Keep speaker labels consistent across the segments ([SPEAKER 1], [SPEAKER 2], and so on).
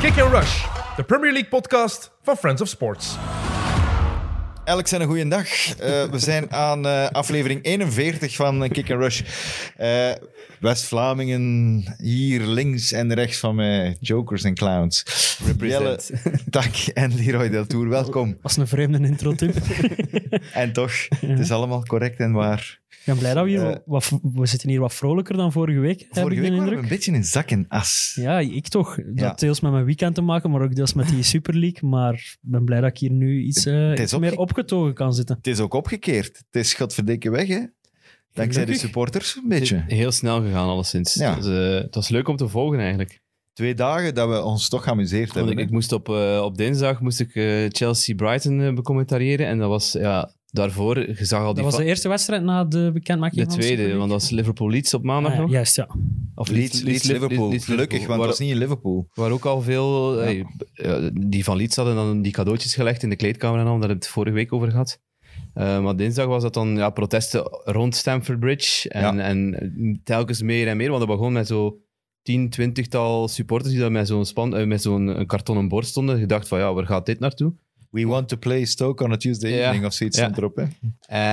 [SPEAKER 1] Kick and Rush, de Premier League podcast van Friends of Sports.
[SPEAKER 2] Alex en een goede dag. we zijn aan eh, aflevering 41 van eh, Kick and Rush. Eh, West-Vlamingen, hier links en rechts van mij, jokers en clowns. Jelle,
[SPEAKER 3] Represent.
[SPEAKER 2] Tak en Leroy Deltour, welkom.
[SPEAKER 4] was een vreemde intro, Tim.
[SPEAKER 2] En toch, het is allemaal correct en waar.
[SPEAKER 4] Ik ben blij dat we hier
[SPEAKER 2] Eh.
[SPEAKER 4] wat, we zitten hier wat vrolijker dan vorige week, heb
[SPEAKER 2] Vorige
[SPEAKER 4] ik
[SPEAKER 2] week
[SPEAKER 4] de
[SPEAKER 2] waren we
[SPEAKER 4] indruk.
[SPEAKER 2] een beetje in zak en as.
[SPEAKER 4] Ja, ik toch. Dat
[SPEAKER 2] Ja.
[SPEAKER 4] had deels met mijn weekend te maken, maar ook deels met die Super League. Maar ik ben blij dat ik hier nu iets, eh,
[SPEAKER 2] is
[SPEAKER 4] iets
[SPEAKER 2] opge-
[SPEAKER 4] meer opgetogen kan zitten.
[SPEAKER 2] Het is ook opgekeerd. Het is godverdikke weg, hè. Dankzij de
[SPEAKER 4] Gelukkig.
[SPEAKER 2] supporters, een beetje.
[SPEAKER 3] Heel snel gegaan, alleszins.
[SPEAKER 2] Ja.
[SPEAKER 3] Het, was, eh, het was leuk om te volgen, eigenlijk.
[SPEAKER 2] Twee dagen dat we ons toch geamuseerd
[SPEAKER 3] Want
[SPEAKER 2] hebben.
[SPEAKER 3] ik,
[SPEAKER 2] hè.
[SPEAKER 3] ik moest op, eh, op dinsdag moest ik eh, Chelsea-Brighton eh, becommentariëren. En dat was ja, daarvoor, je zag al
[SPEAKER 4] Dat
[SPEAKER 3] die
[SPEAKER 4] was
[SPEAKER 3] fa-
[SPEAKER 4] de eerste wedstrijd na de bekendmaking
[SPEAKER 3] de
[SPEAKER 4] van de Super
[SPEAKER 3] tweede,
[SPEAKER 4] League.
[SPEAKER 3] want dat was Liverpool-Leeds op maandag
[SPEAKER 4] Ah,
[SPEAKER 3] nog.
[SPEAKER 4] Juist, ja.
[SPEAKER 3] Of
[SPEAKER 2] Leeds, Leeds, Liverpool. Gelukkig, want
[SPEAKER 3] waar,
[SPEAKER 2] het was niet in Liverpool.
[SPEAKER 3] waar ook al veel...
[SPEAKER 2] Ja.
[SPEAKER 3] eh, ja, die van Leeds hadden dan die cadeautjes gelegd in de kleedkamer en al. Daar hebben we het vorige week over gehad. Eh, maar dinsdag was dat dan ja, protesten rond Stamford Bridge. En,
[SPEAKER 2] Ja.
[SPEAKER 3] en telkens meer en meer, want dat begon met zo 10, 20-tal supporters die daar met zo'n span- eh, met zo'n kartonnen bord stonden. Je dacht van, ja, waar gaat dit naartoe?
[SPEAKER 2] We want to play Stoke on a Tuesday
[SPEAKER 3] Ja.
[SPEAKER 2] evening of zoiets
[SPEAKER 3] Ja.
[SPEAKER 2] stond erop. Hè?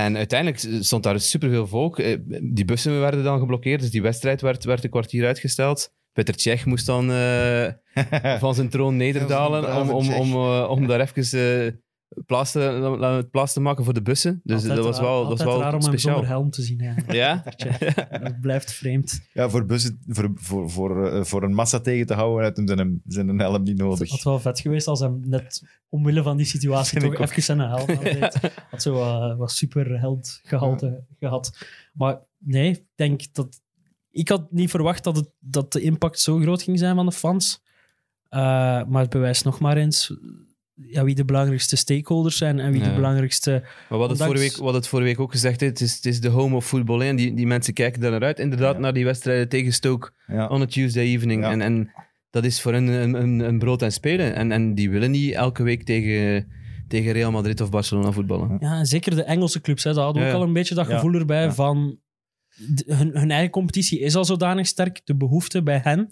[SPEAKER 3] En uiteindelijk stond daar superveel volk. Eh, Die bussen werden dan geblokkeerd, dus die wedstrijd werd, werd een kwartier uitgesteld. Peter Cech moest dan eh, van zijn troon
[SPEAKER 2] Ja,
[SPEAKER 3] nederdalen
[SPEAKER 2] van
[SPEAKER 3] om,
[SPEAKER 2] de
[SPEAKER 3] om,
[SPEAKER 2] brave
[SPEAKER 3] om, eh, om daar even eh, plaats, te, plaats te maken voor de bussen. Dus
[SPEAKER 4] Altijd
[SPEAKER 3] dat was
[SPEAKER 4] raar-
[SPEAKER 3] wel, dat was
[SPEAKER 4] altijd raar
[SPEAKER 3] wel
[SPEAKER 4] om hem
[SPEAKER 3] speciaal.
[SPEAKER 4] zonder helm te zien. Ja.
[SPEAKER 3] Ja?
[SPEAKER 4] Het blijft vreemd.
[SPEAKER 2] Ja, voor, bussen, voor, voor, voor, eh, voor een massa tegen te houden uit hem zijn, hem- zijn een helm niet
[SPEAKER 4] Het had
[SPEAKER 2] nodig.
[SPEAKER 4] wel vet geweest als hem net omwille van die situatie
[SPEAKER 2] Vind ik
[SPEAKER 4] toch even zijn helm aan deed. Had zo wat, wat superheld gehalte gehad. Maar nee, ik denk dat... Ik had niet verwacht dat, het, dat de impact zo groot ging zijn van de fans. Eh, maar het bewijst nog maar eens ja, wie de belangrijkste stakeholders zijn en wie
[SPEAKER 3] Ja.
[SPEAKER 4] de belangrijkste...
[SPEAKER 3] Maar wat het,
[SPEAKER 4] Ondanks-
[SPEAKER 3] vorige week, wat het vorige week ook gezegd is, het is, het is de home of voetbal. hè. En die, die mensen kijken daar naar uit, inderdaad,
[SPEAKER 2] Ja.
[SPEAKER 3] naar die wedstrijden tegen Stoke.
[SPEAKER 2] Ja.
[SPEAKER 3] on a Tuesday evening.
[SPEAKER 2] Ja.
[SPEAKER 3] En, en dat is voor hen een, een, een brood en spelen. En, en die willen niet elke week tegen, tegen Real Madrid of Barcelona voetballen.
[SPEAKER 4] Ja, en zeker de Engelse clubs, hè, daar hadden we
[SPEAKER 3] Ja,
[SPEAKER 4] ook
[SPEAKER 3] ja.
[SPEAKER 4] al een beetje dat
[SPEAKER 2] Ja.
[SPEAKER 4] gevoel erbij
[SPEAKER 2] Ja.
[SPEAKER 4] van... de- hun, hun eigen competitie is al zodanig sterk. De behoefte bij hen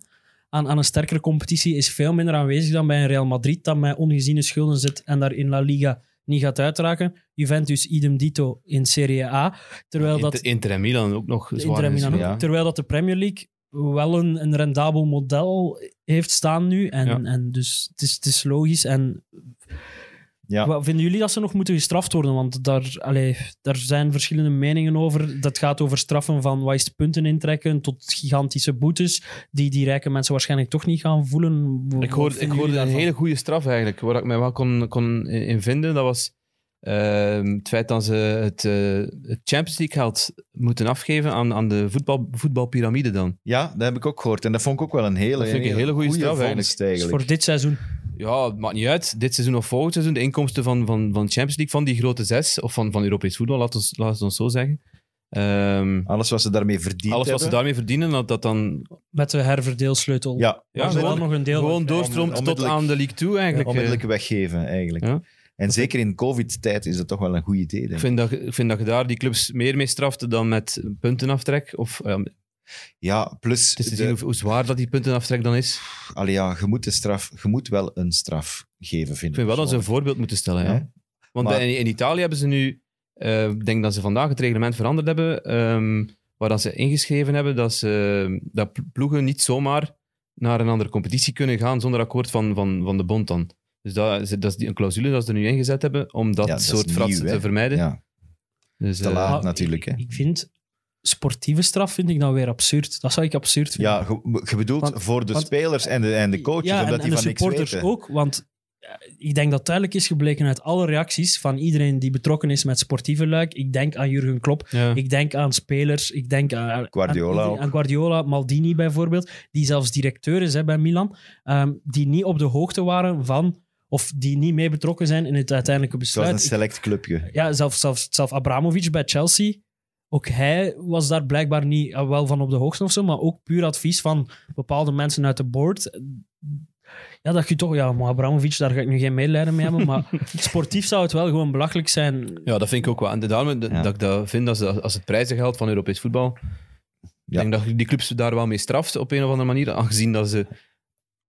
[SPEAKER 4] aan, aan een sterkere competitie is veel minder aanwezig dan bij een Real Madrid, dat met ongeziene schulden zit en daar in La Liga niet gaat uitraken. Juventus idem dito in Serie A. Terwijl dat
[SPEAKER 3] Inter, Inter en Milan ook nog
[SPEAKER 4] de
[SPEAKER 3] zwaar
[SPEAKER 4] Inter en
[SPEAKER 3] is.
[SPEAKER 4] Milan ook.
[SPEAKER 2] ja.
[SPEAKER 4] Terwijl dat de Premier League wel een, een rendabel model heeft staan nu. En,
[SPEAKER 3] Ja.
[SPEAKER 4] en dus het is, het is logisch. En
[SPEAKER 2] Ja.
[SPEAKER 4] wat vinden jullie dat ze nog moeten gestraft worden? Want daar, allee, daar zijn verschillende meningen over. Dat gaat over straffen van wat is de punten intrekken tot gigantische boetes. Die die rijke mensen waarschijnlijk toch niet gaan voelen. Wat
[SPEAKER 3] Ik hoorde, ik
[SPEAKER 4] vinden
[SPEAKER 3] hoorde
[SPEAKER 4] jullie
[SPEAKER 3] een
[SPEAKER 4] daarvan?
[SPEAKER 3] hele goede straf eigenlijk, waar ik mij wel kon, kon in in vinden. Dat was ehm, het feit dat ze het, eh, het Champions League geld moeten afgeven aan, aan de voetbal, voetbalpyramide dan.
[SPEAKER 2] ja, dat heb ik ook gehoord. En dat vond ik ook wel een hele,
[SPEAKER 3] Dat vind ik een hele goede straf
[SPEAKER 2] vondst
[SPEAKER 4] Dus
[SPEAKER 2] eigenlijk.
[SPEAKER 4] voor dit seizoen.
[SPEAKER 3] Ja, het maakt niet uit. Dit seizoen of volgend seizoen, de inkomsten van, van, van Champions League, van die grote zes, of van, van Europees voetbal, laten we laat het ons zo zeggen. Ehm,
[SPEAKER 2] Alles wat ze daarmee verdiend
[SPEAKER 3] alles wat ze
[SPEAKER 2] hebben.
[SPEAKER 3] daarmee verdienen, dat dat dan
[SPEAKER 4] Met de
[SPEAKER 2] Ja,
[SPEAKER 4] herverdeelsleutel.
[SPEAKER 3] Ja,
[SPEAKER 4] Maar ze
[SPEAKER 3] gewoon-
[SPEAKER 4] hadden nog een deel
[SPEAKER 3] gewoon
[SPEAKER 4] van-
[SPEAKER 3] doorstroomt tot
[SPEAKER 2] onmiddellijk-
[SPEAKER 3] aan de league toe eigenlijk. eh.
[SPEAKER 2] onmiddellijk weggeven eigenlijk.
[SPEAKER 3] Ja.
[SPEAKER 2] En zeker in covid-tijd is dat toch wel een goed idee,
[SPEAKER 3] Eh,
[SPEAKER 2] denk
[SPEAKER 3] ik,
[SPEAKER 2] ik.
[SPEAKER 3] vind dat, je- ik vind dat je daar die clubs meer mee straft dan met puntenaftrek. Of, ja, het
[SPEAKER 2] Ja, plus...
[SPEAKER 3] is te
[SPEAKER 2] de-
[SPEAKER 3] zien hoe, hoe zwaar dat die puntenaftrek dan is.
[SPEAKER 2] Allee, ja, je, moet de straf, je moet wel een straf geven, vind ik.
[SPEAKER 3] Ik vind wel dat ze een voorbeeld moeten stellen. Ja.
[SPEAKER 2] Ja.
[SPEAKER 3] Want
[SPEAKER 2] Maar-
[SPEAKER 3] bij- in, in Italië hebben ze nu, eh, ik denk dat ze vandaag het reglement veranderd hebben, ehm, waar dat ze ingeschreven hebben dat, ze, ehm, dat pl- ploegen niet zomaar naar een andere competitie kunnen gaan zonder akkoord van, van, van de bond dan. Dus dat, is- dat is die, een clausule dat ze er nu ingezet hebben om dat,
[SPEAKER 2] Ja, dat is
[SPEAKER 3] soort
[SPEAKER 2] nieuw,
[SPEAKER 3] fratsen
[SPEAKER 2] hè.
[SPEAKER 3] te vermijden.
[SPEAKER 2] Ja,
[SPEAKER 3] Dus,
[SPEAKER 2] te
[SPEAKER 3] eh,
[SPEAKER 2] laat
[SPEAKER 4] Maar
[SPEAKER 2] natuurlijk. Hè.
[SPEAKER 4] Ik, ik vind sportieve straf vind ik dan weer absurd. Dat zou ik absurd vinden.
[SPEAKER 2] Ja, je, je bedoelt
[SPEAKER 4] Want-
[SPEAKER 2] voor de
[SPEAKER 4] want-
[SPEAKER 2] spelers en de, en de coaches,
[SPEAKER 4] Ja, en-
[SPEAKER 2] omdat
[SPEAKER 4] en,
[SPEAKER 2] die
[SPEAKER 4] de
[SPEAKER 2] van niks weten.
[SPEAKER 4] supporters ook, want eh, ik denk dat duidelijk is gebleken uit alle reacties van iedereen die betrokken is met sportieve luik. Ik denk aan Jurgen Klopp,
[SPEAKER 3] ja.
[SPEAKER 4] ik denk aan spelers, ik denk aan
[SPEAKER 2] Hm. Guardiola
[SPEAKER 4] aan,
[SPEAKER 2] ook.
[SPEAKER 4] iedereen- aan Guardiola, Maldini bijvoorbeeld, die zelfs directeur is hè, bij Milan, ehm, die niet op de hoogte waren van of die niet mee betrokken zijn in het uiteindelijke
[SPEAKER 2] Het was
[SPEAKER 4] besluit.
[SPEAKER 2] een
[SPEAKER 4] Ik-
[SPEAKER 2] select clubje.
[SPEAKER 4] ja, zelf, zelf, zelf Abramovic bij Chelsea. Ook hij was daar blijkbaar niet eh, wel van op de hoogte of zo, maar ook puur advies van bepaalde mensen uit de board. Ja, dat je toch, ja, maar Abramovic, daar ga ik nu geen medelijden mee hebben. Maar sportief zou het wel gewoon belachelijk zijn.
[SPEAKER 3] Ja, dat vind ik ook wel. En daarom dat-
[SPEAKER 2] Ja.
[SPEAKER 3] dat ik dat vind, dat ze, als het prijzengeld van Europees voetbal,
[SPEAKER 2] Ja.
[SPEAKER 3] ik denk dat je die clubs daar wel mee straft op een of andere manier, aangezien dat ze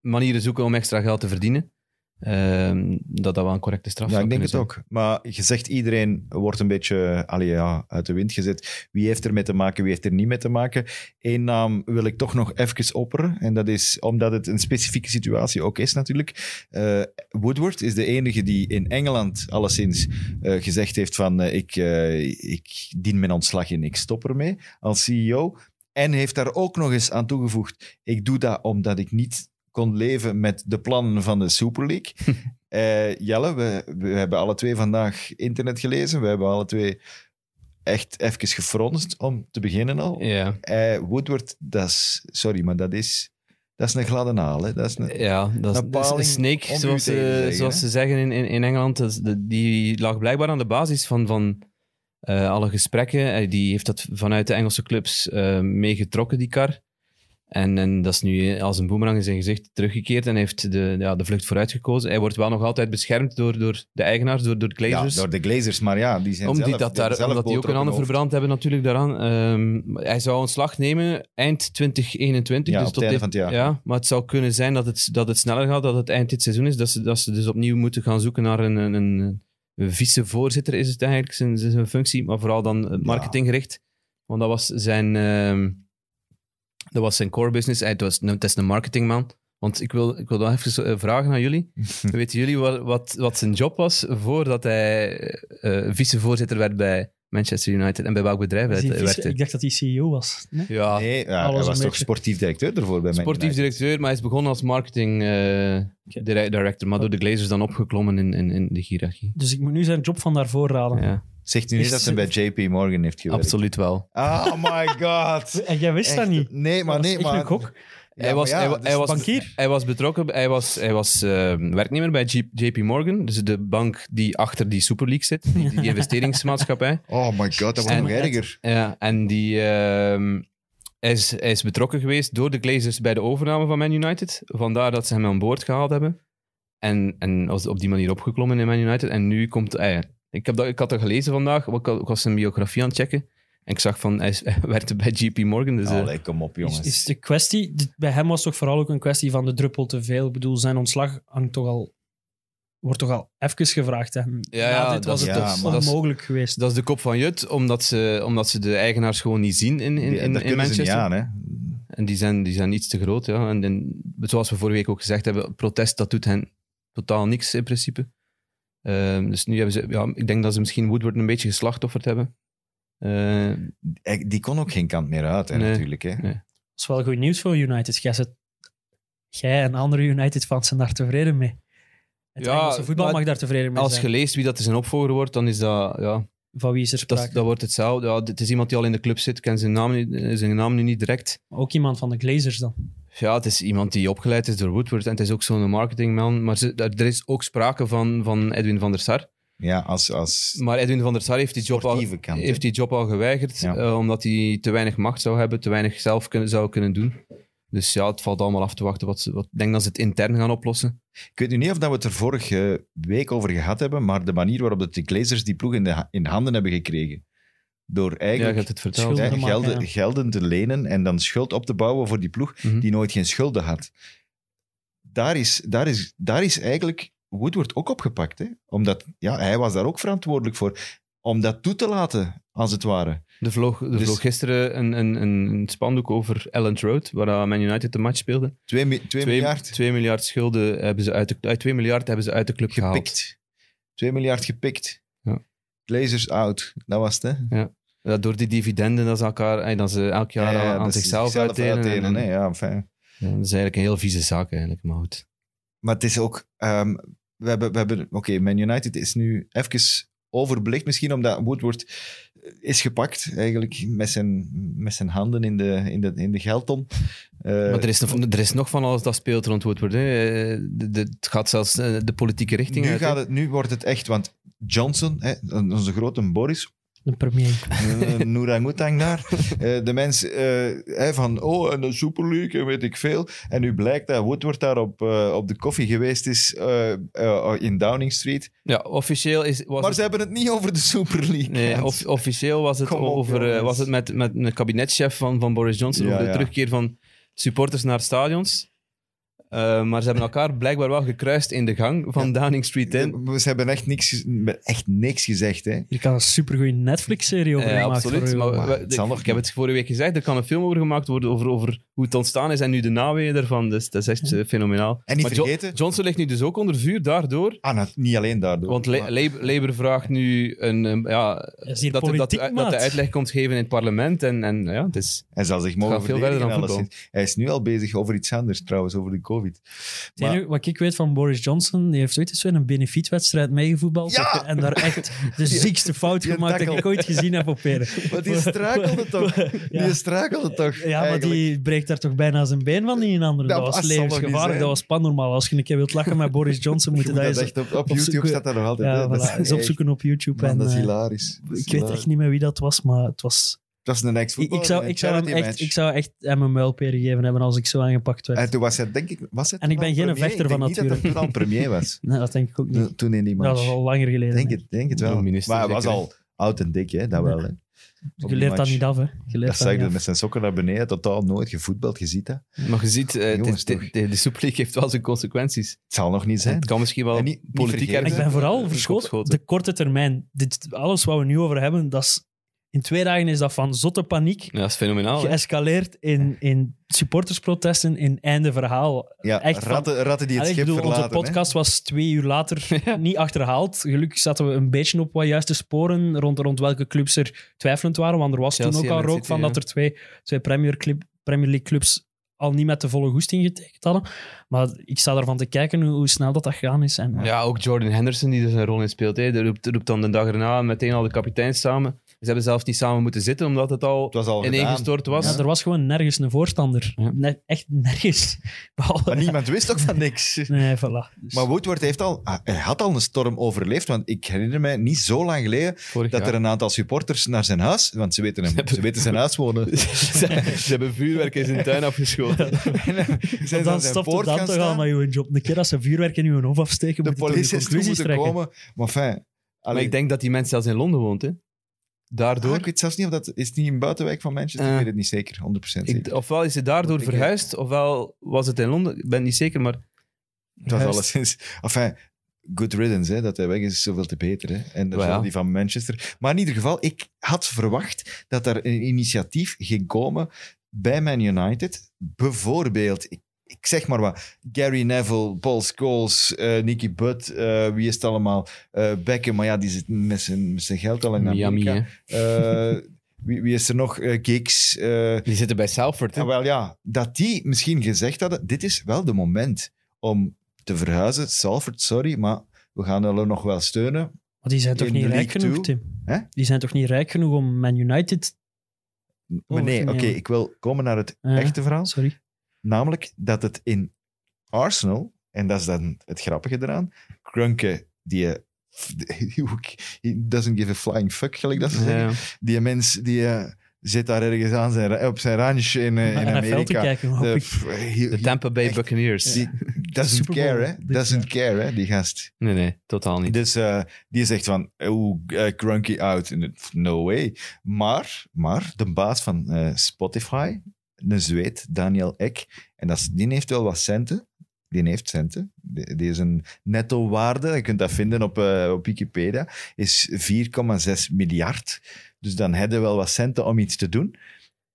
[SPEAKER 3] manieren zoeken om extra geld te verdienen. Ehm, dat dat wel een correcte straf
[SPEAKER 2] Ja,
[SPEAKER 3] zou
[SPEAKER 2] ik denk
[SPEAKER 3] kunnen
[SPEAKER 2] het
[SPEAKER 3] zijn.
[SPEAKER 2] ook. Maar je zegt iedereen wordt een beetje allee, ja, uit de wind gezet. Wie heeft er mee te maken, wie heeft er niet mee te maken? Eén naam wil ik toch nog even opperen. En dat is omdat het een specifieke situatie ook is natuurlijk. Eh, Woodward is de enige die in Engeland alleszins eh, gezegd heeft van eh, ik, eh, ik dien mijn ontslag in, ik stop ermee als CEO. En heeft daar ook nog eens aan toegevoegd, ik doe dat omdat ik niet kon leven met de plannen van de Super League. Eh, Jelle, we, we hebben alle twee vandaag internet gelezen. We hebben alle twee echt even gefronst om te beginnen al.
[SPEAKER 3] Ja,
[SPEAKER 2] Eh, Woodward, dat is, sorry, maar dat is, dat is een gladde naal. Hè? Dat is een,
[SPEAKER 3] ja dat is,
[SPEAKER 2] Een
[SPEAKER 3] dat is
[SPEAKER 2] paling
[SPEAKER 3] een snake,
[SPEAKER 2] om u
[SPEAKER 3] zoals,
[SPEAKER 2] tegen te
[SPEAKER 3] ze,
[SPEAKER 2] zeggen,
[SPEAKER 3] zoals
[SPEAKER 2] hè?
[SPEAKER 3] ze zeggen in, in, in Engeland. Dat is de- die lag blijkbaar aan de basis van, van eh, alle gesprekken. Eh, die heeft dat vanuit de Engelse clubs eh, meegetrokken, die kar. En, en dat is nu als een boemerang in zijn gezicht teruggekeerd en hij heeft de, ja, de vlucht vooruit gekozen. Hij wordt wel nog altijd beschermd door, door de eigenaars, door, door de
[SPEAKER 2] ja,
[SPEAKER 3] Glazers.
[SPEAKER 2] door de Glazers, maar ja, die zijn
[SPEAKER 3] Omdat,
[SPEAKER 2] zelf,
[SPEAKER 3] dat
[SPEAKER 2] die hebben
[SPEAKER 3] daar,
[SPEAKER 2] zelf
[SPEAKER 3] omdat die ook een
[SPEAKER 2] boter
[SPEAKER 3] handen
[SPEAKER 2] op hun hoofd.
[SPEAKER 3] verbrand hebben natuurlijk daaraan. Ehm, hij zou ontslag nemen eind 2021.
[SPEAKER 2] Ja,
[SPEAKER 3] dus
[SPEAKER 2] op
[SPEAKER 3] tot
[SPEAKER 2] het einde
[SPEAKER 3] dit-
[SPEAKER 2] van het jaar.
[SPEAKER 3] Ja, maar het zou kunnen zijn dat het, dat het sneller gaat, dat het eind dit seizoen is. Dat ze, dat ze dus opnieuw moeten gaan zoeken naar een, een, een vicevoorzitter, is het eigenlijk, zijn, zijn functie. Maar vooral dan het marketinggericht. Want dat was zijn, ehm, dat was zijn core business. Hij was, dat is een marketingman. Want ik wil, ik wil dan even eh, vragen aan jullie. Weten jullie wat, wat, wat zijn job was voordat hij eh, vicevoorzitter werd bij Manchester United? En bij welk bedrijf
[SPEAKER 4] Is
[SPEAKER 3] hij
[SPEAKER 4] die vice-
[SPEAKER 3] werkte?
[SPEAKER 4] ik dacht dat hij CEO was. Nee?
[SPEAKER 3] Ja,
[SPEAKER 2] Nee, ja, hij
[SPEAKER 4] Alles
[SPEAKER 2] was
[SPEAKER 4] een
[SPEAKER 2] toch
[SPEAKER 4] beetje.
[SPEAKER 2] sportief directeur ervoor bij mij.
[SPEAKER 3] sportief directeur, maar hij is begonnen als marketing eh, dire- director. Maar door de Glazers dan opgeklommen in, in, in de hiërarchie.
[SPEAKER 4] Dus ik moet nu zijn job van daarvoor raden.
[SPEAKER 3] Ja,
[SPEAKER 2] Zegt u niet
[SPEAKER 4] Is-
[SPEAKER 2] dat hij bij JP Morgan heeft gewerkt?
[SPEAKER 3] absoluut wel.
[SPEAKER 2] Ah, my god.
[SPEAKER 4] En jij wist
[SPEAKER 2] Echt,
[SPEAKER 4] dat niet.
[SPEAKER 2] Nee, maar
[SPEAKER 4] Dat is
[SPEAKER 2] nee,
[SPEAKER 4] echt
[SPEAKER 2] maar...
[SPEAKER 4] een gok.
[SPEAKER 2] Ja,
[SPEAKER 3] hij,
[SPEAKER 2] maar
[SPEAKER 3] was,
[SPEAKER 2] ja,
[SPEAKER 3] hij, wa-
[SPEAKER 2] dus
[SPEAKER 3] hij was,
[SPEAKER 4] bankier.
[SPEAKER 3] hij was betrokken, bij- hij was, hij was eh, werknemer bij J- JP Morgan, dus de bank die achter die Super League zit, die, die investeringsmaatschappij.
[SPEAKER 2] Oh my god, dat wordt
[SPEAKER 4] En-
[SPEAKER 2] nog erger.
[SPEAKER 3] Ja, en die ehm, hij is, hij is betrokken geweest door de Glazers bij de overname van Man United. Vandaar dat ze hem aan boord gehaald hebben. En, en was op die manier opgeklommen in Man United. En nu komt hij. Ik, heb dat, ik had dat gelezen vandaag, want ik, had- ik was zijn biografie aan het checken. En ik zag van, hij, is- hij werkte bij JP Morgan. Dus, eh,
[SPEAKER 2] Allee, kom op,
[SPEAKER 4] Is,
[SPEAKER 2] jongens.
[SPEAKER 4] is de kwestie, d- bij hem was toch vooral ook een kwestie van de druppel te veel. Ik bedoel, zijn ontslag hangt toch al, wordt toch al even gevraagd. Hè?
[SPEAKER 3] Ja,
[SPEAKER 4] Na
[SPEAKER 3] ja,
[SPEAKER 4] dit
[SPEAKER 3] dat
[SPEAKER 4] was
[SPEAKER 2] is-
[SPEAKER 4] het
[SPEAKER 2] ja,
[SPEAKER 4] toch
[SPEAKER 2] maar
[SPEAKER 3] dat is-
[SPEAKER 4] onmogelijk geweest.
[SPEAKER 3] dat is de kop van Jut, omdat ze, omdat ze de eigenaars gewoon niet zien in, in,
[SPEAKER 2] Ja,
[SPEAKER 3] in,
[SPEAKER 2] daar
[SPEAKER 3] in
[SPEAKER 2] kunnen ze
[SPEAKER 3] Manchester.
[SPEAKER 2] niet aan, hè.
[SPEAKER 3] En die zijn, die zijn iets te groot. Ja. En, en zoals we vorige week ook gezegd hebben, protest, dat doet hen totaal niks in principe. Ehm, dus nu hebben ze... Ja, ik denk dat ze misschien Woodward een beetje geslachtofferd hebben. Eh,
[SPEAKER 2] Hij- Die kon ook geen kant meer uit, hè,
[SPEAKER 3] Nee.
[SPEAKER 2] natuurlijk. Hè.
[SPEAKER 4] Dat is wel goed nieuws voor United. Jij, zit, jij en andere United-fans zijn daar tevreden mee. Het
[SPEAKER 3] Ja,
[SPEAKER 4] Engelse voetbal
[SPEAKER 3] maar
[SPEAKER 4] mag daar tevreden mee
[SPEAKER 3] als
[SPEAKER 4] zijn.
[SPEAKER 3] je leest wie dat zijn opvolger wordt, dan is dat... Ja,
[SPEAKER 4] Van wie is er
[SPEAKER 3] dat,
[SPEAKER 4] sprake?
[SPEAKER 3] is- dat wordt hetzelfde. Ja, het is iemand die al in de club zit, kent zijn naam, nu- eh, zijn naam nu niet direct.
[SPEAKER 4] Ook iemand van de Glazers dan.
[SPEAKER 3] Ja, het is iemand die opgeleid is door Woodward en het is ook zo'n marketingman. Maar ze- daar- er is ook sprake van, van Edwin van der Sar.
[SPEAKER 2] Ja, als, als
[SPEAKER 3] Maar Edwin van der Sar heeft die job al,
[SPEAKER 2] sportieve kant. hè.
[SPEAKER 3] heeft die job al geweigerd,
[SPEAKER 2] Ja.
[SPEAKER 3] eh, omdat hij te weinig macht zou hebben, te weinig zelf kunnen, zou kunnen doen. Dus ja, het valt allemaal af te wachten. Wat, ze- wat, ik denk dat ze het intern gaan oplossen.
[SPEAKER 2] Ik weet nu niet of dat we het er vorige week over gehad hebben, maar de manier waarop dat de Glazers die ploeg in, de, ha- in handen hebben gekregen. Door
[SPEAKER 3] Ja, je
[SPEAKER 2] eigenlijk
[SPEAKER 3] hebt het verteld.
[SPEAKER 4] Schulden
[SPEAKER 2] hè,
[SPEAKER 4] maken,
[SPEAKER 2] gelden,
[SPEAKER 4] ja.
[SPEAKER 2] gelden te lenen en dan schuld op te bouwen voor die ploeg
[SPEAKER 3] Mhm.
[SPEAKER 2] die nooit geen schulden had. Daar is, daar is, daar is eigenlijk Woodward ook opgepakt. Hè? Omdat ja, hij was daar ook verantwoordelijk voor. Om dat toe te laten, als het ware.
[SPEAKER 3] Er vloog, er
[SPEAKER 2] Dus-
[SPEAKER 3] vloog gisteren een, een, een, een spandoek over Elland Road, waar eh, Man United de match speelde.
[SPEAKER 2] 2 miljard.
[SPEAKER 3] 2 miljard schulden hebben ze uit de, uit 2 miljard hebben ze uit de club gehaald.
[SPEAKER 2] gepikt. 2 miljard gepikt.
[SPEAKER 3] Ja.
[SPEAKER 2] Glazers out. Dat was het, hè?
[SPEAKER 3] Ja, door die dividenden dat ze, elkaar, eh, dat ze elk jaar aan- aan
[SPEAKER 2] dat ze
[SPEAKER 3] zichzelf, uitdelen. En-
[SPEAKER 2] hè. Ja, fijn.
[SPEAKER 3] Ja, dat is eigenlijk een heel vieze zaak, eigenlijk. Maar goed.
[SPEAKER 2] Maar het is ook... ehm, we hebben... We hebben Oké, Man United is nu even overbelicht misschien, omdat Woodward eh, is gepakt, eigenlijk, met zijn, met zijn handen in de, in de, in de geldton. Eh,
[SPEAKER 3] maar er is, nog- er is nog van alles dat speelt rond Woodward. Hè. Eh, de- de- het gaat zelfs eh, de politieke richting
[SPEAKER 2] nu,
[SPEAKER 3] uit. hè.
[SPEAKER 2] gaat het, nu wordt het echt, want Johnson, hè, onze grote Boris,
[SPEAKER 4] De premier.
[SPEAKER 2] Eh, Noorangutang daar. Eh, de mens eh, hij van, oh, en de Super League en weet ik veel. En nu blijkt dat Woodward daar op, eh, op de koffie geweest is eh, eh, in Downing Street.
[SPEAKER 3] Ja, officieel is, was
[SPEAKER 2] Maar
[SPEAKER 3] het,
[SPEAKER 2] ze hebben het niet over de Super League.
[SPEAKER 3] nee, of- officieel was het,
[SPEAKER 2] Kom op,
[SPEAKER 3] over, eh,
[SPEAKER 2] jongens.
[SPEAKER 3] was het met, met een kabinetchef van, van Boris Johnson
[SPEAKER 2] Ja,
[SPEAKER 3] over de
[SPEAKER 2] ja.
[SPEAKER 3] terugkeer van supporters naar stadions. Eh, Eh, maar ze hebben elkaar blijkbaar wel gekruist in de gang van Downing Street 10.
[SPEAKER 2] Ze hebben echt niks, gez- echt niks gezegd, hè.
[SPEAKER 4] Je kan een supergoeie Netflix-serie over
[SPEAKER 3] Ja,
[SPEAKER 4] maken.
[SPEAKER 3] absoluut. Maar,
[SPEAKER 2] Maar
[SPEAKER 3] we-
[SPEAKER 2] het
[SPEAKER 3] ik,
[SPEAKER 2] zal nog
[SPEAKER 3] ik heb het vorige week gezegd, er kan een film over gemaakt worden over, over hoe het ontstaan is en nu de naweeën daarvan. Dus dat is echt eh, fenomenaal.
[SPEAKER 2] En niet
[SPEAKER 3] Maar Jo-
[SPEAKER 2] vergeten-
[SPEAKER 3] Johnson ligt nu dus ook onder vuur daardoor.
[SPEAKER 2] Ah, nou, niet alleen daardoor.
[SPEAKER 3] Want La-
[SPEAKER 2] maar-
[SPEAKER 3] Lab- Labour vraagt nu een, ehm, ja,
[SPEAKER 4] Is hier
[SPEAKER 3] dat, er- dat,
[SPEAKER 4] politiek,
[SPEAKER 3] dat de
[SPEAKER 4] maat?
[SPEAKER 3] uitleg komt geven in het parlement. En, en ja, het is,
[SPEAKER 2] Hij zal zich
[SPEAKER 3] gaat
[SPEAKER 2] mogen
[SPEAKER 3] veel verder
[SPEAKER 2] verdedigen.
[SPEAKER 3] dan voetbal.
[SPEAKER 2] alleszins. Hij is nu al bezig over iets anders trouwens, over de COVID.
[SPEAKER 4] Het enige wat ik weet van Boris Johnson, die heeft ooit eens in een benefietwedstrijd meegevoetbald.
[SPEAKER 2] Ja!
[SPEAKER 4] En daar echt de ziekste fout
[SPEAKER 2] die
[SPEAKER 4] gemaakt die
[SPEAKER 2] tackle.
[SPEAKER 4] ik ooit gezien heb op Peren.
[SPEAKER 2] Maar die strakelde toch?
[SPEAKER 4] Ja.
[SPEAKER 2] Die strakelde toch?
[SPEAKER 4] Ja, maar die breekt daar toch bijna zijn been van die een ander.
[SPEAKER 2] Dat
[SPEAKER 4] Dat, was
[SPEAKER 2] was- zal nog niet
[SPEAKER 4] levensgevaarlijk,
[SPEAKER 2] zijn.
[SPEAKER 4] dat was pannormaal. Als je een keer wilt lachen met Boris Johnson, moet je dat
[SPEAKER 2] dat
[SPEAKER 4] eens
[SPEAKER 2] echt op, op
[SPEAKER 4] opzoeken.
[SPEAKER 2] YouTube staat dat nog altijd.
[SPEAKER 4] ja,
[SPEAKER 2] hè.
[SPEAKER 4] voilà, eens
[SPEAKER 2] echt-
[SPEAKER 4] opzoeken op YouTube.
[SPEAKER 2] man,
[SPEAKER 4] en,
[SPEAKER 2] dat is
[SPEAKER 4] eh,
[SPEAKER 2] hilarisch. Dat is
[SPEAKER 4] ik weet echt
[SPEAKER 2] hilarisch.
[SPEAKER 4] niet meer wie dat was, maar het was...
[SPEAKER 2] Dat is een
[SPEAKER 4] Ik,
[SPEAKER 2] ex-voetballer.
[SPEAKER 4] ik, zou,
[SPEAKER 2] een
[SPEAKER 4] ik, zou hem
[SPEAKER 2] eh, charity
[SPEAKER 4] echt,
[SPEAKER 2] match.
[SPEAKER 4] ik zou echt hem een muilperen gegeven hebben als ik zo aangepakt werd.
[SPEAKER 2] En toen was het, denk ik, was het
[SPEAKER 4] En ik
[SPEAKER 2] toen
[SPEAKER 4] ben
[SPEAKER 2] al
[SPEAKER 4] geen
[SPEAKER 2] premier?
[SPEAKER 4] vechter
[SPEAKER 2] Ik denk
[SPEAKER 4] van
[SPEAKER 2] niet dat het toen al premier was.
[SPEAKER 4] Nee, dat denk ik ook niet.
[SPEAKER 2] Toen in die
[SPEAKER 4] dat
[SPEAKER 2] match.
[SPEAKER 4] was al langer geleden.
[SPEAKER 2] denk,
[SPEAKER 4] hè.
[SPEAKER 2] het, denk het wel.
[SPEAKER 3] Ja, minister
[SPEAKER 2] maar hij was
[SPEAKER 3] zeker,
[SPEAKER 2] al oud en dik, hè? dat wel. Hè? Op
[SPEAKER 4] je
[SPEAKER 2] die
[SPEAKER 4] leert dat
[SPEAKER 2] match.
[SPEAKER 4] niet af, hè. Je leert
[SPEAKER 2] Dat
[SPEAKER 4] dat
[SPEAKER 2] zag je
[SPEAKER 4] niet af.
[SPEAKER 2] met zijn sokken naar beneden. Totaal nooit gevoetbald, je ziet dat.
[SPEAKER 3] maar je ziet, eh,
[SPEAKER 2] Jongens,
[SPEAKER 3] dit-
[SPEAKER 2] toch.
[SPEAKER 3] dit- de Super League heeft wel zijn consequenties.
[SPEAKER 2] Het zal nog niet zijn.
[SPEAKER 3] Het kan misschien wel
[SPEAKER 2] En niet- niet
[SPEAKER 3] politiek
[SPEAKER 2] vergeten-
[SPEAKER 4] Ik
[SPEAKER 3] ergens-
[SPEAKER 4] ben vooral
[SPEAKER 3] eh,
[SPEAKER 4] verschoten.
[SPEAKER 3] opschoten.
[SPEAKER 4] De korte termijn. Dit, alles wat we nu over hebben, dat is... In twee dagen is dat van zotte paniek
[SPEAKER 3] Ja, dat is fenomenaal. Nou, hè.
[SPEAKER 4] geëscaleerd in, in supportersprotesten, in einde verhaal.
[SPEAKER 2] Ja,
[SPEAKER 4] echt van-
[SPEAKER 2] ratten, ratten die het
[SPEAKER 4] Allee, ik
[SPEAKER 2] schip
[SPEAKER 4] bedoel,
[SPEAKER 2] verlaten.
[SPEAKER 4] onze podcast was twee uur later niet achterhaald. Gelukkig zaten we een beetje op wat juiste sporen rond, rond welke clubs er twijfelend waren. Want er was toen
[SPEAKER 3] Chelsea
[SPEAKER 4] ook
[SPEAKER 3] en
[SPEAKER 4] al
[SPEAKER 3] Man
[SPEAKER 4] rook
[SPEAKER 3] City,
[SPEAKER 4] van
[SPEAKER 3] ja.
[SPEAKER 4] dat er twee, twee Premier, Club- Premier League clubs al niet met de volle goesting getekend hadden. Maar ik sta ervan te kijken hoe, hoe snel dat, dat gegaan is. En,
[SPEAKER 3] Ja, ook Jordan Henderson die er zijn rol in speelt. Hè. Die roept, roept dan de dag erna meteen al de kapiteins samen. Ze hebben zelf niet samen moeten zitten, omdat het al,
[SPEAKER 2] Het was al gedaan.
[SPEAKER 3] ineengestort was.
[SPEAKER 4] Ja, er was gewoon nergens een voorstander.
[SPEAKER 3] Ja.
[SPEAKER 4] Ne- echt nergens. Behalve-
[SPEAKER 2] Maar niemand wist ook van niks.
[SPEAKER 4] Nee, voilà. Dus-
[SPEAKER 2] Maar Woodward heeft al, ah, hij had al een storm overleefd, want ik herinner mij niet zo lang geleden
[SPEAKER 3] Vorig
[SPEAKER 2] dat er
[SPEAKER 3] jaar.
[SPEAKER 2] een aantal supporters naar zijn huis, want ze weten, hem, ze weten zijn huis wonen,
[SPEAKER 3] ze, ze hebben vuurwerk in zijn tuin afgeschoten.
[SPEAKER 2] zijn ze aan zijn
[SPEAKER 4] dan stopt het
[SPEAKER 2] poort
[SPEAKER 4] dan
[SPEAKER 2] gaan
[SPEAKER 4] toch al
[SPEAKER 2] staan.
[SPEAKER 4] met je job. Een keer als ze vuurwerk in je hoofd afsteken,
[SPEAKER 2] De
[SPEAKER 4] moet je tot
[SPEAKER 2] politie
[SPEAKER 4] je
[SPEAKER 2] is toen
[SPEAKER 4] conclusies
[SPEAKER 2] moeten
[SPEAKER 4] trekken.
[SPEAKER 2] komen. Maar fijn.
[SPEAKER 3] Maar ik denk dat die mens zelfs in Londen woont. Hè. Daardoor.
[SPEAKER 2] Ah, ik weet zelfs niet of dat is het niet een buitenwijk van Manchester. ik
[SPEAKER 3] Eh.
[SPEAKER 2] weet het niet zeker, 100% zeker.
[SPEAKER 3] ik- ofwel is ze daardoor
[SPEAKER 2] Ik-
[SPEAKER 3] verhuisd, ofwel was het in Londen. Ik ben niet zeker, maar
[SPEAKER 2] het was
[SPEAKER 4] Juist.
[SPEAKER 2] alleszins. Enfin, good riddance, hè, dat hij weg is, is zoveel te beter. Hè. En dat
[SPEAKER 3] Wel,
[SPEAKER 2] is
[SPEAKER 3] ja.
[SPEAKER 2] wel die van Manchester. Maar in ieder geval, ik had verwacht dat er een initiatief ging komen bij Man United. Bijvoorbeeld, ik, ik zeg maar wat, Gary Neville, Paul Scholes, eh, Nicky Butt, eh, wie is het allemaal? Eh, Beckham, maar ja, die zit met zijn, met zijn geld al in
[SPEAKER 3] Miami.
[SPEAKER 2] Amerika.
[SPEAKER 3] hè.
[SPEAKER 2] Eh, wie, wie is er nog? Eh, Giggs. eh,
[SPEAKER 3] Die zitten bij Salford. hè.
[SPEAKER 2] ja, wel ja, dat die misschien gezegd hadden, dit is wel de moment om te verhuizen. Salford, sorry, maar we gaan jullie nog wel steunen.
[SPEAKER 4] Maar die zijn toch
[SPEAKER 2] In
[SPEAKER 4] niet
[SPEAKER 2] de
[SPEAKER 4] rijk
[SPEAKER 2] League
[SPEAKER 4] genoeg,
[SPEAKER 2] Two?
[SPEAKER 4] Tim?
[SPEAKER 2] Hè?
[SPEAKER 4] Die zijn toch niet rijk genoeg om Man United...
[SPEAKER 2] Maar nee,
[SPEAKER 4] Over
[SPEAKER 2] oké,
[SPEAKER 4] te nemen.
[SPEAKER 2] ik wil komen naar het
[SPEAKER 4] Ja.
[SPEAKER 2] echte verhaal.
[SPEAKER 4] Sorry.
[SPEAKER 2] Namelijk dat het in Arsenal, en dat is dan het grappige eraan, Krunke, die... eh, He doesn't give a flying fuck, gelijk dat ze
[SPEAKER 3] Ja,
[SPEAKER 2] zeggen.
[SPEAKER 3] ja.
[SPEAKER 2] Die mens die eh, zit daar ergens aan zijn, op zijn ranch in, eh, in
[SPEAKER 4] Naar NFL te
[SPEAKER 2] Amerika.
[SPEAKER 4] kijken. hoop
[SPEAKER 2] De,
[SPEAKER 4] ik.
[SPEAKER 2] pff, he-
[SPEAKER 3] De Tampa Bay
[SPEAKER 2] Echt.
[SPEAKER 3] Buccaneers.
[SPEAKER 2] Die doesn't
[SPEAKER 4] Super Bowl
[SPEAKER 2] care, hè?
[SPEAKER 4] dit
[SPEAKER 2] Doesn't care, hè? Die gast.
[SPEAKER 3] Nee, nee, totaal niet.
[SPEAKER 2] Dus eh, die zegt van, oeh, eh, Grunky out. En het- No way. Maar, maar de baas van eh, Spotify, een Zweed, Daniel Ek, en dat is, die heeft wel wat centen. Die heeft centen. Die, die is een netto waarde, je kunt dat vinden op, eh, op Wikipedia, is 4,6 miljard. Dus dan hebben we wel wat centen om iets te doen.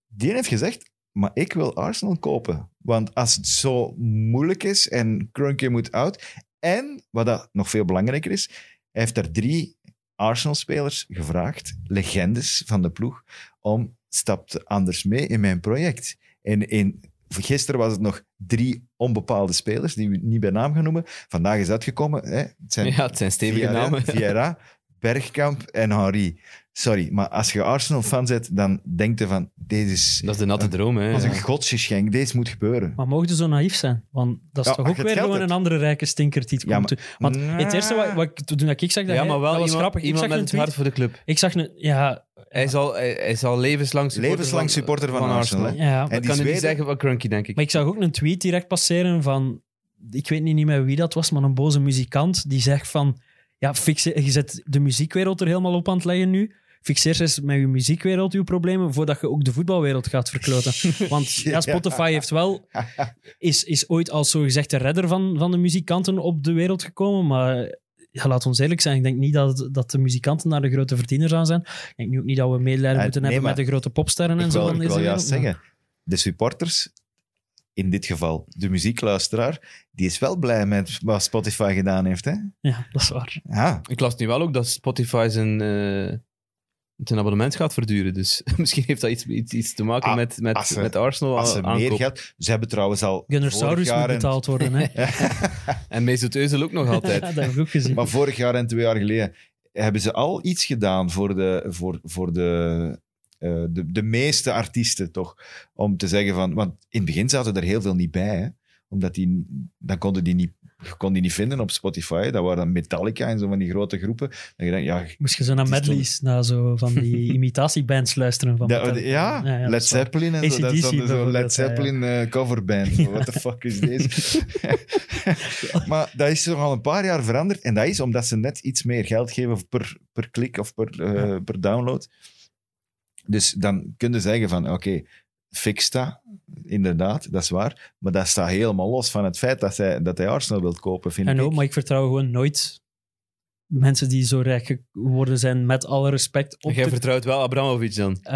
[SPEAKER 2] Die heeft gezegd, maar ik wil Arsenal kopen. Want als het zo moeilijk is en Grunky moet out... En, wat dat nog veel belangrijker is, hij heeft daar drie Arsenal-spelers gevraagd, legendes van de ploeg, om stapt anders mee in mijn project. En in, gisteren was het nog drie onbepaalde spelers, die we niet bij naam gaan noemen. Vandaag is uitgekomen, hè, het zijn
[SPEAKER 3] Ja, het zijn stevige
[SPEAKER 2] Vieira,
[SPEAKER 3] namen.
[SPEAKER 2] Vieira, Bergkamp en Henri. Sorry, maar als je Arsenal-fan bent, dan denk je van, deze is
[SPEAKER 3] Dat is de natte droom. Hè.
[SPEAKER 2] als
[SPEAKER 3] Ja.
[SPEAKER 2] een godsgeschenk, deze moet gebeuren.
[SPEAKER 4] Maar mogen ze zo naïef zijn? Want dat is
[SPEAKER 2] Ja, als
[SPEAKER 4] toch ook
[SPEAKER 2] je het
[SPEAKER 4] weer
[SPEAKER 2] geld
[SPEAKER 4] gewoon
[SPEAKER 2] hebt.
[SPEAKER 4] een andere rijke stinker die het
[SPEAKER 2] Ja,
[SPEAKER 4] komt. Want het eerste wat,
[SPEAKER 2] Ah.
[SPEAKER 4] wat ik, toen ik zag dat
[SPEAKER 3] Ja,
[SPEAKER 4] hij-
[SPEAKER 3] maar wel
[SPEAKER 4] dat was
[SPEAKER 3] iemand,
[SPEAKER 4] grappig.
[SPEAKER 3] iemand met
[SPEAKER 4] ik zag een
[SPEAKER 3] het
[SPEAKER 4] tweet.
[SPEAKER 3] hart voor de club.
[SPEAKER 4] Ik zag een... Ja,
[SPEAKER 3] Hij is al, hij, hij is al levenslang supporter,
[SPEAKER 2] Levenslang supporter van Arsenal, hè.
[SPEAKER 4] ja.
[SPEAKER 2] En
[SPEAKER 3] Dat
[SPEAKER 2] die
[SPEAKER 3] kan je niet
[SPEAKER 2] Zweden-
[SPEAKER 3] zeggen van Crunky, denk ik.
[SPEAKER 4] Maar ik zag ook een tweet direct passeren van... Ik weet niet meer wie dat was, maar een boze muzikant die zegt van... Ja, fix, je zet de muziekwereld er helemaal op aan het leggen nu. fixeer eens met je muziekwereld uw problemen voordat je ook de voetbalwereld gaat verkloten. Want ja, Spotify heeft wel, is, is ooit als zogezegd de redder van, van de muzikanten op de wereld gekomen, maar ja, laat ons eerlijk zijn, ik denk niet dat, dat de muzikanten daar de grote verdieners aan zijn. Ik denk nu ook niet dat we medelijden
[SPEAKER 2] Eh,
[SPEAKER 4] moeten
[SPEAKER 2] nee,
[SPEAKER 4] hebben
[SPEAKER 2] maar
[SPEAKER 4] met de grote popsterren en
[SPEAKER 2] Ik
[SPEAKER 4] zo.
[SPEAKER 2] wil,
[SPEAKER 4] van
[SPEAKER 2] ik
[SPEAKER 4] deze
[SPEAKER 2] wil juist
[SPEAKER 4] wereld, maar-
[SPEAKER 2] zeggen, de supporters, in dit geval de muziekluisteraar, die is wel blij met wat Spotify gedaan heeft. Hè?
[SPEAKER 4] Ja, dat is waar.
[SPEAKER 2] Ja,
[SPEAKER 3] Ik las nu wel ook dat Spotify zijn, eh, zijn abonnement gaat verduren. Dus misschien heeft dat iets, iets, iets te maken
[SPEAKER 2] Ah,
[SPEAKER 3] met, met,
[SPEAKER 2] als ze-
[SPEAKER 3] met Arsenal
[SPEAKER 2] als ze
[SPEAKER 3] aankoop.
[SPEAKER 2] meer geld... Ze hebben trouwens al vorig
[SPEAKER 4] Gunnersaurus moet
[SPEAKER 2] jaar... en-
[SPEAKER 4] betaald worden. Hè?
[SPEAKER 3] En Mesut Özil ook nog
[SPEAKER 4] Ja,
[SPEAKER 3] altijd.
[SPEAKER 4] dat heb ik ook gezien.
[SPEAKER 2] Maar vorig jaar en twee jaar geleden hebben ze al iets gedaan voor de, voor, voor de, eh, de, de meeste artiesten, toch? Om te zeggen van... Want in het begin zaten er heel veel niet bij, hè? Omdat die... Dan konden die niet... je kon die niet vinden op Spotify. Dat waren dan Metallica en zo van die grote groepen. Dan je denkt, ja,
[SPEAKER 4] Moest je zo naar
[SPEAKER 2] Het is
[SPEAKER 4] medleys, naar zo van die imitatiebands luisteren. Van
[SPEAKER 2] dat-
[SPEAKER 4] Metallica.
[SPEAKER 2] ja,
[SPEAKER 4] dat
[SPEAKER 2] Led
[SPEAKER 4] is waar.
[SPEAKER 2] Zeppelin en zo. Dat is
[SPEAKER 4] AC/DC
[SPEAKER 2] dan zo'n Led
[SPEAKER 4] bijvoorbeeld, ja, ja.
[SPEAKER 2] Zeppelin eh, coverband. What the fuck is deze? maar dat is toch al een paar jaar veranderd. En dat is omdat ze net iets meer geld geven per, per klik of per, eh, per download. Dus dan kun je zeggen van, oké, fix dat. Inderdaad, dat is waar. Maar dat staat helemaal los van het feit dat hij, dat hij Arsenal wil kopen, vind
[SPEAKER 4] En
[SPEAKER 2] ik.
[SPEAKER 4] ook, maar ik vertrouw gewoon nooit mensen die zo rijk geworden zijn, met alle respect. Op
[SPEAKER 3] Jij
[SPEAKER 4] de-
[SPEAKER 3] vertrouwt wel Abramovic dan.
[SPEAKER 4] Eh,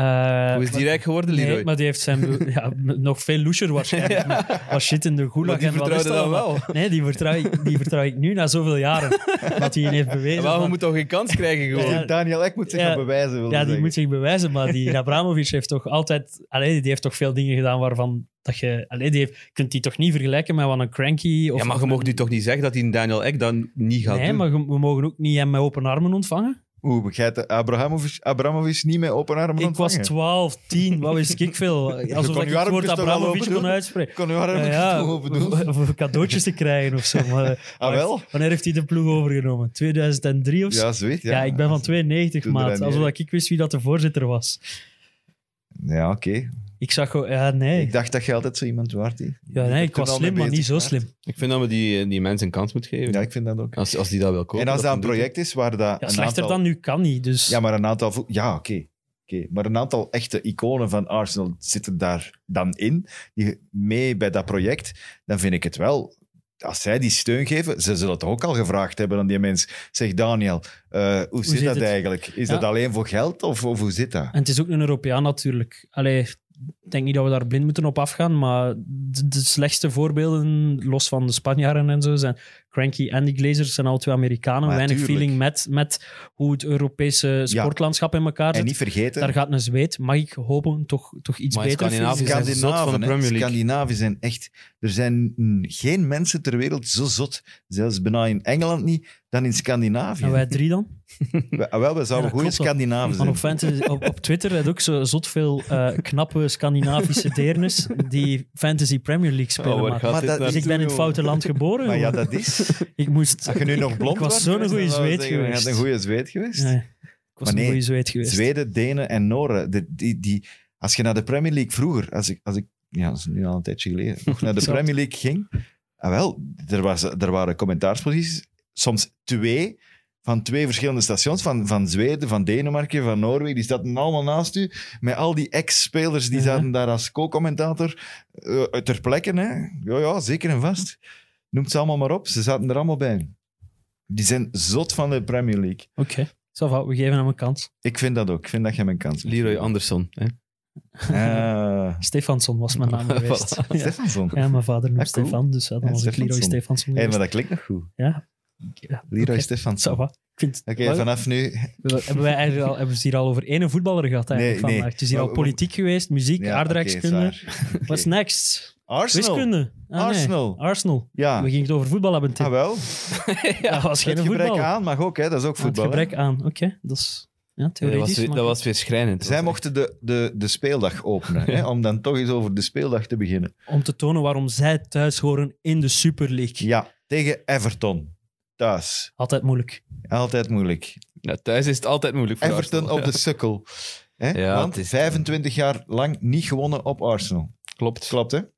[SPEAKER 3] Hoe is die
[SPEAKER 4] maar-
[SPEAKER 3] rijk geworden,
[SPEAKER 4] Nee,
[SPEAKER 3] Leroy?
[SPEAKER 4] maar die heeft zijn... ja, m- nog veel loesjer waarschijnlijk. Was shit in de
[SPEAKER 3] Maar
[SPEAKER 4] gulag
[SPEAKER 3] die
[SPEAKER 4] en wat is
[SPEAKER 3] vertrouwde
[SPEAKER 4] dat
[SPEAKER 3] dan
[SPEAKER 4] allemaal?
[SPEAKER 3] wel.
[SPEAKER 4] Nee, die vertrouw, ik, die vertrouw ik nu na zoveel jaren. dat hij heeft bewezen.
[SPEAKER 3] Waarom
[SPEAKER 4] van-
[SPEAKER 3] moet toch geen kans krijgen gewoon?
[SPEAKER 4] Ja,
[SPEAKER 2] Daniel Ek moet zich
[SPEAKER 4] Ja.
[SPEAKER 2] gaan bewijzen. wil ik
[SPEAKER 4] Ja, die
[SPEAKER 2] zeggen.
[SPEAKER 4] moet zich bewijzen, maar die Abramovic heeft toch altijd... Allee, die heeft toch veel dingen gedaan waarvan dat je... Allee, die heeft, kunt die toch niet vergelijken met wat een cranky... Of
[SPEAKER 3] ja, maar je mag nu toch niet zeggen dat die Daniel Ek dat niet gaat
[SPEAKER 4] Nee,
[SPEAKER 3] doen?
[SPEAKER 4] maar ge- we mogen ook niet hem met open armen ontvangen.
[SPEAKER 2] Oeh, begrijpt de Abramovic, Abramovic niet met open armen
[SPEAKER 4] Ik was
[SPEAKER 2] ontvangen?
[SPEAKER 4] 12, 10, wat wist ik veel. Alsof
[SPEAKER 2] kon
[SPEAKER 4] ik
[SPEAKER 2] je
[SPEAKER 4] het
[SPEAKER 2] armpjes
[SPEAKER 4] woord
[SPEAKER 2] toch wel
[SPEAKER 4] Abramovic
[SPEAKER 2] open
[SPEAKER 4] kon
[SPEAKER 2] doen?
[SPEAKER 4] uitspreken.
[SPEAKER 2] Ik kon uw armen
[SPEAKER 4] Ja,
[SPEAKER 2] niet
[SPEAKER 4] ja,
[SPEAKER 2] open doen.
[SPEAKER 4] om- om cadeautjes te krijgen of zo. Maar,
[SPEAKER 2] Ah, wel?
[SPEAKER 4] Wanneer heeft hij de ploeg overgenomen? 2003 of zo? Ja,
[SPEAKER 2] Ja, zoiets. Ja,
[SPEAKER 4] ik ben van 92,
[SPEAKER 2] Toen
[SPEAKER 4] maat.
[SPEAKER 2] Ranieri.
[SPEAKER 4] Alsof dat ik wist wie dat de voorzitter was.
[SPEAKER 2] Ja, oké.
[SPEAKER 4] Ik zag gewoon... Ja, nee.
[SPEAKER 2] Ik dacht dat je altijd zo iemand waard die-
[SPEAKER 4] Ja, nee, ik
[SPEAKER 2] Toen
[SPEAKER 4] was
[SPEAKER 2] al
[SPEAKER 4] slim,
[SPEAKER 2] mee
[SPEAKER 4] maar niet zo
[SPEAKER 2] bezig
[SPEAKER 4] slim.
[SPEAKER 3] Ik vind dat we die, die mensen een kans moeten geven.
[SPEAKER 2] Ja, ik vind dat ook.
[SPEAKER 3] Als, als die dat wil kopen.
[SPEAKER 2] en als dat een
[SPEAKER 3] dan doet
[SPEAKER 2] project is waar dat
[SPEAKER 4] Ja,
[SPEAKER 2] een
[SPEAKER 4] slechter
[SPEAKER 2] aantal...
[SPEAKER 4] dan nu kan niet, dus...
[SPEAKER 2] Ja, maar een aantal... vo- Ja, oké. oké. Maar een aantal echte iconen van Arsenal zitten daar dan in, die mee bij dat project, dan vind ik het wel... Als zij die steun geven, ze zullen het ook al gevraagd hebben aan die mens. Zeg, Daniel, eh, hoe, zit,
[SPEAKER 4] zit
[SPEAKER 2] dat
[SPEAKER 4] het?
[SPEAKER 2] eigenlijk? Is
[SPEAKER 4] Ja.
[SPEAKER 2] dat alleen voor geld of, of hoe zit dat?
[SPEAKER 4] En het is ook een Europeaan natuurlijk. Allee, ik denk niet dat we daar blind moeten op afgaan, maar de, de slechtste voorbeelden, los van de Spanjaarden en zo, zijn Cranky en die Glazers, zijn al twee Amerikanen.
[SPEAKER 2] Maar
[SPEAKER 4] Weinig
[SPEAKER 2] tuurlijk.
[SPEAKER 4] feeling met, met hoe het Europese sportlandschap in elkaar
[SPEAKER 2] En
[SPEAKER 4] zit.
[SPEAKER 2] niet vergeten...
[SPEAKER 4] Daar gaat een zweet, mag ik hopen, toch, toch iets
[SPEAKER 3] Maar
[SPEAKER 4] beter
[SPEAKER 3] Scandinavië
[SPEAKER 4] vinden.
[SPEAKER 3] zijn- zot van de
[SPEAKER 2] Scandinaven, hè.
[SPEAKER 3] Premier League.
[SPEAKER 2] Scandinaven zijn echt... Er zijn mm, geen mensen ter wereld zo zot, zelfs bijna in Engeland niet, dan in Scandinavië.
[SPEAKER 4] En Nou, wij drie dan?
[SPEAKER 2] We- ah, wel, we zouden
[SPEAKER 4] Ah, Ja, dat
[SPEAKER 2] goede
[SPEAKER 4] klopt wel.
[SPEAKER 2] Scandinaven
[SPEAKER 4] Maar
[SPEAKER 2] zijn.
[SPEAKER 4] op, fantasy, op, op Twitter had ook zo zot veel eh, knappe Scandinavische deernis die Fantasy Premier League spelen.
[SPEAKER 3] Oh, waar
[SPEAKER 4] maar-
[SPEAKER 3] gaat
[SPEAKER 2] Maar
[SPEAKER 3] dit
[SPEAKER 2] dat-
[SPEAKER 4] dus
[SPEAKER 3] naartoe,
[SPEAKER 4] ik ben in het
[SPEAKER 3] jongen?
[SPEAKER 4] foute land geboren.
[SPEAKER 2] Maar ja,
[SPEAKER 4] jongen.
[SPEAKER 2] dat is...
[SPEAKER 4] ik moest,
[SPEAKER 2] Als je nu
[SPEAKER 4] ik-
[SPEAKER 2] nog blond
[SPEAKER 4] Ik was
[SPEAKER 2] was
[SPEAKER 4] zo'n goede
[SPEAKER 2] dan zou ik
[SPEAKER 4] zweet
[SPEAKER 2] zeggen, Je
[SPEAKER 4] geweest.
[SPEAKER 2] had een goede zweet geweest.
[SPEAKER 4] Nee, ik was
[SPEAKER 2] Maar nee,
[SPEAKER 4] een goede zweet geweest.
[SPEAKER 2] Zweden, Denen en Noren. de- die, die, als je naar de Premier League vroeger, als ik, als ik ja, dat is nu al een tijdje geleden, nog naar de
[SPEAKER 4] Exact.
[SPEAKER 2] Premier League ging, ah, wel, er, was, er waren commentaarsposities, soms twee, van twee verschillende stations, van, van Zweden, van Denemarken, van Noorwegen, die zaten allemaal naast u, met al die ex-spelers, die
[SPEAKER 4] Ja.
[SPEAKER 2] zaten daar als co-commentator eh, ter plekke, hè. Ja, ja, zeker en vast. Noem ze allemaal maar op, ze zaten er allemaal bij. Die zijn zot van de Premier League.
[SPEAKER 4] Oké, ça va, we geven hem een kans.
[SPEAKER 2] Ik vind dat ook. Ik vind dat je mijn kans hebt.
[SPEAKER 3] Leroy Anderson. Hè?
[SPEAKER 2] Ah,
[SPEAKER 4] Stefansson was mijn naam geweest. ja.
[SPEAKER 2] Stefansson.
[SPEAKER 4] Ja, mijn vader noemt
[SPEAKER 2] Ah, cool.
[SPEAKER 4] Stefan, dus ja, dan
[SPEAKER 2] Ja,
[SPEAKER 4] was ik Leroy
[SPEAKER 2] Stefansson.
[SPEAKER 4] Stefansson
[SPEAKER 2] Hé,
[SPEAKER 4] geweest.
[SPEAKER 2] maar dat klinkt nog goed.
[SPEAKER 4] Ja,
[SPEAKER 2] Leroy
[SPEAKER 4] Oké.
[SPEAKER 2] Stefansson. Oké,
[SPEAKER 4] ça va. Ik vind, wel-
[SPEAKER 2] vanaf nu...
[SPEAKER 4] hebben, wij eigenlijk al, hebben we het hier al over ene voetballer gehad eigenlijk
[SPEAKER 2] Nee, nee.
[SPEAKER 4] vandaag. Het is hier
[SPEAKER 2] Maar
[SPEAKER 4] al
[SPEAKER 2] we-
[SPEAKER 4] politiek geweest, muziek,
[SPEAKER 2] Ja,
[SPEAKER 4] aardrijkskunde.
[SPEAKER 2] oké, zwaar. Oké.
[SPEAKER 4] What's next?
[SPEAKER 2] Arsenal.
[SPEAKER 4] Wiskunde. Ah, nee.
[SPEAKER 2] Arsenal.
[SPEAKER 4] Arsenal.
[SPEAKER 2] Ja,
[SPEAKER 4] We gingen het over voetbal hebben, Tim.
[SPEAKER 2] ah, wel.
[SPEAKER 4] dat was geen
[SPEAKER 2] Het gebrek
[SPEAKER 4] voetbal.
[SPEAKER 2] aan mag ook, hè. dat is ook
[SPEAKER 4] Ah, het
[SPEAKER 2] voetbal. hè.
[SPEAKER 4] gebrek aan, oké. Dat is ja,
[SPEAKER 3] Dat, was,
[SPEAKER 4] theoretisch.
[SPEAKER 3] weer-
[SPEAKER 4] maar-
[SPEAKER 3] dat was weer schrijnend.
[SPEAKER 2] Zij mochten de, de, de speeldag openen, hè, om dan toch eens over de speeldag te beginnen.
[SPEAKER 4] Om te tonen waarom zij thuis horen in de Super League.
[SPEAKER 2] Ja, tegen Everton. Thuis.
[SPEAKER 4] Altijd moeilijk.
[SPEAKER 2] Altijd moeilijk.
[SPEAKER 3] Ja, thuis is het altijd moeilijk voor
[SPEAKER 2] Everton
[SPEAKER 3] Arsenal.
[SPEAKER 2] op de sukkel. Hè?
[SPEAKER 3] Ja,
[SPEAKER 2] Want
[SPEAKER 3] het is-
[SPEAKER 2] 25 jaar lang niet gewonnen op Arsenal.
[SPEAKER 3] Klopt.
[SPEAKER 2] Klopt, hè? Het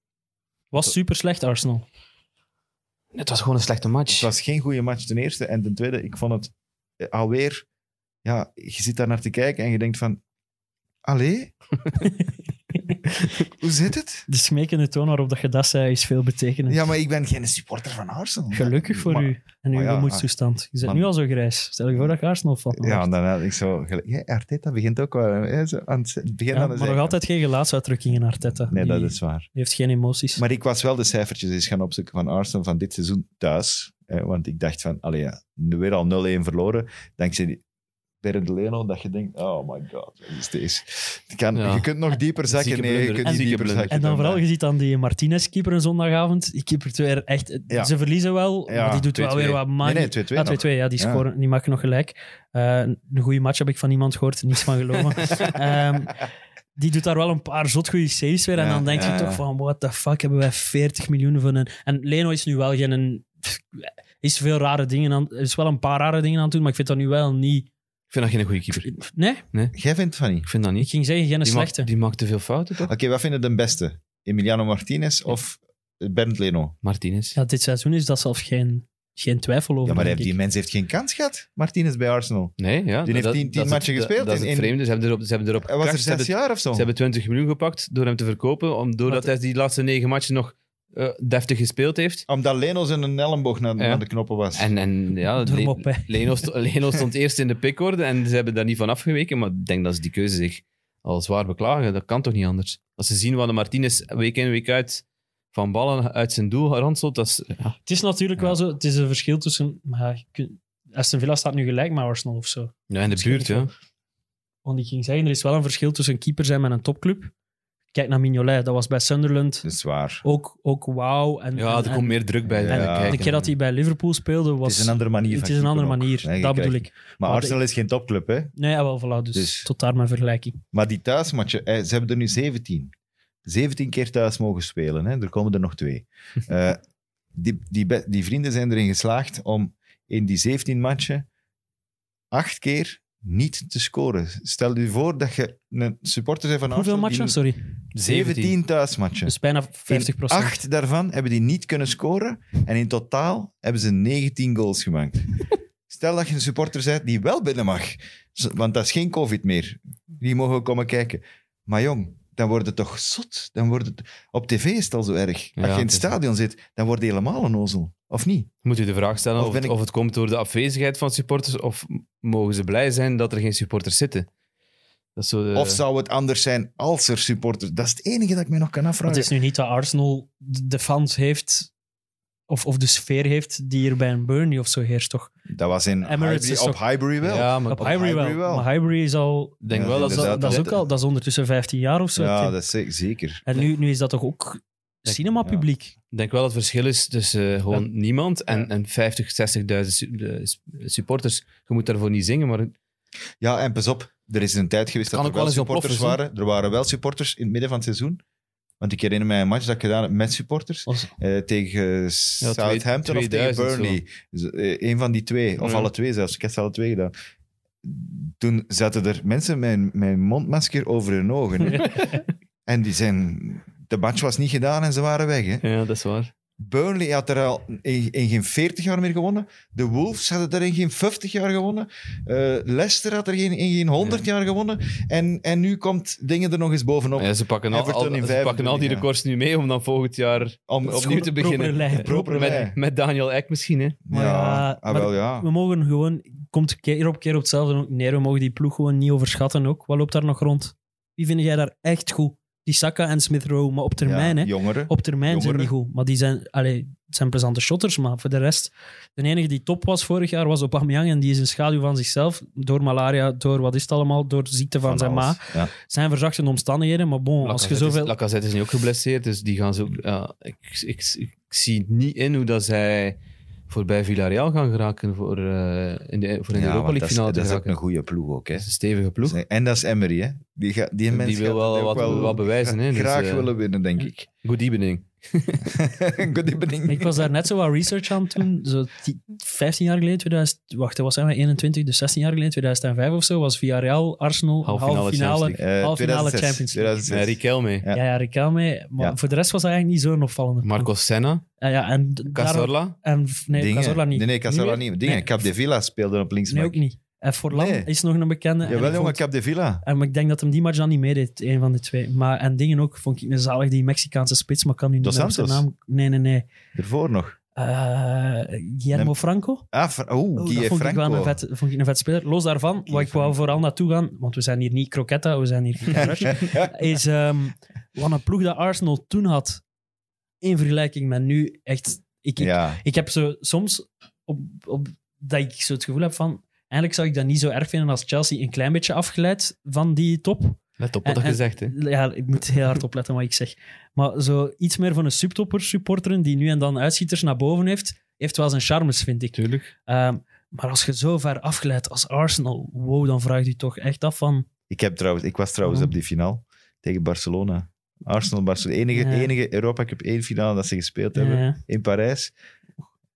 [SPEAKER 4] Was super slecht, Arsenal.
[SPEAKER 3] Het was gewoon een slechte match.
[SPEAKER 2] was geen goede match ten eerste. En ten tweede, ik vond het eh, alweer ja, je zit daar naar te kijken en je denkt van... Allee? Hoe zit het?
[SPEAKER 4] De smekende toon waarop dat je dat zei is veel betekenend.
[SPEAKER 2] Ja, maar ik ben geen supporter van Arsenal.
[SPEAKER 4] Gelukkig voor
[SPEAKER 2] Maar-
[SPEAKER 4] u en uw
[SPEAKER 2] maar ja, ah.
[SPEAKER 4] gemoedstoestand. Je bent
[SPEAKER 2] maar-
[SPEAKER 4] nu al zo grijs. Stel je voor dat je Arsenal van
[SPEAKER 2] Ja, en dan had ik zo... gelijk, Ja, Arteta begint ook wel... hè, zo aan het begin aan de
[SPEAKER 4] maar nog
[SPEAKER 2] zijkant.
[SPEAKER 4] altijd geen gelaatsuitdrukking in Arteta.
[SPEAKER 2] Nee, dat
[SPEAKER 4] Die-
[SPEAKER 2] is waar.
[SPEAKER 4] die heeft geen emoties.
[SPEAKER 2] Maar ik was wel de cijfertjes eens gaan opzoeken van Arsenal van dit seizoen thuis. Hè, want ik dacht van, allee, ja, nu weer al 0-1 verloren. Dankzij die Bernd Leno, dat je denkt, oh my god, wat is deze? Je, kan,
[SPEAKER 3] Ja.
[SPEAKER 2] je kunt nog dieper zakken.
[SPEAKER 3] Zieke
[SPEAKER 2] Nee, je
[SPEAKER 3] blunder,
[SPEAKER 2] kunt niet
[SPEAKER 3] zieke
[SPEAKER 2] dieper
[SPEAKER 3] blunder.
[SPEAKER 2] zakken.
[SPEAKER 4] en dan vooral,
[SPEAKER 2] dat.
[SPEAKER 4] je ziet aan die Martinez-keeper een zondagavond. Die keepert weer echt...
[SPEAKER 2] Ja.
[SPEAKER 4] Ze verliezen wel,
[SPEAKER 2] Ja,
[SPEAKER 4] maar die doet wel
[SPEAKER 2] 2-2.
[SPEAKER 4] weer wat
[SPEAKER 2] Nee,
[SPEAKER 4] manie.
[SPEAKER 2] nee, 2-2
[SPEAKER 4] ja,
[SPEAKER 3] Ah,
[SPEAKER 2] nog.
[SPEAKER 4] 2-2, ja, die,
[SPEAKER 2] Ja.
[SPEAKER 4] scoren, die maken nog gelijk. Eh, een goede match heb ik van iemand gehoord, niets van geloven. Ehm, die doet daar wel een paar zotgoede saves weer. en
[SPEAKER 2] Ja,
[SPEAKER 4] dan denk
[SPEAKER 2] ja,
[SPEAKER 4] je
[SPEAKER 2] ja.
[SPEAKER 4] toch van, what the fuck, hebben wij 40 miljoen van een... En Leno is nu wel geen... Een, is veel rare dingen aan... Is wel een paar rare dingen aan het doen, maar ik vind dat nu wel niet...
[SPEAKER 3] Ik vind dat geen goede keeper.
[SPEAKER 4] Nee,
[SPEAKER 2] Jij vindt van niet.
[SPEAKER 3] Ik vind dat
[SPEAKER 4] ik
[SPEAKER 3] niet.
[SPEAKER 4] ging zeggen, geen
[SPEAKER 3] Die maakt,
[SPEAKER 4] slechte.
[SPEAKER 3] die maakt te veel fouten, toch?
[SPEAKER 2] Oké, wat vind je de beste? Emiliano Martinez of Bernd Leno?
[SPEAKER 3] Martinez.
[SPEAKER 4] Ja, dit seizoen is dat zelfs geen, geen twijfel over.
[SPEAKER 2] Ja, maar hij
[SPEAKER 4] denk
[SPEAKER 2] heeft, die
[SPEAKER 4] ik.
[SPEAKER 2] mens heeft geen kans gehad, Martinez, bij Arsenal.
[SPEAKER 3] Nee, ja.
[SPEAKER 2] Die heeft tien- tien
[SPEAKER 3] is
[SPEAKER 2] matchen
[SPEAKER 3] het-
[SPEAKER 2] gespeeld
[SPEAKER 3] Dat is
[SPEAKER 2] in-
[SPEAKER 3] het
[SPEAKER 2] in-
[SPEAKER 3] vreemde. Ze hebben erop, ze hebben erop
[SPEAKER 2] Hij was er
[SPEAKER 3] gecrashed. ze,
[SPEAKER 2] zes
[SPEAKER 3] hebben,
[SPEAKER 2] jaar of zo.
[SPEAKER 3] ze hebben 20 miljoen gepakt door hem te verkopen, om- doordat
[SPEAKER 4] Wat-
[SPEAKER 3] hij die laatste negen matchen nog eh, deftig gespeeld heeft.
[SPEAKER 2] Omdat Leno zijn elleboog naar,
[SPEAKER 3] Ja.
[SPEAKER 2] naar de knoppen was.
[SPEAKER 3] En, en ja,
[SPEAKER 4] Door hem
[SPEAKER 3] Le-
[SPEAKER 4] op, hè.
[SPEAKER 3] Leno, sto- Leno stond eerst in de pickorde en ze hebben daar niet van afgeweken. Maar ik denk dat ze die keuze zich al zwaar beklagen. Dat kan toch niet anders? Als ze zien wat de Martinez week in, week uit van ballen uit zijn doel ranselt, dat is... Ja,
[SPEAKER 4] Het is natuurlijk wel zo, het is een verschil tussen. Maar ja, je kunt- Aston Villa staat nu gelijk met Arsenal of zo.
[SPEAKER 3] ja, in de
[SPEAKER 4] Misschien
[SPEAKER 3] buurt,
[SPEAKER 4] wel.
[SPEAKER 3] ja.
[SPEAKER 4] Want ik ging zeggen, er is wel een verschil tussen keeper zijn met een topclub. Kijk naar Mignolet, dat was bij Sunderland
[SPEAKER 2] Dat is waar.
[SPEAKER 4] ook, ook wauw. En,
[SPEAKER 3] Ja,
[SPEAKER 4] en-
[SPEAKER 3] er komt meer druk bij.
[SPEAKER 2] en-
[SPEAKER 4] en,
[SPEAKER 3] bij
[SPEAKER 2] Ja,
[SPEAKER 4] en de
[SPEAKER 3] kijken.
[SPEAKER 4] keer dat hij bij Liverpool speelde, was
[SPEAKER 2] het is een andere manier.
[SPEAKER 4] het
[SPEAKER 2] van
[SPEAKER 4] is een andere
[SPEAKER 2] keeper ook.
[SPEAKER 4] manier.
[SPEAKER 2] Nee, je
[SPEAKER 4] dat
[SPEAKER 2] kijkt-
[SPEAKER 4] bedoel ik.
[SPEAKER 2] Maar
[SPEAKER 4] Maar
[SPEAKER 2] Arsenal is geen topclub, hè?
[SPEAKER 4] Nee, ja, wel, voilà. Dus,
[SPEAKER 2] Dus-
[SPEAKER 4] tot daar mijn vergelijking.
[SPEAKER 2] Maar die thuismatchen, eh, ze hebben er nu 17. 17 keer thuis mogen spelen. Hè? Er komen er nog twee. Eh, die, die, be- die vrienden zijn erin geslaagd om in die 17 matchen acht keer niet te scoren. Stel je voor dat je een supporter bent van
[SPEAKER 4] Hoeveel
[SPEAKER 2] Arsenal.
[SPEAKER 4] matchen?
[SPEAKER 2] die-
[SPEAKER 4] Sorry.
[SPEAKER 3] 17.
[SPEAKER 2] 17 thuismatchen.
[SPEAKER 4] Dus bijna 50
[SPEAKER 2] In acht daarvan hebben die niet kunnen scoren. En in totaal hebben ze 19 goals gemaakt. Stel dat je een supporter bent die wel binnen mag. Z- Want dat is geen COVID meer. Die mogen komen kijken. Maar jong, dan wordt het toch zot. Dan wordt het... Op tv is het al zo erg.
[SPEAKER 3] Ja,
[SPEAKER 2] Als je in
[SPEAKER 3] het
[SPEAKER 2] het
[SPEAKER 3] is-
[SPEAKER 2] stadion zit, dan word je helemaal een ozel. Of niet?
[SPEAKER 3] Moet u de vraag stellen
[SPEAKER 2] Of
[SPEAKER 3] of,
[SPEAKER 2] ben
[SPEAKER 3] het,
[SPEAKER 2] ik-
[SPEAKER 3] of het komt door de afwezigheid van supporters of m- mogen ze blij zijn dat er geen supporters zitten? Dat is zo
[SPEAKER 4] Eh.
[SPEAKER 3] eh, de-
[SPEAKER 2] Of zou het anders zijn als er supporters... Dat is het enige dat ik me nog kan
[SPEAKER 4] Want
[SPEAKER 2] afvragen.
[SPEAKER 4] het is nu niet dat Arsenal de de fans heeft, of, of de sfeer heeft, die er bij een Burnley of zo heerst, toch?
[SPEAKER 2] Dat was in
[SPEAKER 4] Emirates
[SPEAKER 2] Highbury-
[SPEAKER 4] is
[SPEAKER 2] op
[SPEAKER 4] toch-
[SPEAKER 2] Highbury wel.
[SPEAKER 3] Ja, maar
[SPEAKER 4] Op
[SPEAKER 2] op
[SPEAKER 4] Highbury
[SPEAKER 2] Highbury
[SPEAKER 4] wel.
[SPEAKER 2] wel.
[SPEAKER 4] Maar Highbury is al...
[SPEAKER 3] ik denk
[SPEAKER 2] Ja,
[SPEAKER 3] wel dat
[SPEAKER 4] Dat,
[SPEAKER 3] ze-
[SPEAKER 2] inderdaad,
[SPEAKER 4] dat is
[SPEAKER 2] dat-
[SPEAKER 4] ook al... Dat is ondertussen 15 jaar of zo. ik
[SPEAKER 2] ja
[SPEAKER 4] denk.
[SPEAKER 2] dat is ze- zeker.
[SPEAKER 4] En nu, nu is dat toch ook
[SPEAKER 3] Denk-
[SPEAKER 4] cinemapubliek?
[SPEAKER 3] Ik denk wel dat het verschil is tussen eh, gewoon niemand en, en 50, 60.000 su- eh, s- supporters. Je moet daarvoor niet zingen, maar
[SPEAKER 2] Ja, en pas op, er is een tijd geweest
[SPEAKER 3] Het
[SPEAKER 2] dat er
[SPEAKER 3] kan
[SPEAKER 2] wel
[SPEAKER 3] ook wel eens
[SPEAKER 2] supporters
[SPEAKER 3] ontploffen,
[SPEAKER 2] waren. Er waren wel supporters in het midden van het seizoen. Want ik herinner mij een match dat ik gedaan heb met supporters.
[SPEAKER 4] Als-
[SPEAKER 2] eh, tegen eh, Southampton of tegen
[SPEAKER 3] 2000
[SPEAKER 2] Burnley. Dus, eh, een van die twee, of
[SPEAKER 3] Ja.
[SPEAKER 2] alle twee zelfs. Ik heb ze alle twee gedaan. Toen zaten er mensen met een- met een mondmasker over hun ogen. en die zijn... De match was niet gedaan en ze waren weg. Hè.
[SPEAKER 3] ja, dat is waar.
[SPEAKER 2] Burnley had er al in, in geen 40 jaar meer gewonnen. De Wolves hadden er in geen 50 jaar gewonnen. Eh, Leicester had er geen, in geen 100 jaar gewonnen. En, en nu komt dingen er nog eens bovenop.
[SPEAKER 3] Ja, ze pakken, al,
[SPEAKER 2] Everton
[SPEAKER 3] al-
[SPEAKER 2] in
[SPEAKER 3] ze pakken al
[SPEAKER 2] 25,
[SPEAKER 3] die
[SPEAKER 2] ja.
[SPEAKER 3] records nu mee om dan volgend jaar
[SPEAKER 2] Om,
[SPEAKER 3] opnieuw te beginnen.
[SPEAKER 4] Proper lijn.
[SPEAKER 2] Proper lijn.
[SPEAKER 3] Met, met Daniel Eck misschien, hè?
[SPEAKER 2] ja,
[SPEAKER 4] Maar ja,
[SPEAKER 2] ah,
[SPEAKER 4] maar-
[SPEAKER 2] wel ja.
[SPEAKER 4] We mogen gewoon... Komt keer op keer op hetzelfde neer. We mogen die ploeg gewoon niet overschatten ook. Wat loopt daar nog rond? Wie vind jij daar echt goed? Die Saka en Smith Rowe, maar op termijn,
[SPEAKER 2] Ja,
[SPEAKER 4] hè?
[SPEAKER 2] Jongeren.
[SPEAKER 4] Op termijn zijn die
[SPEAKER 2] Jongeren.
[SPEAKER 4] goed. Maar die zijn, allee, het zijn plezante shotters, maar voor de rest... De enige die top was vorig jaar was Aubameyang en die is een schaduw van zichzelf. Door malaria, door wat is het allemaal, door de ziekte van, zijn ma.
[SPEAKER 2] alles. Ja.
[SPEAKER 4] Zijn verzachte omstandigheden, maar bon, Oh, als je
[SPEAKER 3] Lacazette is-
[SPEAKER 4] zoveel...
[SPEAKER 3] Lacazette is nu ook geblesseerd, dus die gaan zo. ja, ik, ik, ik zie niet in hoe dat zij voorbij Villarreal gaan geraken voor, eh, in de, voor in de
[SPEAKER 2] Ja,
[SPEAKER 3] Europa
[SPEAKER 2] want
[SPEAKER 3] League
[SPEAKER 2] dat is-
[SPEAKER 3] finale
[SPEAKER 2] Dat
[SPEAKER 3] te
[SPEAKER 2] is ook
[SPEAKER 3] geraken.
[SPEAKER 2] een goede ploeg ook. Hè.
[SPEAKER 3] Dat is een stevige ploeg.
[SPEAKER 2] En dat is Emery. Hè. Die, ga, die, mens
[SPEAKER 3] wil
[SPEAKER 2] gaat
[SPEAKER 3] wel
[SPEAKER 2] ook
[SPEAKER 3] wat- wat bewijzen, hè. Dus,
[SPEAKER 2] Graag
[SPEAKER 3] eh,
[SPEAKER 2] willen winnen, denk ik.
[SPEAKER 3] Good evening.
[SPEAKER 2] Good evening.
[SPEAKER 4] Ik was daar net zo wat research aan toen. Zo die- 15 jaar geleden, 2000, wacht, wat zijn we? 21, dus 16 jaar geleden, 2005 of zo, was Villarreal, Arsenal, halve
[SPEAKER 3] Halve
[SPEAKER 4] finale,
[SPEAKER 3] finale Champions
[SPEAKER 2] Eh,
[SPEAKER 4] halve finale
[SPEAKER 2] 2006,
[SPEAKER 4] Champions League.
[SPEAKER 2] 2006.
[SPEAKER 3] Met Riquelme.
[SPEAKER 2] Ja.
[SPEAKER 4] Ja, ja, Riquelme. Maar
[SPEAKER 2] Ja.
[SPEAKER 4] voor de rest was dat eigenlijk niet zo'n opvallende. ploeg.
[SPEAKER 3] Marco Senna.
[SPEAKER 4] Ja, ja, en d- daarom-
[SPEAKER 3] Casorla.
[SPEAKER 4] En, nee,
[SPEAKER 2] Dingen.
[SPEAKER 4] Cazorla niet.
[SPEAKER 2] Nee, nee Casorla
[SPEAKER 4] meer?
[SPEAKER 2] niet. Dingen.
[SPEAKER 4] Nee.
[SPEAKER 2] Capdevila speelde op linksback.
[SPEAKER 4] Nee, ook niet. En Forlan
[SPEAKER 2] Nee.
[SPEAKER 4] is nog een bekende. En
[SPEAKER 2] Jawel,
[SPEAKER 4] ik
[SPEAKER 2] jongen,
[SPEAKER 4] vond-
[SPEAKER 2] Cap de Villa.
[SPEAKER 4] en maar ik denk dat hem die match dan niet meedeed, een van de twee. Maar, en dingen ook, vond ik een zalig, die Mexicaanse spits, maar kan nu niet
[SPEAKER 2] Dos
[SPEAKER 4] meer op zijn
[SPEAKER 2] Santos?
[SPEAKER 4] naam... Nee, nee, nee.
[SPEAKER 2] Ervoor nog.
[SPEAKER 4] Eh Guillermo
[SPEAKER 2] Nee.
[SPEAKER 4] Franco?
[SPEAKER 2] Ah, Fra- oeh,
[SPEAKER 4] Oh,
[SPEAKER 2] Guy
[SPEAKER 4] dat vond
[SPEAKER 2] Franco.
[SPEAKER 4] ik wel een vet, vond ik een vet speler. Los daarvan, waar ik wou vooral naartoe gaan, want we zijn hier niet Croquetta, we zijn hier Kicker Rush, is ehm, wat een ploeg dat Arsenal toen had, in vergelijking met nu, echt... Ik, ik,
[SPEAKER 2] ja,
[SPEAKER 4] ik heb zo soms, op, op, dat ik zo het gevoel heb van... Eigenlijk zou ik dat niet zo erg vinden als Chelsea een klein beetje afgeleid van die top.
[SPEAKER 3] Let op wat
[SPEAKER 4] En-
[SPEAKER 3] je
[SPEAKER 4] en-
[SPEAKER 3] gezegd hè.
[SPEAKER 4] Ja, ik moet heel hard opletten wat ik zeg. Maar zo iets meer van een subtopper supporteren die nu en dan uitschieters naar boven heeft, heeft wel zijn charmes, vind ik.
[SPEAKER 3] Tuurlijk.
[SPEAKER 4] Ehm, maar als je zo ver afgeleid als Arsenal, wow, dan vraagt u toch echt af van...
[SPEAKER 2] ik, heb trouwens, ik was trouwens
[SPEAKER 4] Ja.
[SPEAKER 2] op die finale tegen Barcelona. Arsenal, Barcelona. Enige,
[SPEAKER 4] Ja.
[SPEAKER 2] enige Europa Cup 1 finale dat ze gespeeld hebben
[SPEAKER 4] eh,
[SPEAKER 2] in Parijs.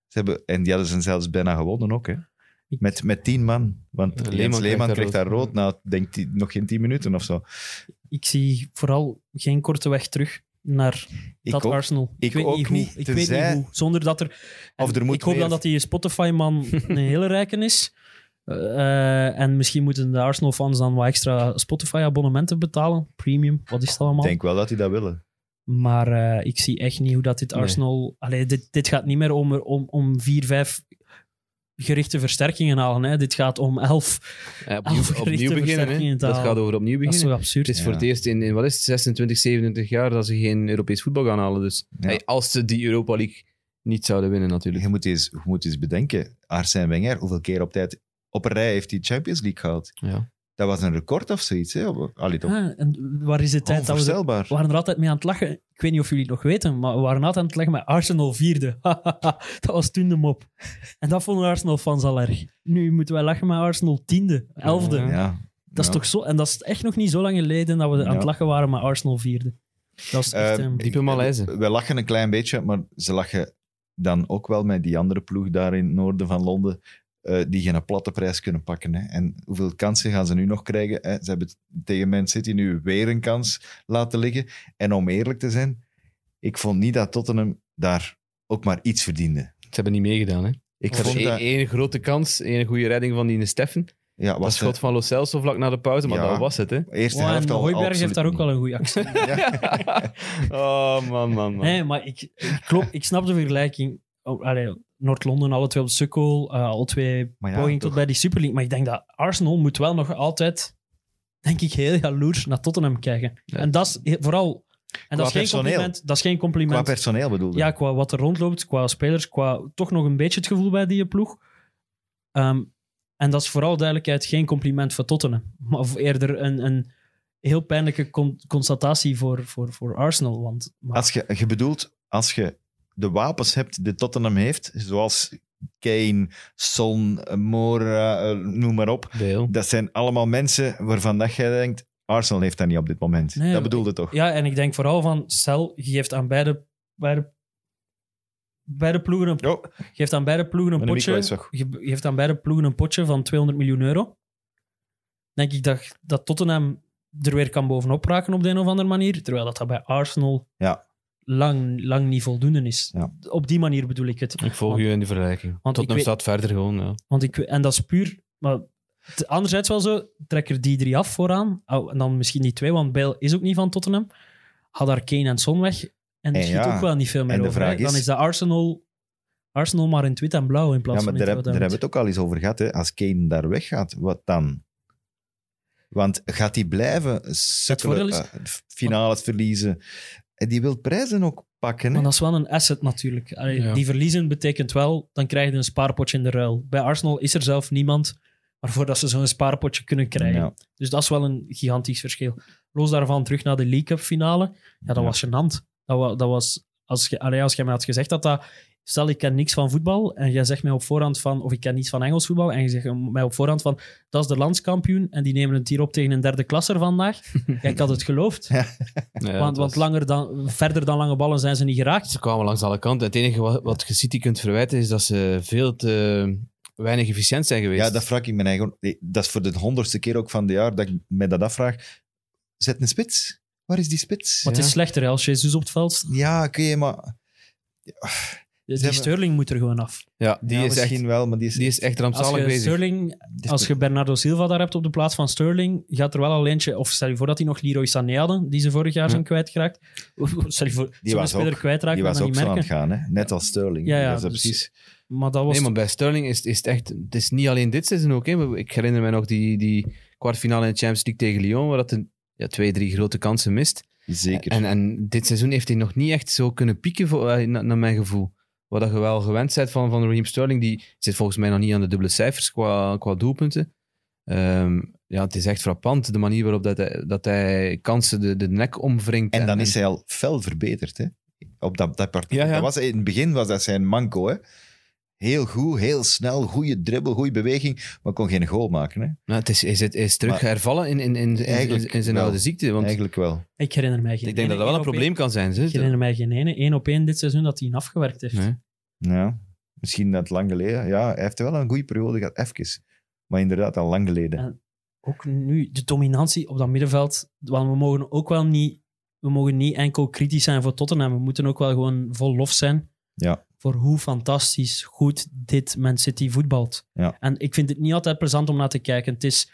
[SPEAKER 2] Ze hebben, en die hadden ze zelfs bijna gewonnen ook, hè. Met, met tien man. Want
[SPEAKER 3] Ja,
[SPEAKER 2] Leemans
[SPEAKER 3] Leeman
[SPEAKER 2] Leeman,
[SPEAKER 3] krijgt daar
[SPEAKER 2] kreeg daar
[SPEAKER 3] rood.
[SPEAKER 2] rood na, denk ik, nog geen tien minuten of zo.
[SPEAKER 4] ik zie vooral geen korte weg terug naar
[SPEAKER 2] Ik
[SPEAKER 4] dat
[SPEAKER 2] ook.
[SPEAKER 4] Arsenal.
[SPEAKER 2] ik ook
[SPEAKER 4] hoe,
[SPEAKER 2] niet,
[SPEAKER 4] Ik weet
[SPEAKER 2] tenzij-
[SPEAKER 4] niet hoe. Zonder dat er...
[SPEAKER 2] Of er moet
[SPEAKER 4] ik hoop dan
[SPEAKER 2] meer-
[SPEAKER 4] dat die Spotify-man een hele rijke is. Eh, eh, en misschien moeten de Arsenal-fans dan wat extra Spotify-abonnementen betalen. Premium, wat is dat allemaal?
[SPEAKER 2] Ik denk wel dat die dat willen.
[SPEAKER 4] Maar eh, ik zie echt niet hoe dat dit
[SPEAKER 3] Nee.
[SPEAKER 4] Arsenal... Allee, dit, dit gaat niet meer om, er- om, om vier, vijf gerichte versterkingen halen. Hè. Dit gaat om elf.
[SPEAKER 3] Ja, opnieuw,
[SPEAKER 4] Afgerichte
[SPEAKER 3] opnieuw beginnen
[SPEAKER 4] versterkingen
[SPEAKER 3] hè.
[SPEAKER 4] te
[SPEAKER 3] Dat
[SPEAKER 4] halen.
[SPEAKER 3] gaat over opnieuw
[SPEAKER 4] Dat is zo
[SPEAKER 3] beginnen.
[SPEAKER 4] absurd.
[SPEAKER 3] Het is voor
[SPEAKER 2] Ja.
[SPEAKER 3] het eerst in, in wat is het, 26, 27 jaar dat ze geen Europees voetbal gaan halen. Dus
[SPEAKER 2] Ja.
[SPEAKER 3] Hey, als ze die Europa League niet zouden winnen natuurlijk.
[SPEAKER 2] Je moet eens, je moet eens bedenken, Arsène Wenger, hoeveel keer op tijd op een rij heeft hij Champions League gehaald?
[SPEAKER 3] Ja.
[SPEAKER 2] Dat was een record of zoiets. Hè? Allee, toch
[SPEAKER 4] Ah, en waar is de tijd dat we... er-
[SPEAKER 2] onvoorstelbaar.
[SPEAKER 4] We waren er altijd mee aan het lachen. Ik weet niet of jullie het nog weten, maar we waren altijd aan het lachen met Arsenal vierde. dat was toen de mop. En dat vonden Arsenal-fans al erg. Nu moeten wij lachen met Arsenal tiende, elfde.
[SPEAKER 3] Ja.
[SPEAKER 2] Ja.
[SPEAKER 4] Dat is
[SPEAKER 2] Ja.
[SPEAKER 4] toch zo... En dat is echt nog niet zo lang geleden dat we aan het
[SPEAKER 2] Ja.
[SPEAKER 4] lachen waren met Arsenal vierde. Dat is echt...
[SPEAKER 2] Eh,
[SPEAKER 4] ehm,
[SPEAKER 3] Diepe Malaise.
[SPEAKER 2] We lachen een klein beetje, maar ze lachen dan ook wel met die andere ploeg daar in het noorden van Londen, eh, die geen platte prijs kunnen pakken. Hè. En hoeveel kansen gaan ze nu nog krijgen? Hè? Ze hebben t- tegen Man City nu weer een kans laten liggen. En om eerlijk te zijn, ik vond niet dat Tottenham daar ook maar iets verdiende.
[SPEAKER 3] Ze hebben niet meegedaan. Hè.
[SPEAKER 2] Ik
[SPEAKER 3] Ik had
[SPEAKER 2] vond
[SPEAKER 3] één
[SPEAKER 2] dat...
[SPEAKER 3] één grote kans, één goede redding van die Steffen.
[SPEAKER 2] Ja,
[SPEAKER 3] Dat
[SPEAKER 2] was
[SPEAKER 3] schot van Lo Celso vlak na de pauze, maar
[SPEAKER 2] Ja.
[SPEAKER 3] dat was het. Hè.
[SPEAKER 2] de eerste
[SPEAKER 4] oh, en
[SPEAKER 2] helft al
[SPEAKER 4] Hooiberg
[SPEAKER 2] absoluut
[SPEAKER 4] heeft daar ook
[SPEAKER 2] niet.
[SPEAKER 4] wel een goede actie.
[SPEAKER 3] oh man, man, man.
[SPEAKER 4] Nee, maar ik, ik, klop, ik snap de vergelijking. Oh, allee, Noord-Londen, alle twee op de sukkel, eh, alle twee
[SPEAKER 2] Maar ja,
[SPEAKER 4] poging
[SPEAKER 2] toch.
[SPEAKER 4] tot bij die Super League. Maar ik denk dat Arsenal moet wel nog altijd, denk ik, heel jaloers naar Tottenham kijken.
[SPEAKER 3] Ja.
[SPEAKER 4] En dat is he- vooral... En dat is, geen
[SPEAKER 2] personeel.
[SPEAKER 4] compliment, dat is geen
[SPEAKER 2] Qua
[SPEAKER 4] compliment.
[SPEAKER 2] personeel bedoelde.
[SPEAKER 4] ja, qua wat er rondloopt, qua spelers, qua toch nog een beetje het gevoel bij die ploeg. Ehm, en dat is vooral duidelijkheid geen compliment voor Tottenham. Maar of eerder een, een heel pijnlijke con- constatatie voor, voor, voor Arsenal. Want, maar-
[SPEAKER 2] Als je, je bedoelt, als je de wapens hebt die Tottenham heeft, zoals Kane, Son, Mora, eh, noem maar op.
[SPEAKER 3] Bale.
[SPEAKER 2] Dat zijn allemaal mensen waarvan dat jij denkt, Arsenal heeft dat niet op dit moment.
[SPEAKER 4] Nee,
[SPEAKER 2] dat bedoelde toch?
[SPEAKER 4] Ja, en ik denk vooral van, stel, je geeft aan beide, beide, beide ploegen een,
[SPEAKER 2] Oh,
[SPEAKER 4] je geeft aan beide ploegen een
[SPEAKER 2] Mijn micro
[SPEAKER 4] potje.
[SPEAKER 2] is weg.
[SPEAKER 4] Je je geeft aan beide ploegen een potje van 200 miljoen euro. Denk ik dat, dat Tottenham er weer kan bovenop raken op de een of andere manier. Terwijl dat, dat bij Arsenal
[SPEAKER 2] Ja.
[SPEAKER 4] lang, lang niet voldoende is.
[SPEAKER 2] Ja.
[SPEAKER 4] Op die manier bedoel ik het.
[SPEAKER 3] Ik volg
[SPEAKER 4] Want-
[SPEAKER 3] u in die vergelijking.
[SPEAKER 4] want
[SPEAKER 3] Tot
[SPEAKER 4] ik
[SPEAKER 3] hem
[SPEAKER 4] weet-
[SPEAKER 3] staat verder gewoon. Ja.
[SPEAKER 4] Want ik, en dat is puur. Maar t- anderzijds wel zo, trek er die drie af vooraan. Oh, en dan misschien die twee, want Bale is ook niet van Tottenham. Had daar Kane en Son weg. En er
[SPEAKER 2] En
[SPEAKER 4] schiet
[SPEAKER 2] ja,
[SPEAKER 4] ook wel niet veel meer
[SPEAKER 2] en de
[SPEAKER 4] over. hè.
[SPEAKER 2] vraag is-
[SPEAKER 4] Dan is dat Arsenal, Arsenal maar in het wit en blauw in plaats
[SPEAKER 2] Ja, maar
[SPEAKER 4] van
[SPEAKER 2] daar,
[SPEAKER 4] in
[SPEAKER 2] heb-
[SPEAKER 4] het
[SPEAKER 2] daar
[SPEAKER 4] rood
[SPEAKER 2] hebben
[SPEAKER 4] en
[SPEAKER 2] we
[SPEAKER 4] wit.
[SPEAKER 2] het ook al eens over gehad. Hè? Als Kane daar weggaat, wat dan? Want gaat hij blijven sukkelen,
[SPEAKER 4] voordeel
[SPEAKER 2] eh, finales verliezen? En die wil prijzen ook pakken. hè?
[SPEAKER 4] Maar dat is wel een asset natuurlijk. Allee,
[SPEAKER 3] Ja.
[SPEAKER 4] Die verliezen betekent wel, dan krijg je een spaarpotje in de ruil. Bij Arsenal is er zelf niemand waarvoor dat ze zo'n spaarpotje kunnen krijgen.
[SPEAKER 2] Ja.
[SPEAKER 4] Dus dat is wel een gigantisch verschil. Los daarvan terug naar de League Cup finale. Ja, dat
[SPEAKER 2] Ja.
[SPEAKER 4] was gênant. Dat, wa- dat was, als, je, allee, als jij mij had gezegd dat dat... Stel, ik ken niks van voetbal en jij zegt mij op voorhand van... Of ik ken niets van Engels voetbal en je zegt mij op voorhand van... Dat is de landskampioen en die nemen het hier op tegen een derde klasser vandaag. ja, ik had het geloofd.
[SPEAKER 3] Ja,
[SPEAKER 4] want
[SPEAKER 3] dat
[SPEAKER 4] want
[SPEAKER 3] was-
[SPEAKER 4] langer dan, verder dan lange ballen zijn ze niet geraakt.
[SPEAKER 3] Ze kwamen langs alle kanten. Het enige wat, wat je City kunt verwijten is dat ze veel te weinig efficiënt zijn geweest.
[SPEAKER 2] Ja, dat vraag ik me eigen. Dat is voor de honderdste keer ook van het jaar dat ik me dat afvraag. Zet een spits? Waar is die spits?
[SPEAKER 4] Wat
[SPEAKER 3] Ja.
[SPEAKER 4] is slechter hè, als Jezus op het veld staat?
[SPEAKER 2] Ja, oké, maar.
[SPEAKER 4] Die
[SPEAKER 2] hebben-
[SPEAKER 4] Sterling moet er gewoon af.
[SPEAKER 3] Ja, die,
[SPEAKER 2] Ja,
[SPEAKER 3] is, echt,
[SPEAKER 2] misschien wel, maar die is...
[SPEAKER 3] die is echt
[SPEAKER 4] Als
[SPEAKER 3] rampzalig
[SPEAKER 4] je,
[SPEAKER 3] bezig.
[SPEAKER 4] Sterling, als je Bernardo Silva daar hebt op de plaats van Sterling, gaat er wel al eentje... Of stel je voor dat hij nog Leroy Sané hadden, die ze vorig jaar
[SPEAKER 3] Ja.
[SPEAKER 4] zijn kwijtgeraakt. Of stel je voor, zo'n
[SPEAKER 2] was
[SPEAKER 4] speler
[SPEAKER 2] ook-
[SPEAKER 4] kwijtraakt,
[SPEAKER 2] die
[SPEAKER 4] maar
[SPEAKER 2] was
[SPEAKER 4] dan
[SPEAKER 2] ook
[SPEAKER 4] niet
[SPEAKER 2] zo aan
[SPEAKER 4] merken.
[SPEAKER 2] het gaan, hè? net als Sterling.
[SPEAKER 4] Ja, ja,
[SPEAKER 2] Die was er
[SPEAKER 4] dus-
[SPEAKER 2] precies.
[SPEAKER 4] Maar dat was...
[SPEAKER 3] Nee, maar bij Sterling is, is het echt... Het is niet alleen dit seizoen ook. Hè. Ik herinner mij nog die, die kwartfinale in de Champions League tegen Lyon, waar dat een, ja, twee, drie grote kansen mist.
[SPEAKER 2] Zeker.
[SPEAKER 3] En, en dit seizoen heeft hij nog niet echt zo kunnen pieken, voor, eh, na- naar mijn gevoel. Wat dat je wel gewend bent van, van Raheem Sterling, die zit volgens mij nog niet aan de dubbele cijfers qua, qua doelpunten. Ehm, ja, het is echt frappant, de manier waarop dat hij, dat hij kansen de, de nek omwringt.
[SPEAKER 2] En dan is hij al fel verbeterd, hè? Op dat, dat partij.
[SPEAKER 3] Ja, ja.
[SPEAKER 2] Dat was, in het begin was dat zijn manco, hè? Heel goed, heel snel, goede dribbel, goede beweging, maar kon geen goal maken, hè?
[SPEAKER 3] Nou, het is, hij, zit, hij is terug
[SPEAKER 2] Maar-
[SPEAKER 3] hervallen in, in, in, in,
[SPEAKER 2] Eigenlijk
[SPEAKER 3] in- in zijn
[SPEAKER 2] wel.
[SPEAKER 3] oude ziekte. Want
[SPEAKER 2] Eigenlijk wel.
[SPEAKER 4] Ik herinner mij geen
[SPEAKER 3] ik denk dat
[SPEAKER 4] ene
[SPEAKER 3] dat wel een
[SPEAKER 4] één op
[SPEAKER 3] probleem kan zijn.
[SPEAKER 4] één- Ik
[SPEAKER 3] Ze.
[SPEAKER 4] herinner mij geen ene één op één dit seizoen dat hij hem afgewerkt heeft.
[SPEAKER 3] Nee.
[SPEAKER 2] Ja, misschien dat lang geleden. Ja, hij heeft wel een goede periode gehad, even. Maar inderdaad, al lang geleden.
[SPEAKER 4] Ja. Ook nu, de dominantie op dat middenveld. Want we mogen ook wel niet... We mogen niet enkel kritisch zijn voor Tottenham. We moeten ook wel gewoon vol lof zijn
[SPEAKER 2] Ja.
[SPEAKER 4] voor hoe fantastisch goed dit Man City voetbalt.
[SPEAKER 2] Ja.
[SPEAKER 4] En ik vind het niet altijd plezant om naar te kijken. Het is,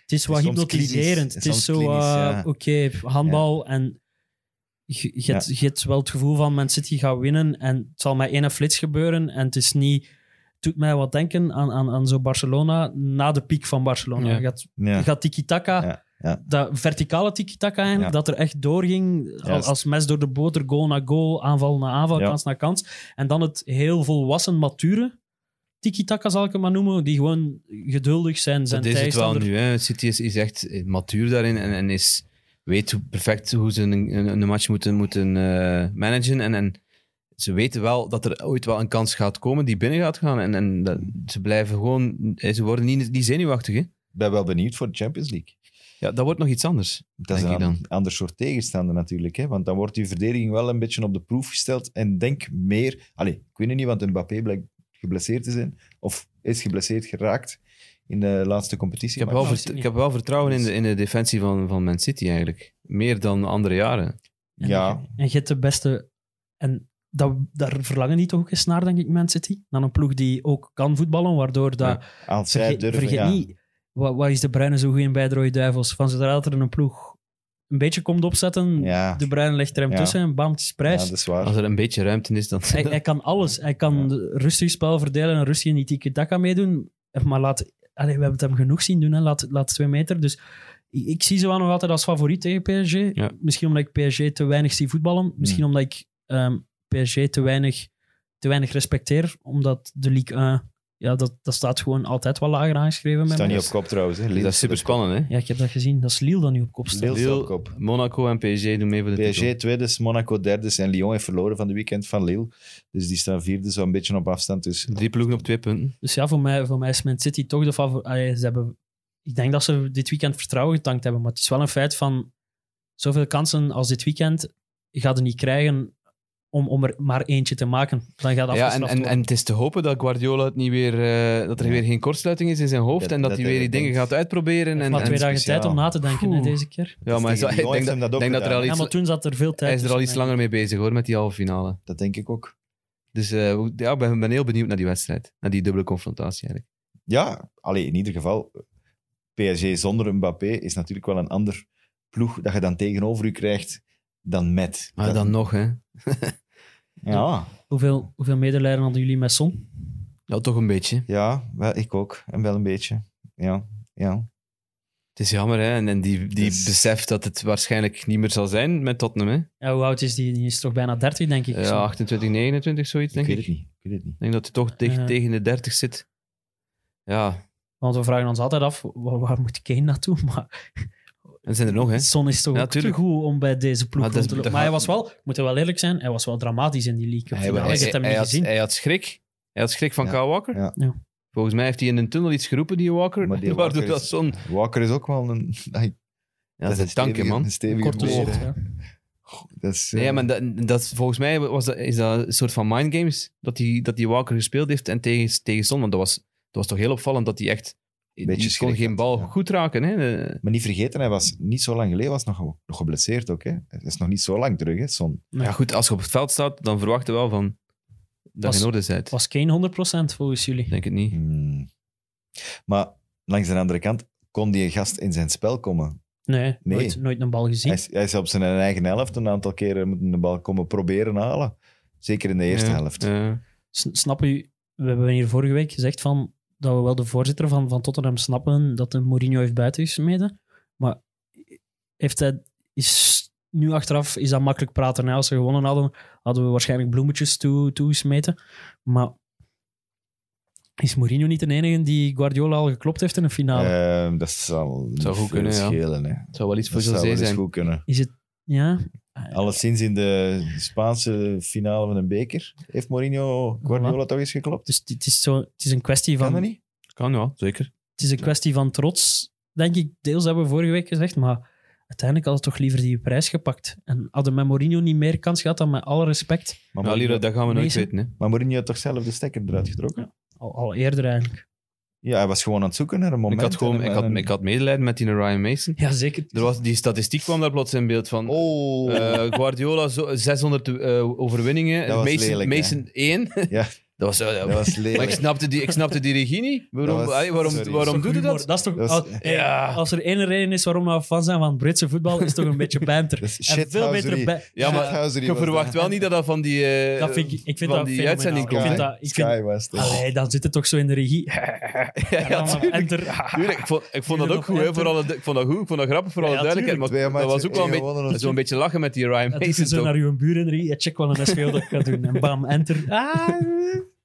[SPEAKER 4] het is wat
[SPEAKER 2] soms
[SPEAKER 4] hypnotiserend.
[SPEAKER 2] klinisch.
[SPEAKER 4] Het
[SPEAKER 2] Soms
[SPEAKER 4] is zo,
[SPEAKER 2] klinisch,
[SPEAKER 4] eh,
[SPEAKER 2] ja.
[SPEAKER 4] oké, handbal en... Je, je, hebt, je hebt wel het gevoel van Man City gaat winnen en het zal met één flits gebeuren en het is niet... Het doet mij wat denken aan, aan, aan zo Barcelona na de piek van Barcelona.
[SPEAKER 3] Ja.
[SPEAKER 4] Je gaat
[SPEAKER 2] Ja.
[SPEAKER 4] gaat tiki-taka,
[SPEAKER 2] Ja, ja.
[SPEAKER 4] dat verticale tiki-taka eigenlijk,
[SPEAKER 2] Ja.
[SPEAKER 4] dat er echt doorging al-
[SPEAKER 2] Juist.
[SPEAKER 4] als mes door de boter, goal na goal, aanval na aanval,
[SPEAKER 2] Ja.
[SPEAKER 4] kans na kans. En dan het heel volwassen, mature tiki-taka zal ik hem maar noemen, die gewoon geduldig zijn, zijn
[SPEAKER 3] Dat is het wel
[SPEAKER 4] tegenstander.
[SPEAKER 3] nu. Hè. City is, is echt matuur daarin en, en is, weet hoe perfect hoe ze een, een, een match moeten, moeten eh, managen. En, en ze weten wel dat er ooit wel een kans gaat komen die binnen gaat gaan. En, en dat- ze blijven gewoon... eh, Ze worden niet, niet zenuwachtig. Hè.
[SPEAKER 2] Ik ben wel benieuwd voor de Champions League.
[SPEAKER 3] Ja, dat wordt nog iets anders.
[SPEAKER 2] Dat is
[SPEAKER 3] Denk
[SPEAKER 2] een
[SPEAKER 3] ik
[SPEAKER 2] an- ander soort tegenstander natuurlijk. Hè? Want dan wordt die verdediging wel een beetje op de proef gesteld. En denk meer... Allee, ik weet het niet, want Mbappé blijkt geblesseerd te zijn. Of is geblesseerd geraakt in de laatste competitie.
[SPEAKER 3] Ik heb
[SPEAKER 2] Maar-
[SPEAKER 3] wel,
[SPEAKER 4] dat
[SPEAKER 3] vert-
[SPEAKER 4] is niet.
[SPEAKER 3] ik heb wel vertrouwen in de, in de defensie van, van Man City eigenlijk. Meer dan andere jaren.
[SPEAKER 4] En,
[SPEAKER 2] Ja.
[SPEAKER 4] en je hebt de beste... En dat, daar verlangen die toch ook eens naar, denk ik, Man City. Dan een ploeg die ook kan voetballen, waardoor dat...
[SPEAKER 3] Ja.
[SPEAKER 2] Als zij
[SPEAKER 4] Vergeet,
[SPEAKER 2] durven,
[SPEAKER 4] vergeet
[SPEAKER 2] ja.
[SPEAKER 4] niet, wat, wat is De Bruyne zo goed in bij de Rode Duivels? Van zodra dat er een ploeg een beetje komt opzetten,
[SPEAKER 2] Ja.
[SPEAKER 4] De Bruyne legt er hem
[SPEAKER 2] Ja.
[SPEAKER 4] tussen en bam, het is
[SPEAKER 2] ja, dus-
[SPEAKER 4] prijs.
[SPEAKER 2] dat is waar.
[SPEAKER 3] Als er een beetje ruimte is, dan...
[SPEAKER 4] hij, hij kan alles. Hij kan
[SPEAKER 2] Ja.
[SPEAKER 4] de- rustig spel verdelen en rustig in die tiki-taka meedoen. Maar laat... Allee, we hebben het hem genoeg zien doen, hè. Laat, laat twee meter. Dus ik, ik zie ze wel nog altijd als favoriet tegen PSG.
[SPEAKER 3] Ja.
[SPEAKER 4] Misschien omdat ik PSG te weinig zie voetballen. Misschien
[SPEAKER 2] Hmm.
[SPEAKER 4] omdat ik ehm, PSG te weinig, te weinig respecteer. Omdat de Ligue 1... Ja, dat, dat staat gewoon altijd wel lager aangeschreven. bij
[SPEAKER 2] Staat
[SPEAKER 4] mij.
[SPEAKER 2] niet op kop trouwens. Hè.
[SPEAKER 3] dat is super spannend, hè?
[SPEAKER 4] Ja, ik heb dat gezien. Dat is Lille dan nu op kop staat.
[SPEAKER 2] Lille staat
[SPEAKER 3] Lille,
[SPEAKER 2] op kop.
[SPEAKER 3] Monaco en PSG doen mee voor de titel.
[SPEAKER 2] PSG tweede, Monaco derde en Lyon heeft verloren van de weekend van Lille. Dus die staan vierde, zo een beetje op afstand. Dus
[SPEAKER 3] Drie ploegen op twee punten.
[SPEAKER 4] Dus ja, voor mij, voor mij is Man City toch de favoriet. Ze hebben, ik denk dat ze dit weekend vertrouwen getankt hebben, maar het is wel een feit van zoveel kansen als dit weekend ga je niet krijgen om, om er maar eentje te maken. Dan gaat
[SPEAKER 3] Ja, en,
[SPEAKER 4] afgestraft
[SPEAKER 3] en, en het is te hopen dat Guardiola het niet weer... eh, dat er
[SPEAKER 2] Ja.
[SPEAKER 3] weer geen kortsluiting is in zijn hoofd
[SPEAKER 2] Dat-
[SPEAKER 3] en dat,
[SPEAKER 2] dat
[SPEAKER 3] hij weer
[SPEAKER 2] hij
[SPEAKER 3] die dingen
[SPEAKER 2] denkt.
[SPEAKER 3] gaat uitproberen. En,
[SPEAKER 4] maar twee
[SPEAKER 3] en,
[SPEAKER 4] dagen
[SPEAKER 2] speciaal.
[SPEAKER 4] tijd om na te denken hè,
[SPEAKER 3] Oeh.
[SPEAKER 4] deze keer.
[SPEAKER 3] ja, maar hij,
[SPEAKER 2] tegen
[SPEAKER 3] zal- ik
[SPEAKER 2] Lyon
[SPEAKER 3] denk
[SPEAKER 2] heeft
[SPEAKER 3] dat,
[SPEAKER 2] hem dat ook
[SPEAKER 3] denk dat er al
[SPEAKER 2] gedaan,
[SPEAKER 4] Ja,
[SPEAKER 3] iets,
[SPEAKER 4] maar toen zat er veel tijd
[SPEAKER 3] hij is er al iets
[SPEAKER 4] tussen,
[SPEAKER 3] langer mee bezig, hoor, met die halve finale.
[SPEAKER 2] dat denk ik ook.
[SPEAKER 3] Dus eh, hoe- ja, ik ben, ben heel benieuwd naar die wedstrijd. Naar die dubbele confrontatie eigenlijk.
[SPEAKER 2] Ja, alleen in ieder geval, PSG zonder Mbappé is natuurlijk wel een ander ploeg dat je dan tegenover u krijgt dan met.
[SPEAKER 3] Maar
[SPEAKER 2] Dat-
[SPEAKER 3] dan nog, hè.
[SPEAKER 2] Ja,
[SPEAKER 4] Hoeveel, hoeveel medelijden hadden jullie met Son?
[SPEAKER 3] Ja, toch een beetje.
[SPEAKER 2] ja wel, ik ook. En wel een beetje. Ja, ja.
[SPEAKER 3] Het is jammer, hè. En, en die, die
[SPEAKER 2] Dus-
[SPEAKER 3] beseft dat het waarschijnlijk niet meer zal zijn met Tottenham, hè.
[SPEAKER 4] Ja, hoe oud is die? Die is toch bijna 30, denk ik.
[SPEAKER 3] Ja,
[SPEAKER 4] Son?
[SPEAKER 3] 28, 29, zoiets,
[SPEAKER 2] Ik
[SPEAKER 3] denk
[SPEAKER 2] weet
[SPEAKER 3] ik.
[SPEAKER 2] het niet. Ik weet het niet.
[SPEAKER 3] Ik denk dat hij toch dicht
[SPEAKER 4] Ja.
[SPEAKER 3] tegen de 30 zit. Ja,
[SPEAKER 4] Want we vragen ons altijd af, waar, waar moet Kane naartoe? Maar
[SPEAKER 3] en zijn er nog, hè.
[SPEAKER 4] Son is toch
[SPEAKER 3] Ja,
[SPEAKER 4] ook te
[SPEAKER 3] tuurlijk.
[SPEAKER 4] goed om bij deze ploeg
[SPEAKER 3] Maar dat
[SPEAKER 4] rond
[SPEAKER 3] is-
[SPEAKER 4] te lopen.
[SPEAKER 3] dat
[SPEAKER 4] Maar hij was
[SPEAKER 3] gaat-
[SPEAKER 4] wel, ik moet er wel eerlijk zijn, hij was wel dramatisch in die league. Hij, hij, hem niet
[SPEAKER 3] had,
[SPEAKER 4] gezien.
[SPEAKER 3] hij had schrik. Hij had schrik van
[SPEAKER 2] Ja.
[SPEAKER 3] Kyle Walker.
[SPEAKER 2] Ja.
[SPEAKER 4] Ja.
[SPEAKER 3] Volgens mij heeft hij in een tunnel iets geroepen, die Walker.
[SPEAKER 2] Maar die
[SPEAKER 3] waardoor
[SPEAKER 2] Walker
[SPEAKER 3] dat
[SPEAKER 2] is-
[SPEAKER 3] zo'n...
[SPEAKER 2] Walker is ook wel een...
[SPEAKER 3] Ja, dat is
[SPEAKER 2] een
[SPEAKER 3] een tankje,
[SPEAKER 2] stevige-
[SPEAKER 3] man.
[SPEAKER 2] Een stevige
[SPEAKER 4] Kort
[SPEAKER 2] boer,
[SPEAKER 4] gezocht,
[SPEAKER 2] hè.
[SPEAKER 4] ja.
[SPEAKER 2] Dat is, eh,
[SPEAKER 3] Nee, maar dat, dat, volgens mij was dat, is dat een soort van mindgames. Dat die, dat die Walker gespeeld heeft en tegen, tegen Son. Want dat was, dat was toch heel opvallend dat hij echt... die kon
[SPEAKER 2] schrik
[SPEAKER 3] geen
[SPEAKER 2] had,
[SPEAKER 3] bal
[SPEAKER 2] ja.
[SPEAKER 3] goed raken, hè. Eh,
[SPEAKER 2] maar niet vergeten, hij was niet zo lang geleden was nog, nog geblesseerd ook. Hè. Het is nog niet zo lang terug, hè, Son.
[SPEAKER 4] Nee.
[SPEAKER 3] Ja, goed, als je op het veld staat, dan verwacht je wel van... dat je in orde bent.
[SPEAKER 4] Was Kane 100% volgens jullie?
[SPEAKER 3] Ik denk het niet.
[SPEAKER 2] Hmm. Maar langs de andere kant kon die gast in zijn spel komen.
[SPEAKER 4] Nee,
[SPEAKER 2] Nee.
[SPEAKER 4] Nooit, nooit een bal gezien.
[SPEAKER 2] Hij is, hij is op zijn eigen helft een aantal keren moeten de bal komen proberen halen. Zeker in de eerste
[SPEAKER 3] Ja,
[SPEAKER 2] helft.
[SPEAKER 3] ja.
[SPEAKER 4] S- Snap u, we hebben hier vorige week gezegd van, dat we wel de voorzitter van, van Tottenham snappen dat de Mourinho heeft buitengesmeden. Maar heeft hij, is, nu achteraf is dat makkelijk praten. hè. Als ze gewonnen hadden, hadden we waarschijnlijk bloemetjes toe, toegesmeten. Maar is Mourinho niet de enige die Guardiola al geklopt heeft in een finale?
[SPEAKER 2] Ehm, dat zal
[SPEAKER 3] Zou
[SPEAKER 2] niet
[SPEAKER 3] goed kunnen,
[SPEAKER 2] veel
[SPEAKER 3] ja.
[SPEAKER 2] schelen. Hè.
[SPEAKER 3] Het zou wel iets voor
[SPEAKER 2] Dat zou wel
[SPEAKER 3] José
[SPEAKER 2] eens
[SPEAKER 3] zijn.
[SPEAKER 2] goed kunnen.
[SPEAKER 4] Is het, ja?
[SPEAKER 2] Alleszins in de Spaanse finale van een beker heeft Mourinho Guardiola toch eens geklopt.
[SPEAKER 4] Dus het is, zo, het is een kwestie
[SPEAKER 2] Kan
[SPEAKER 4] van...
[SPEAKER 2] dat niet?
[SPEAKER 3] Kan ja, zeker.
[SPEAKER 4] het is een kwestie van trots, denk ik. Deels hebben we vorige week gezegd, maar uiteindelijk hadden we toch liever die prijs gepakt. En hadden met Mourinho niet meer kans gehad dan met alle respect.
[SPEAKER 2] Maar,
[SPEAKER 3] Maar Nou, Lira,
[SPEAKER 2] Mourinho,
[SPEAKER 3] dat gaan we nooit
[SPEAKER 4] Mason?
[SPEAKER 3] weten. Hè.
[SPEAKER 2] maar Mourinho had toch zelf de stekker eruit getrokken?
[SPEAKER 4] Al, al eerder eigenlijk.
[SPEAKER 2] Ja, hij was gewoon aan het zoeken naar een moment.
[SPEAKER 3] Ik had, gewoon,
[SPEAKER 2] en een-
[SPEAKER 3] ik, had,
[SPEAKER 2] en een-
[SPEAKER 3] ik had medelijden met die Ryan Mason.
[SPEAKER 4] Ja, zeker.
[SPEAKER 3] Er was, die statistiek kwam daar plots in beeld van.
[SPEAKER 2] Oh,
[SPEAKER 3] eh, Guardiola zo, 600 eh, overwinningen.
[SPEAKER 2] Dat was
[SPEAKER 3] Mason,
[SPEAKER 2] lelijk, hè?
[SPEAKER 3] Mason 1.
[SPEAKER 2] Ja.
[SPEAKER 3] dat was, eh,
[SPEAKER 2] dat was
[SPEAKER 3] maar
[SPEAKER 2] lelijk.
[SPEAKER 3] ik snapte die, ik snapte die regie niet. Waarom,
[SPEAKER 2] Dat was-
[SPEAKER 3] allee, waarom,
[SPEAKER 2] sorry.
[SPEAKER 3] waarom doet hij dat?
[SPEAKER 4] Dat is toch,
[SPEAKER 2] Dat is-
[SPEAKER 4] als,
[SPEAKER 3] Ja.
[SPEAKER 4] als er één reden is waarom we fan zijn van het Britse voetbal, is het toch een beetje banter.
[SPEAKER 2] Dat is
[SPEAKER 4] en veel beter
[SPEAKER 2] shithouserie.
[SPEAKER 4] ba-
[SPEAKER 3] Ja, maar
[SPEAKER 2] Shithouserie
[SPEAKER 3] je
[SPEAKER 2] was
[SPEAKER 3] verwacht
[SPEAKER 2] dat.
[SPEAKER 3] wel niet dat dat van die, eh,
[SPEAKER 4] Dat vind ik- ik vind
[SPEAKER 3] van
[SPEAKER 4] dat
[SPEAKER 3] die
[SPEAKER 4] fenomenaal.
[SPEAKER 3] uitzending komt.
[SPEAKER 4] Ik vind
[SPEAKER 3] hè.
[SPEAKER 4] dat- ik
[SPEAKER 2] Sky
[SPEAKER 4] vind-
[SPEAKER 2] was het.
[SPEAKER 3] Ah,
[SPEAKER 4] Allee, dan zit het toch zo in de regie.
[SPEAKER 3] Ja, ja, tuurlijk. Tuurlijk, ik vond, ik vond dat
[SPEAKER 4] Jullie
[SPEAKER 3] ook
[SPEAKER 4] nog
[SPEAKER 3] goed, hè,
[SPEAKER 4] enter.
[SPEAKER 3] voor alle, ik vond dat goed, ik vond dat grappig voor alle
[SPEAKER 4] Ja,
[SPEAKER 3] duidelijkheid. Maar
[SPEAKER 2] Twee
[SPEAKER 3] dat was
[SPEAKER 2] matchen,
[SPEAKER 3] ook wel een
[SPEAKER 2] één
[SPEAKER 3] beetje,
[SPEAKER 2] gewonnen,
[SPEAKER 3] zo'n beetje lachen met die Ryan
[SPEAKER 4] Dat
[SPEAKER 3] Mason.
[SPEAKER 4] is dus zo
[SPEAKER 3] toch?
[SPEAKER 4] naar uw buren in de regie. Ja, check wel een speel dat ik ga doen. En bam, enter. Ah,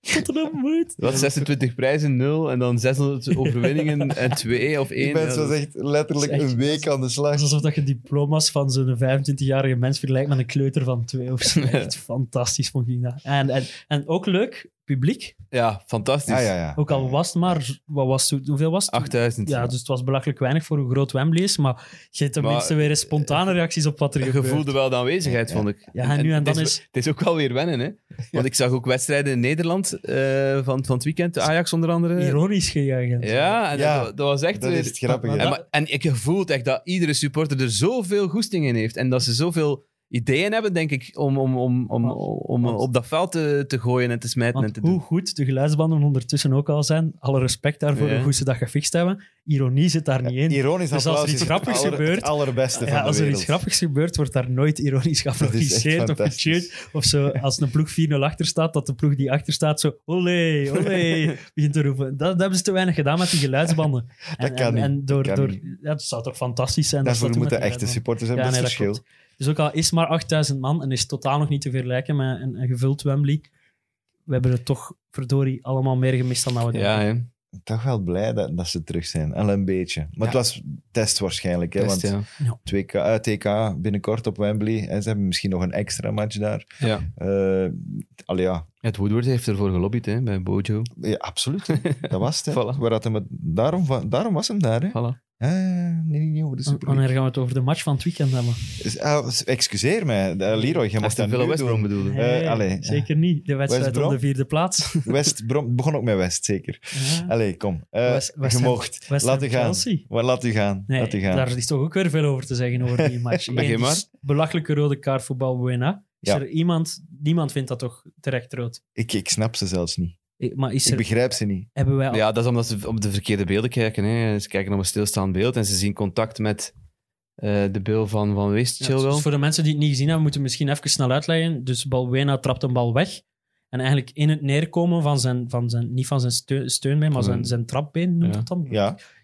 [SPEAKER 4] Tottenham moet.
[SPEAKER 3] Wat, 26 prijzen, 0 en dan 600 overwinningen en 2 of 1.
[SPEAKER 2] Die mens was echt letterlijk
[SPEAKER 4] Dat is echt-
[SPEAKER 2] een week aan de slag.
[SPEAKER 4] Het is alsof dat je diploma's van zo'n 25-jarige mens vergelijkt met een kleuter van twee of zo. Echt fantastisch vond ik dat. En, en, en ook leuk, publiek.
[SPEAKER 3] Ja, fantastisch.
[SPEAKER 2] Ja, Ah, ja, ja.
[SPEAKER 4] Ook al was het maar, wat was het, hoeveel was het?
[SPEAKER 3] 8000.
[SPEAKER 4] Ja, dus het was belachelijk weinig voor hoe groot Wembley is, maar je hebt tenminste weer eens spontane reacties op wat er
[SPEAKER 3] Je
[SPEAKER 4] gebeurt.
[SPEAKER 3] voelde wel de aanwezigheid,
[SPEAKER 2] Ja, ja.
[SPEAKER 3] vond ik.
[SPEAKER 4] Ja, en nu en dan
[SPEAKER 3] het
[SPEAKER 4] is-
[SPEAKER 3] Het is ook wel weer wennen, hè. Want ik zag ook wedstrijden in Nederland eh, van, van het weekend. Ajax onder andere.
[SPEAKER 4] Ironisch gejaagd.
[SPEAKER 3] eh, Ja, en
[SPEAKER 2] Ja,
[SPEAKER 3] Dat, dat was echt
[SPEAKER 2] Dat
[SPEAKER 3] weer-
[SPEAKER 2] is het grappige.
[SPEAKER 4] Maar
[SPEAKER 3] En,
[SPEAKER 2] hè.
[SPEAKER 4] dat-
[SPEAKER 3] maar- en ik voel echt dat iedere supporter er zoveel goesting in heeft. En dat ze zoveel ideeën hebben, denk ik, om, om, om, om, om
[SPEAKER 4] Want-
[SPEAKER 3] op dat veld te, te gooien en te smijten en
[SPEAKER 4] Want
[SPEAKER 3] te
[SPEAKER 4] hoe
[SPEAKER 3] doen.
[SPEAKER 4] goed de geluidsbanden ondertussen ook al zijn, alle respect daarvoor
[SPEAKER 3] Ja.
[SPEAKER 4] hoe ze dat gefixt hebben, ironie zit daar niet in.
[SPEAKER 2] Ironisch
[SPEAKER 4] Dus als er
[SPEAKER 2] applaus
[SPEAKER 4] iets
[SPEAKER 2] is het
[SPEAKER 4] grappigs
[SPEAKER 2] aller-
[SPEAKER 4] gebeurt-
[SPEAKER 2] het allerbeste
[SPEAKER 4] Ja,
[SPEAKER 2] van
[SPEAKER 4] als
[SPEAKER 2] de
[SPEAKER 4] er
[SPEAKER 2] wereld.
[SPEAKER 4] iets grappigs gebeurt, wordt daar nooit ironisch geapplaudisseerd of
[SPEAKER 2] fantastisch.
[SPEAKER 4] gecheerd. Of zo, als een ploeg 4-0 achter staat, dat de ploeg die achter staat zo olé, olé, begint te roepen. Dat, dat hebben ze te weinig gedaan met die geluidsbanden. En,
[SPEAKER 2] kan
[SPEAKER 4] en,
[SPEAKER 2] niet.
[SPEAKER 4] en door,
[SPEAKER 2] kan
[SPEAKER 4] door,
[SPEAKER 2] niet.
[SPEAKER 4] ja, dat zou toch fantastisch zijn? dat ze
[SPEAKER 2] Daarvoor
[SPEAKER 4] dat
[SPEAKER 2] moeten
[SPEAKER 4] doen met
[SPEAKER 2] echte
[SPEAKER 4] die
[SPEAKER 2] supporters
[SPEAKER 4] geluidsbanden.
[SPEAKER 2] hebben,
[SPEAKER 4] Ja,
[SPEAKER 2] dat
[SPEAKER 4] nee,
[SPEAKER 2] is
[SPEAKER 4] dat
[SPEAKER 2] verschil.
[SPEAKER 4] Dus ook al is maar 8000 man en is totaal nog niet te vergelijken met een, een gevuld Wembley, we hebben er toch verdorie allemaal meer gemist dan dat we
[SPEAKER 3] Ja,
[SPEAKER 4] dachten.
[SPEAKER 3] hè.
[SPEAKER 2] Toch wel blij dat, dat ze terug zijn. Al een beetje. Maar het was test waarschijnlijk. Hè,
[SPEAKER 3] Best,
[SPEAKER 2] want
[SPEAKER 3] ja.
[SPEAKER 2] 2K, eh, TK binnenkort op Wembley. Hè, ze hebben misschien nog een extra match daar.
[SPEAKER 3] Ja.
[SPEAKER 2] Eh allee, ja.
[SPEAKER 3] Het Woodward heeft ervoor gelobbyd hè, bij Bojo.
[SPEAKER 2] ja, absoluut. hè. Dat was het. hè.
[SPEAKER 3] Voilà.
[SPEAKER 2] Waar dat hem het- daarom, va- daarom was hem daar. Hè.
[SPEAKER 3] Voilà.
[SPEAKER 2] Ah, nee, nee, nee, over de
[SPEAKER 4] W-
[SPEAKER 2] Super
[SPEAKER 4] Wanneer gaan we het over de match van het weekend hebben?
[SPEAKER 2] Is- ah, excuseer mij, eh, Leroy, je mocht dat
[SPEAKER 3] Aston Villa
[SPEAKER 2] nu
[SPEAKER 3] West Brom
[SPEAKER 2] doen.
[SPEAKER 3] bedoelde.
[SPEAKER 2] Eh,
[SPEAKER 4] Nee,
[SPEAKER 2] allee.
[SPEAKER 4] zeker niet. De wedstrijd
[SPEAKER 2] West
[SPEAKER 4] om de
[SPEAKER 2] Brom?
[SPEAKER 4] vierde plaats.
[SPEAKER 2] West Brom, begon ook met West, zeker.
[SPEAKER 4] Ja.
[SPEAKER 2] Allee, kom. Eh
[SPEAKER 4] West- West
[SPEAKER 2] je
[SPEAKER 4] Ham-
[SPEAKER 2] mocht.
[SPEAKER 4] West
[SPEAKER 2] laat
[SPEAKER 4] Ham
[SPEAKER 2] u gaan.
[SPEAKER 4] Chelsea.
[SPEAKER 2] Waar laat u gaan.
[SPEAKER 4] Nee,
[SPEAKER 2] laat u gaan.
[SPEAKER 4] daar is toch ook weer veel over te zeggen over die match. Eén,
[SPEAKER 3] Begin
[SPEAKER 4] het
[SPEAKER 3] maar.
[SPEAKER 4] is Belachelijke rode kaart voor Balbuena. Is
[SPEAKER 2] Ja.
[SPEAKER 4] er iemand... Niemand vindt dat toch terecht rood.
[SPEAKER 2] Ik, ik snap ze zelfs niet.
[SPEAKER 4] Ik- Maar is
[SPEAKER 2] Ik
[SPEAKER 4] er,
[SPEAKER 2] begrijp ze niet.
[SPEAKER 4] hebben wij... al-
[SPEAKER 3] Ja, dat is omdat ze op de verkeerde beelden kijken. Hè. Ze kijken op een stilstaand beeld en ze zien contact met eh, de bil van, van West
[SPEAKER 4] Ja,
[SPEAKER 3] Chilwell.
[SPEAKER 4] dus voor de mensen die het niet gezien hebben, moeten we misschien even snel uitleggen. Dus Balbuena trapt een bal weg. En eigenlijk in het neerkomen van zijn... Van zijn niet van zijn steun, steunbeen, maar
[SPEAKER 3] Van
[SPEAKER 4] zijn,
[SPEAKER 3] een-
[SPEAKER 4] zijn trapbeen noemt
[SPEAKER 3] Ja.
[SPEAKER 4] dat dan?
[SPEAKER 2] Ja,
[SPEAKER 4] Ik weet niet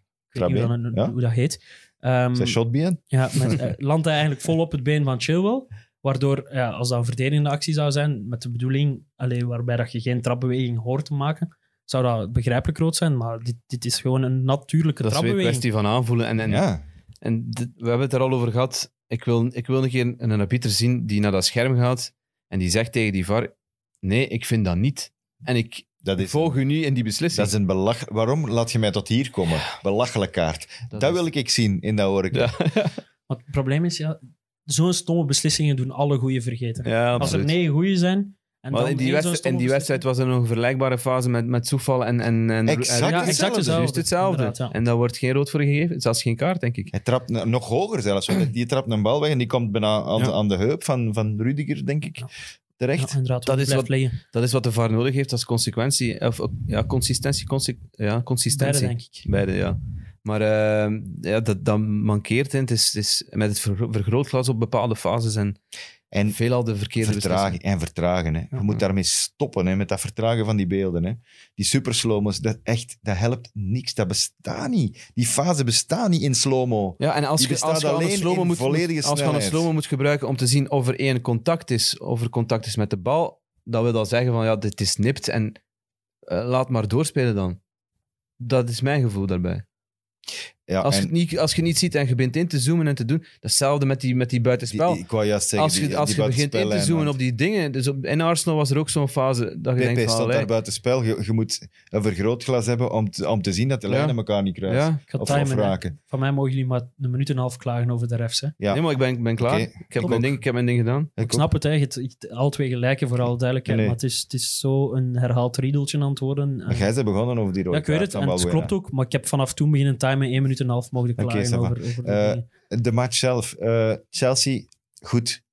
[SPEAKER 4] hoe
[SPEAKER 2] trapbeen,
[SPEAKER 4] dat,
[SPEAKER 2] ja.
[SPEAKER 4] hoe dat heet. Ehm,
[SPEAKER 3] Mm.
[SPEAKER 2] zijn shotbeen.
[SPEAKER 4] Ja, met, eh, landt hij eigenlijk vol op het been van Chilwell. Waardoor, ja, als dat een verdedigende actie zou zijn, met de bedoeling, allee, waarbij dat je geen trapbeweging hoort te maken, zou dat begrijpelijk rood zijn. Maar dit, dit is gewoon een natuurlijke
[SPEAKER 3] dat is weer een
[SPEAKER 4] trapbeweging.
[SPEAKER 3] kwestie van aanvoelen. En, en,
[SPEAKER 2] Ja.
[SPEAKER 3] En dit- we hebben het er al over gehad. Ik wil, ik wil een keer een een arbiter zien die naar dat scherm gaat en die zegt tegen die VAR, nee, ik vind dat niet. En ik
[SPEAKER 2] Dat is,
[SPEAKER 3] volg u niet in die beslissing.
[SPEAKER 2] dat is een belach... Waarom laat je mij tot hier komen? Belachelijk kaart. Dat,
[SPEAKER 3] is-
[SPEAKER 2] wil ik ik zien in dat horeca.
[SPEAKER 3] Ja,
[SPEAKER 4] Want het probleem is, ja, zo'n stomme beslissingen doen alle goede vergeten.
[SPEAKER 3] ja
[SPEAKER 4] als er
[SPEAKER 3] absoluut.
[SPEAKER 4] negen goede zijn... En
[SPEAKER 3] Want
[SPEAKER 4] dan
[SPEAKER 3] in die,
[SPEAKER 4] één zo'n
[SPEAKER 3] wedstrijd,
[SPEAKER 4] stomme
[SPEAKER 3] in die wedstrijd
[SPEAKER 4] beslissing-
[SPEAKER 3] was er nog een vergelijkbare fase met, met Soefal en, en, en
[SPEAKER 2] Exact
[SPEAKER 3] en-
[SPEAKER 4] Ja, exact
[SPEAKER 2] hetzelfde.
[SPEAKER 4] hetzelfde.
[SPEAKER 3] Juist hetzelfde.
[SPEAKER 4] Inderdaad, ja.
[SPEAKER 3] En daar wordt geen rood voor gegeven. Zelfs geen kaart, denk ik.
[SPEAKER 2] Hij trapt n- nog hoger zelfs. want Die trapt een bal weg en die komt bijna aan,
[SPEAKER 3] Ja.
[SPEAKER 2] aan de heup van, van Rudiger, denk ik.
[SPEAKER 4] Ja.
[SPEAKER 2] terecht.
[SPEAKER 4] Ja, inderdaad,
[SPEAKER 3] Dat
[SPEAKER 4] dat
[SPEAKER 3] is
[SPEAKER 4] is blijft
[SPEAKER 3] wat-
[SPEAKER 4] liggen.
[SPEAKER 3] Dat is wat de VAR nodig heeft als consequentie. Of, eh, ja, consistentie. consi- ja,
[SPEAKER 4] Beide,
[SPEAKER 3] consistentie.
[SPEAKER 4] denk ik.
[SPEAKER 3] Beide, ja. Maar eh, ja, dat, dat mankeert in. Het is, het is met het vergro- vergrootglas op bepaalde fases en,
[SPEAKER 2] En
[SPEAKER 3] veelal de verkeerde
[SPEAKER 2] vertragen en vertragen. Hè. Je
[SPEAKER 3] Ja.
[SPEAKER 2] moet daarmee stoppen, hè, met dat vertragen van die beelden. Hè. Die super slow-mo's, dat, echt, dat helpt niks. Dat bestaat niet. Die fase bestaat niet in slow-mo.
[SPEAKER 3] Ja, en als
[SPEAKER 2] Die
[SPEAKER 3] je, als
[SPEAKER 2] bestaat
[SPEAKER 3] je, aan een
[SPEAKER 2] alleen
[SPEAKER 3] slow-mo
[SPEAKER 2] in
[SPEAKER 3] moet,
[SPEAKER 2] volledige
[SPEAKER 3] als je aan een
[SPEAKER 2] snelheid.
[SPEAKER 3] slow moet gebruiken om te zien of er één contact is, of er contact is met de bal, dat wil dan zeggen van ja, dit is nipt en eh, laat maar doorspelen dan. Dat is mijn gevoel daarbij.
[SPEAKER 2] Ja,
[SPEAKER 3] als,
[SPEAKER 2] en
[SPEAKER 3] je het niet, als je het niet ziet en je begint in te zoomen en te doen, datzelfde met die, met die
[SPEAKER 2] die-
[SPEAKER 3] buitenspel.
[SPEAKER 2] die- ik wou juist zeggen,
[SPEAKER 3] als je,
[SPEAKER 2] die,
[SPEAKER 3] als
[SPEAKER 2] die
[SPEAKER 3] je begint in te
[SPEAKER 2] buitenspellijn,
[SPEAKER 3] zoomen
[SPEAKER 2] want
[SPEAKER 3] op die dingen, dus op, in Arsenal was er ook zo'n fase dat je
[SPEAKER 2] Pepe
[SPEAKER 3] denkt van
[SPEAKER 2] stond daar
[SPEAKER 3] allee,
[SPEAKER 2] buiten spel. Je, je moet een vergrootglas hebben om te, om te zien dat de
[SPEAKER 3] Ja.
[SPEAKER 2] lijnen elkaar niet kruisen.
[SPEAKER 3] ja.
[SPEAKER 4] Ik ga
[SPEAKER 2] Of, of
[SPEAKER 4] timen, hè.
[SPEAKER 2] raken.
[SPEAKER 4] Van mij mogen jullie maar een minuut en een half klagen over de refs. Hè.
[SPEAKER 2] Ja.
[SPEAKER 3] Nee, maar ik ben, ik ben klaar.
[SPEAKER 2] Oké,
[SPEAKER 3] Ik, heb
[SPEAKER 2] ik
[SPEAKER 3] mijn
[SPEAKER 2] ook.
[SPEAKER 3] ding, ik heb mijn ding gedaan.
[SPEAKER 4] Ik, snap het, hè. Je hebt- je hebt alle twee gelijken, voor alle duidelijkheid.
[SPEAKER 2] Nee.
[SPEAKER 4] Maar het is, het is zo een herhaald riedeltje aan het worden.
[SPEAKER 2] Maar jij bent begonnen over die
[SPEAKER 4] ja,
[SPEAKER 2] rode
[SPEAKER 4] ik weet het,
[SPEAKER 2] kaart
[SPEAKER 4] en
[SPEAKER 2] van
[SPEAKER 4] het
[SPEAKER 2] Valbuena.
[SPEAKER 4] klopt ook. Maar ik heb vanaf toen beginnen timen 1 minuut en een half mogen
[SPEAKER 2] Oké,
[SPEAKER 4] klagen
[SPEAKER 2] ça va.
[SPEAKER 4] over, over de
[SPEAKER 2] Eh,
[SPEAKER 4] dingen.
[SPEAKER 2] De match zelf. eh, Chelsea, goed.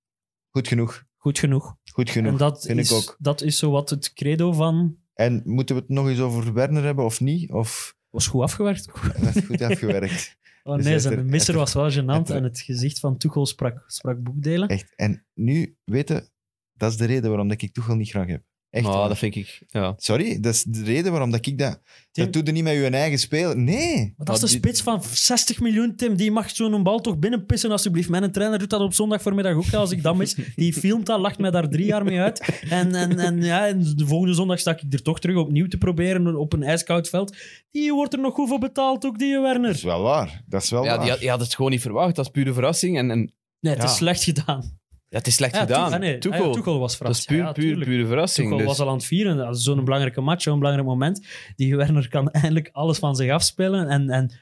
[SPEAKER 2] Goed genoeg.
[SPEAKER 4] Goed genoeg.
[SPEAKER 2] Goed genoeg.
[SPEAKER 4] en dat
[SPEAKER 2] vind ik
[SPEAKER 4] is,
[SPEAKER 2] ook.
[SPEAKER 4] dat is zowat het credo van...
[SPEAKER 2] En moeten we het nog eens over Werner hebben of niet? Of
[SPEAKER 4] Was goed afgewerkt.
[SPEAKER 2] dat is goed afgewerkt?
[SPEAKER 4] Oh
[SPEAKER 2] Dus
[SPEAKER 4] nee,
[SPEAKER 2] het
[SPEAKER 4] zijn
[SPEAKER 2] er-
[SPEAKER 4] de misser
[SPEAKER 2] het
[SPEAKER 4] was wel gênant.
[SPEAKER 2] er-
[SPEAKER 4] En het gezicht van Tuchel sprak, sprak boekdelen.
[SPEAKER 2] Echt. En nu, weten, dat is de reden waarom dat ik Tuchel niet graag heb. Echt.
[SPEAKER 3] Maar
[SPEAKER 2] waar.
[SPEAKER 3] Ah, dat vind ik. Ja.
[SPEAKER 2] Sorry, dat is de reden waarom dat ik dat.
[SPEAKER 4] Tim-
[SPEAKER 2] Dat doet er niet met je eigen speler. Nee.
[SPEAKER 4] Maar dat is de
[SPEAKER 3] Maar die-
[SPEAKER 4] spits van 60 miljoen, Tim. Die mag zo'n bal toch binnenpissen, alsjeblieft. Mijn trainer doet dat op zondag voormiddag ook, als ik dat mis. Die filmt dat, lacht mij daar drie jaar mee uit. En, en, en, ja, en de volgende zondag sta ik er toch terug opnieuw te proberen op een ijskoud veld. Die wordt er nog goed voor betaald, ook die
[SPEAKER 2] Dat is
[SPEAKER 4] Werner.
[SPEAKER 2] wel waar. Dat is wel
[SPEAKER 3] Ja,
[SPEAKER 2] waar.
[SPEAKER 3] die had, die had het gewoon niet verwacht. Dat is pure verrassing. En, en
[SPEAKER 4] Nee, het
[SPEAKER 3] Ja.
[SPEAKER 4] is slecht gedaan.
[SPEAKER 3] ja, het is slecht
[SPEAKER 4] Ja,
[SPEAKER 3] gedaan.
[SPEAKER 4] Tuchel- ah, nee,
[SPEAKER 3] Tuchel.
[SPEAKER 4] ah, ja, Tuchel was
[SPEAKER 3] Dat is
[SPEAKER 4] verrast.
[SPEAKER 3] puur,
[SPEAKER 4] Ja,
[SPEAKER 3] puur,
[SPEAKER 4] tuurlijk.
[SPEAKER 3] pure verrassing.
[SPEAKER 4] Tuchel
[SPEAKER 3] dus.
[SPEAKER 4] was al aan het vieren. Dat is Zo'n belangrijke match, zo'n belangrijk moment. Die Werner kan eindelijk alles van zich afspelen. En, en oké,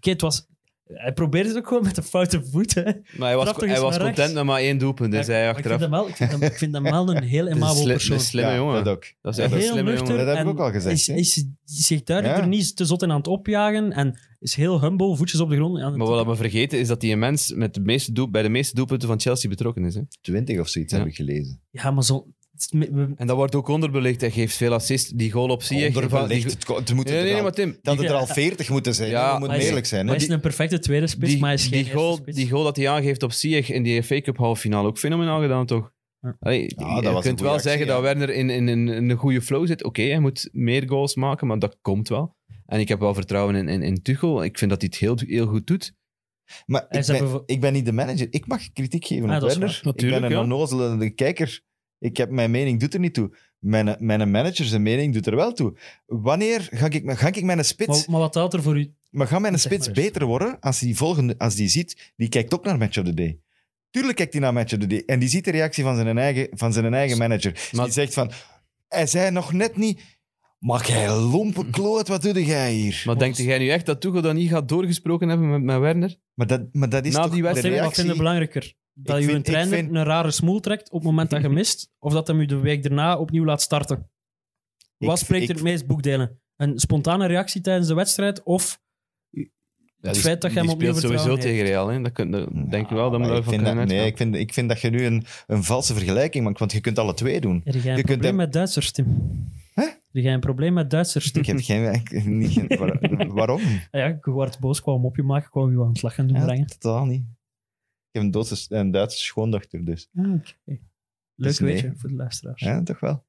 [SPEAKER 4] het was... Hij probeerde het ook gewoon met de foute voet. Hè.
[SPEAKER 3] Maar hij was,
[SPEAKER 4] Trap toch
[SPEAKER 3] hij
[SPEAKER 4] eens
[SPEAKER 3] was
[SPEAKER 4] naar
[SPEAKER 3] content
[SPEAKER 4] rechts.
[SPEAKER 3] met maar één doelpunt. Dus
[SPEAKER 4] Ja,
[SPEAKER 3] hij
[SPEAKER 4] maar Ik vind,
[SPEAKER 3] achteraf.
[SPEAKER 4] hem wel, ik, vind hem, ik vind hem wel een heel
[SPEAKER 3] is een
[SPEAKER 4] emabel
[SPEAKER 3] sli-
[SPEAKER 4] persoon.
[SPEAKER 3] een slimme
[SPEAKER 2] Ja,
[SPEAKER 3] jongen.
[SPEAKER 2] Dat ook.
[SPEAKER 3] Dat is echt een
[SPEAKER 4] Heel
[SPEAKER 3] slimme
[SPEAKER 4] nuchter.
[SPEAKER 3] jongen.
[SPEAKER 2] Dat heb ik
[SPEAKER 4] en
[SPEAKER 2] ook al gezegd,
[SPEAKER 4] Is,
[SPEAKER 2] hè?
[SPEAKER 4] is zich duidelijk
[SPEAKER 2] Ja.
[SPEAKER 4] er niet te zot in aan het opjagen. En is heel humble, voetjes op de grond. Ja,
[SPEAKER 3] Maar wat we vergeten is dat die mens met de meeste doel, bij de meeste doelpunten van Chelsea betrokken is. Hè?
[SPEAKER 2] Twintig of zoiets
[SPEAKER 3] Ja.
[SPEAKER 2] heb ik gelezen.
[SPEAKER 4] ja, maar zo... het is- we-
[SPEAKER 3] En dat wordt ook onderbelicht. Hij geeft veel assist. Die goal op Ziyech...
[SPEAKER 2] Onderbelicht.
[SPEAKER 3] Die-
[SPEAKER 2] Het ko- het moet
[SPEAKER 3] Nee,
[SPEAKER 2] er
[SPEAKER 3] nee, nee,
[SPEAKER 2] al-
[SPEAKER 3] maar Tim.
[SPEAKER 2] Dat het er
[SPEAKER 4] Ja.
[SPEAKER 2] al veertig moeten zijn.
[SPEAKER 3] Ja,
[SPEAKER 2] hè. we moeten
[SPEAKER 3] maar is-
[SPEAKER 2] eerlijk zijn. hè.
[SPEAKER 4] Hij is een perfecte tweede spits,
[SPEAKER 3] Die,
[SPEAKER 4] maar hij is geen
[SPEAKER 3] die,
[SPEAKER 4] eerste
[SPEAKER 3] goal,
[SPEAKER 4] spits.
[SPEAKER 3] die goal dat hij aangeeft op Ziyech in die FA Cup halve finale, ook fenomenaal gedaan, toch?
[SPEAKER 4] Ja.
[SPEAKER 3] Allee,
[SPEAKER 2] Ja, dat was
[SPEAKER 3] je
[SPEAKER 2] een
[SPEAKER 3] kunt
[SPEAKER 2] goeie
[SPEAKER 3] wel
[SPEAKER 2] actie,
[SPEAKER 3] zeggen
[SPEAKER 2] ja.
[SPEAKER 3] dat Werner in, in, in, in een goede flow zit. Oké, hij moet meer goals maken, maar dat komt wel. En ik heb wel vertrouwen in, in, in Tuchel. Ik vind dat hij het heel, heel goed doet.
[SPEAKER 2] Maar
[SPEAKER 4] Hij
[SPEAKER 2] ik
[SPEAKER 4] is
[SPEAKER 2] ben,
[SPEAKER 4] even-
[SPEAKER 2] ik ben niet de manager. Ik mag kritiek geven
[SPEAKER 4] Ah,
[SPEAKER 2] op
[SPEAKER 4] dat is
[SPEAKER 2] Werner.
[SPEAKER 4] waar.
[SPEAKER 2] Ik ben
[SPEAKER 3] Natuurlijk,
[SPEAKER 2] een
[SPEAKER 3] ja.
[SPEAKER 2] onnozelende kijker. Ik heb, mijn mening doet er niet toe. Mijn, mijn manager, zijn mening doet er wel toe. Wanneer ga ik, ga ik mijn spits...
[SPEAKER 4] Maar,
[SPEAKER 2] Maar,
[SPEAKER 4] maar wat telt er voor u?
[SPEAKER 2] gaat mijn
[SPEAKER 4] Zeg maar
[SPEAKER 2] spits
[SPEAKER 4] eens.
[SPEAKER 2] beter worden als die volgende, als die ziet... Die kijkt ook naar Match of the Day. Tuurlijk kijkt hij naar Match of the Day. En die ziet de reactie van zijn eigen, van zijn eigen manager.
[SPEAKER 3] Maar-
[SPEAKER 2] die zegt van... Hij zei nog net niet... Maar jij lompe kloot, wat doe jij hier?
[SPEAKER 3] Maar denkt jij nu echt dat Tuchel dat niet gaat doorgesproken hebben met, met Werner?
[SPEAKER 2] Maar dat, maar dat is
[SPEAKER 3] Na
[SPEAKER 2] toch
[SPEAKER 3] die
[SPEAKER 2] de
[SPEAKER 3] wedstrijd,
[SPEAKER 4] Tim, Wat
[SPEAKER 2] reactie...
[SPEAKER 4] vind je belangrijker? Dat
[SPEAKER 2] Ik
[SPEAKER 4] je
[SPEAKER 2] vind-
[SPEAKER 4] een
[SPEAKER 2] ik
[SPEAKER 4] trainer
[SPEAKER 2] vind-
[SPEAKER 4] een rare smoel trekt op het moment dat je mist, of dat hem u de week daarna opnieuw laat starten? Wat
[SPEAKER 2] Ik-
[SPEAKER 4] spreekt
[SPEAKER 2] ik-
[SPEAKER 4] er het meest boekdelen? Een spontane reactie tijdens de wedstrijd, of Het
[SPEAKER 3] die
[SPEAKER 4] feit dat
[SPEAKER 3] sp-
[SPEAKER 4] jij hem
[SPEAKER 3] die
[SPEAKER 4] opnieuw
[SPEAKER 3] speelt sowieso
[SPEAKER 4] vertrouwen
[SPEAKER 3] tegen Real. Hè? Dat kun, dat, denk je wel, dat
[SPEAKER 2] Ja, maar
[SPEAKER 3] moet je
[SPEAKER 2] Ah, ik
[SPEAKER 3] van
[SPEAKER 2] vind
[SPEAKER 3] kunnen
[SPEAKER 2] dat, Nee,
[SPEAKER 3] uitgaan.
[SPEAKER 2] ik vind, ik vind dat je nu een, een valse vergelijking maakt, want je kunt alle twee doen.
[SPEAKER 4] Heb jij een
[SPEAKER 2] Je kunt
[SPEAKER 4] probleem
[SPEAKER 2] hem-
[SPEAKER 4] met Duitsers, Tim?
[SPEAKER 2] Hè?
[SPEAKER 4] Heb jij een probleem met Duitsers, Tim?
[SPEAKER 2] Ik heb geen... ik- niet, geen- waar- waarom?
[SPEAKER 4] Ah Ja, ik word boos, kwam hem op je maken, kwam je aan het lachen doen
[SPEAKER 2] Ja,
[SPEAKER 4] brengen.
[SPEAKER 2] totaal niet. Ik heb een, Duitse, een Duitse schoondochter, dus.
[SPEAKER 4] Ah, oké. Leuk
[SPEAKER 2] Dus
[SPEAKER 4] weet
[SPEAKER 2] nee.
[SPEAKER 4] je, voor de luisteraars.
[SPEAKER 2] Ja, toch wel.